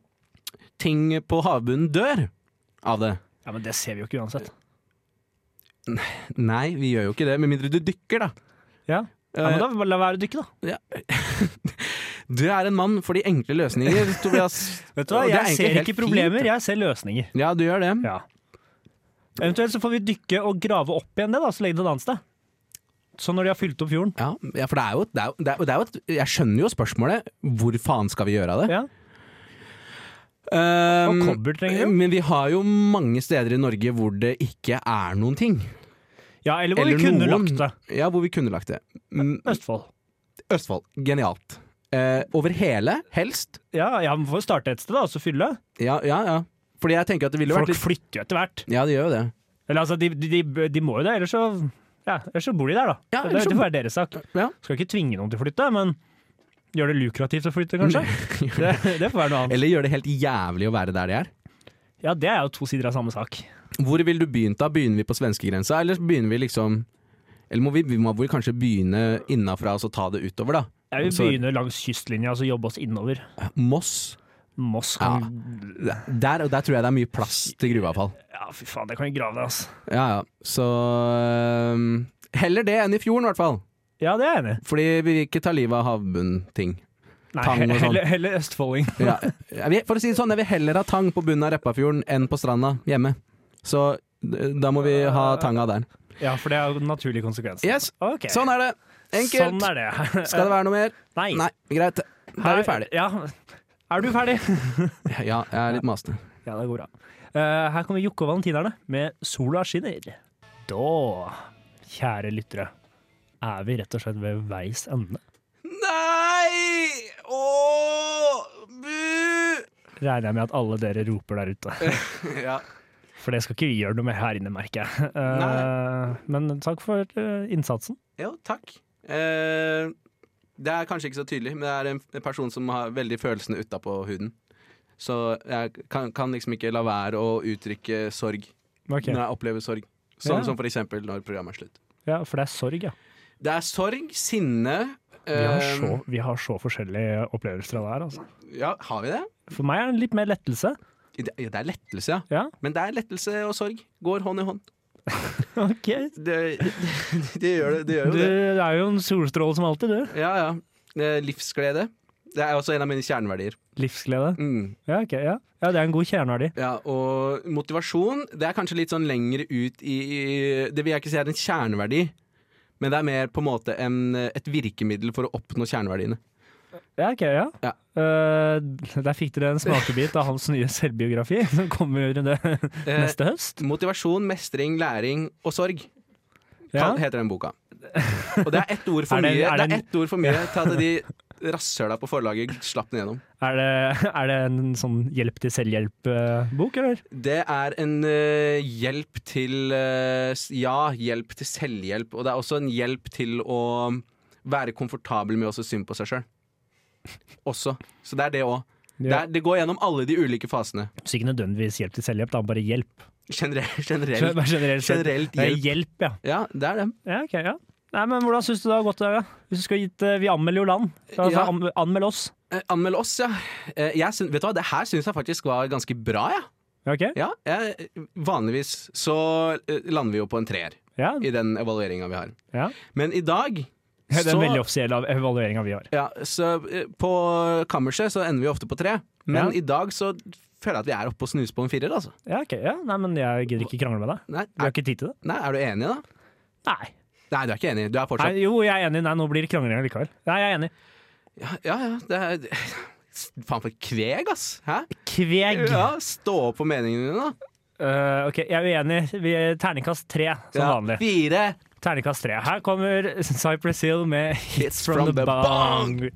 [SPEAKER 2] ting på havbunnen dør av det.
[SPEAKER 5] ja, men det ser vi jo ikke uansett.
[SPEAKER 2] Nei, vi gjør jo ikke det, med mindre du dykker, da.
[SPEAKER 5] Ja, ja men da bare la være å dykke, da.
[SPEAKER 2] Eh, Du er en mann for de enkle løsninger, Tobias.
[SPEAKER 5] Vet du hva,
[SPEAKER 2] Og det er
[SPEAKER 5] Jeg
[SPEAKER 2] egentlig
[SPEAKER 5] ser
[SPEAKER 2] helt
[SPEAKER 5] ikke
[SPEAKER 2] fint,
[SPEAKER 5] problemer,
[SPEAKER 2] da.
[SPEAKER 5] jeg ser løsninger.
[SPEAKER 2] Ja, du gjør det.
[SPEAKER 5] Ja. Eventuelt så får vi dykke og grave opp igjen det, da, så legge det et annet sted. Så når de har fylt opp fjorden
[SPEAKER 2] Ja, ja, for det er jo, det er, jo- det er, jo- det er jo et, Jeg skjønner jo spørsmålet. Hvor faen skal vi gjøre av det?
[SPEAKER 5] ja.
[SPEAKER 2] Um,
[SPEAKER 5] Og kobber trenger vi jo.
[SPEAKER 2] Men vi har jo mange steder i Norge hvor det ikke er noen ting.
[SPEAKER 5] ja, eller hvor
[SPEAKER 2] Eller
[SPEAKER 5] vi kunne
[SPEAKER 2] noen.
[SPEAKER 5] lagt det.
[SPEAKER 2] Ja, hvor vi kunne lagt det. Mm,
[SPEAKER 5] Østfold.
[SPEAKER 2] Østfold. Genialt. Eh, over hele, helst.
[SPEAKER 5] Ja, ja, man får starte et sted, da, og så fylle.
[SPEAKER 2] Ja, ja, ja. Fordi jeg tenker at det ville vært
[SPEAKER 5] Folk
[SPEAKER 2] litt
[SPEAKER 5] flytter jo etter hvert.
[SPEAKER 2] Ja, det gjør jo det.
[SPEAKER 5] Eller altså, de, de, de, de må jo det, ellers så ja, Ellers så bor de der, da. så
[SPEAKER 2] Ja,
[SPEAKER 5] det,
[SPEAKER 2] ellers så-
[SPEAKER 5] det får være deres sak.
[SPEAKER 2] Ja.
[SPEAKER 5] Skal ikke tvinge noen til å flytte, men gjør det lukrativt å flytte, kanskje? Det, det får være noe annet.
[SPEAKER 2] Eller gjør det helt jævlig å være der de er.
[SPEAKER 5] Ja, det er jo to sider av samme sak.
[SPEAKER 2] Hvor vil du begynt da? Begynner vi på svenskegrensa, eller begynner vi liksom Eller må vi, vi må vel kanskje begynne innafra og så ta det utover, da?
[SPEAKER 5] Jeg vil
[SPEAKER 2] Så-
[SPEAKER 5] begynne langs kystlinja og så jobbe oss innover.
[SPEAKER 2] Moss.
[SPEAKER 5] Moss
[SPEAKER 2] Ja.
[SPEAKER 5] kan
[SPEAKER 2] Der, og der tror jeg det er mye plass til gruveavfall.
[SPEAKER 5] Ja, fy faen, det kan jeg grave deg, altså.
[SPEAKER 2] Ja, ja. Så øhm, Heller det enn i fjorden, i hvert fall.
[SPEAKER 5] Ja, det er jeg enig i.
[SPEAKER 2] Fordi vi vil ikke ta livet av havbunnting.
[SPEAKER 5] Nei,
[SPEAKER 2] Tang og sånn.
[SPEAKER 5] Heller, heller østfolding.
[SPEAKER 2] Ja. Jeg vil- For å si det sånn, jeg vil heller ha tang på bunnen av Reppafjorden enn på stranda hjemme. Så d- da må vi ha tanga der.
[SPEAKER 5] Ja, for det er jo en naturlig konsekvens.
[SPEAKER 2] Yes,
[SPEAKER 5] Ok.
[SPEAKER 2] Sånn er det! Enkelt!
[SPEAKER 5] Sånn er det.
[SPEAKER 2] Skal det være noe mer?
[SPEAKER 5] Nei.
[SPEAKER 2] Nei, greit. Da er vi ferdig.
[SPEAKER 5] Ja. Er du ferdig?
[SPEAKER 2] Ja, jeg er litt masete.
[SPEAKER 5] Ja, det går bra. Eh, her kommer Jokke og Valentinerne med 'Sola skinner'. Da, kjære lyttere, er vi rett og slett ved veis ende.
[SPEAKER 2] Nei! Ååå! Bu!
[SPEAKER 5] Regner jeg med at alle dere roper der ute.
[SPEAKER 2] Ja.
[SPEAKER 5] For det skal ikke vi gjøre noe med her inne, merker jeg. Eh, men takk for eh, innsatsen.
[SPEAKER 2] Jo, takk. Eh, det er kanskje ikke så tydelig, men det er en en person som har veldig følelsene utapå huden. Så jeg kan, kan liksom ikke la være å uttrykke sorg
[SPEAKER 5] Ok.
[SPEAKER 2] når jeg opplever sorg. Sånn
[SPEAKER 5] Ja.
[SPEAKER 2] som for eksempel når programmet er slutt.
[SPEAKER 5] Ja, for det er sorg, ja.
[SPEAKER 2] Det er sorg, sinne
[SPEAKER 5] Vi har
[SPEAKER 2] eh,
[SPEAKER 5] så, vi har så forskjellige opplevelser av det her, altså.
[SPEAKER 2] Ja, har vi det?
[SPEAKER 5] For meg er det litt mer lettelse.
[SPEAKER 2] Det ja, det er lettelse, ja.
[SPEAKER 5] Ja.
[SPEAKER 2] Men det er lettelse og sorg. Går hånd i hånd.
[SPEAKER 5] Ok.
[SPEAKER 2] Det, det, det gjør, det, det gjør
[SPEAKER 5] Du
[SPEAKER 2] jo det.
[SPEAKER 5] er jo en solstråle som alltid, du.
[SPEAKER 2] Ja, ja. Eh, Livsglede. Det er også en av mine kjerneverdier.
[SPEAKER 5] Livsglede.
[SPEAKER 2] Mm.
[SPEAKER 5] Ja, ok, ja. ja, det er en god kjerneverdi.
[SPEAKER 2] Ja, og motivasjon, det er kanskje litt sånn lengre ut i, i Det vil jeg ikke si er en kjerneverdi, men det er mer på en måte en, et virkemiddel for å oppnå kjerneverdiene.
[SPEAKER 5] Ja, ok, ja.
[SPEAKER 2] Ja.
[SPEAKER 5] Eh, der fikk dere en smakebit av hans nye selvbiografi, som kommer det
[SPEAKER 2] Eh,
[SPEAKER 5] neste høst.
[SPEAKER 2] Motivasjon, mestring, læring og sorg
[SPEAKER 5] Ja.
[SPEAKER 2] kall- heter den boka. Og det er ett ord for
[SPEAKER 5] Er det-
[SPEAKER 2] mye
[SPEAKER 5] er
[SPEAKER 2] Det
[SPEAKER 5] det
[SPEAKER 2] er
[SPEAKER 5] en-
[SPEAKER 2] ett ord for mye til at de rasshøla på forlaget slapp den gjennom.
[SPEAKER 5] Er, det, er det en sånn hjelp til selvhjelp-bok, eh, eller?
[SPEAKER 2] Det er en eh, hjelp til eh, s- Ja, hjelp til selvhjelp. Og det er også en hjelp til å være komfortabel med å synes synd på seg sjøl. Også. Så det er det òg. Det,
[SPEAKER 5] Ja.
[SPEAKER 2] er- det går gjennom alle de ulike fasene.
[SPEAKER 5] Så ikke nødvendigvis hjelp til selvhjelp, da, bare hjelp.
[SPEAKER 2] Generelt.
[SPEAKER 5] Gen-
[SPEAKER 2] generelt.
[SPEAKER 5] bare Generelt, sett.
[SPEAKER 2] Generelt
[SPEAKER 5] Det er
[SPEAKER 2] hjelp.
[SPEAKER 5] hjelp. Ja.
[SPEAKER 2] Ja, det er det.
[SPEAKER 5] ja, ok, ja. Nei, men hvordan syns du det har gått, Øya? Hvis du skulle gitt eh, Vi anmelder jo land. Så, altså,
[SPEAKER 2] Ja.
[SPEAKER 5] an- Anmeld oss.
[SPEAKER 2] Eh, Anmeld oss, ja. Eh, Jeg syn- vet du hva, Det her syns jeg faktisk var ganske bra, jeg.
[SPEAKER 5] Ja, Ok?
[SPEAKER 2] Ja. jeg- Vanligvis så eh, lander vi jo på en treer
[SPEAKER 5] Ja.
[SPEAKER 2] i den evalueringa vi har.
[SPEAKER 5] ja.
[SPEAKER 2] Men i dag
[SPEAKER 5] Det er
[SPEAKER 2] så-
[SPEAKER 5] den veldig offisielle evalueringa vi har.
[SPEAKER 2] Ja, så eh, På kammerset så ender vi ofte på tre, men
[SPEAKER 5] Ja.
[SPEAKER 2] i dag så føler jeg at vi er oppe og snuser på en firer. altså.
[SPEAKER 5] Ja, ok, ja. Nei, men jeg gidder ikke krangle med deg.
[SPEAKER 2] Nei,
[SPEAKER 5] Vi har
[SPEAKER 2] er,
[SPEAKER 5] ikke tid til det.
[SPEAKER 2] nei, er du enig, da?
[SPEAKER 5] Nei.
[SPEAKER 2] Nei, du er ikke enig. Du er fortsatt
[SPEAKER 5] Nei, jo, jeg er enig. Nei, nå blir det krangling likevel. Nei, jeg er enig.
[SPEAKER 2] Ja, ja. ja, det er, faen for et kveg, ass. Hæ?
[SPEAKER 5] Kveg.
[SPEAKER 2] Ja, Stå opp for meningene dine, da.
[SPEAKER 5] Eh, ok, jeg er uenig. Vi terningkast tre, som
[SPEAKER 2] Ja,
[SPEAKER 5] vanlig.
[SPEAKER 2] Fire.
[SPEAKER 5] Terningkast tre. Her kommer Cypress Hill med Hits, from, the, bong.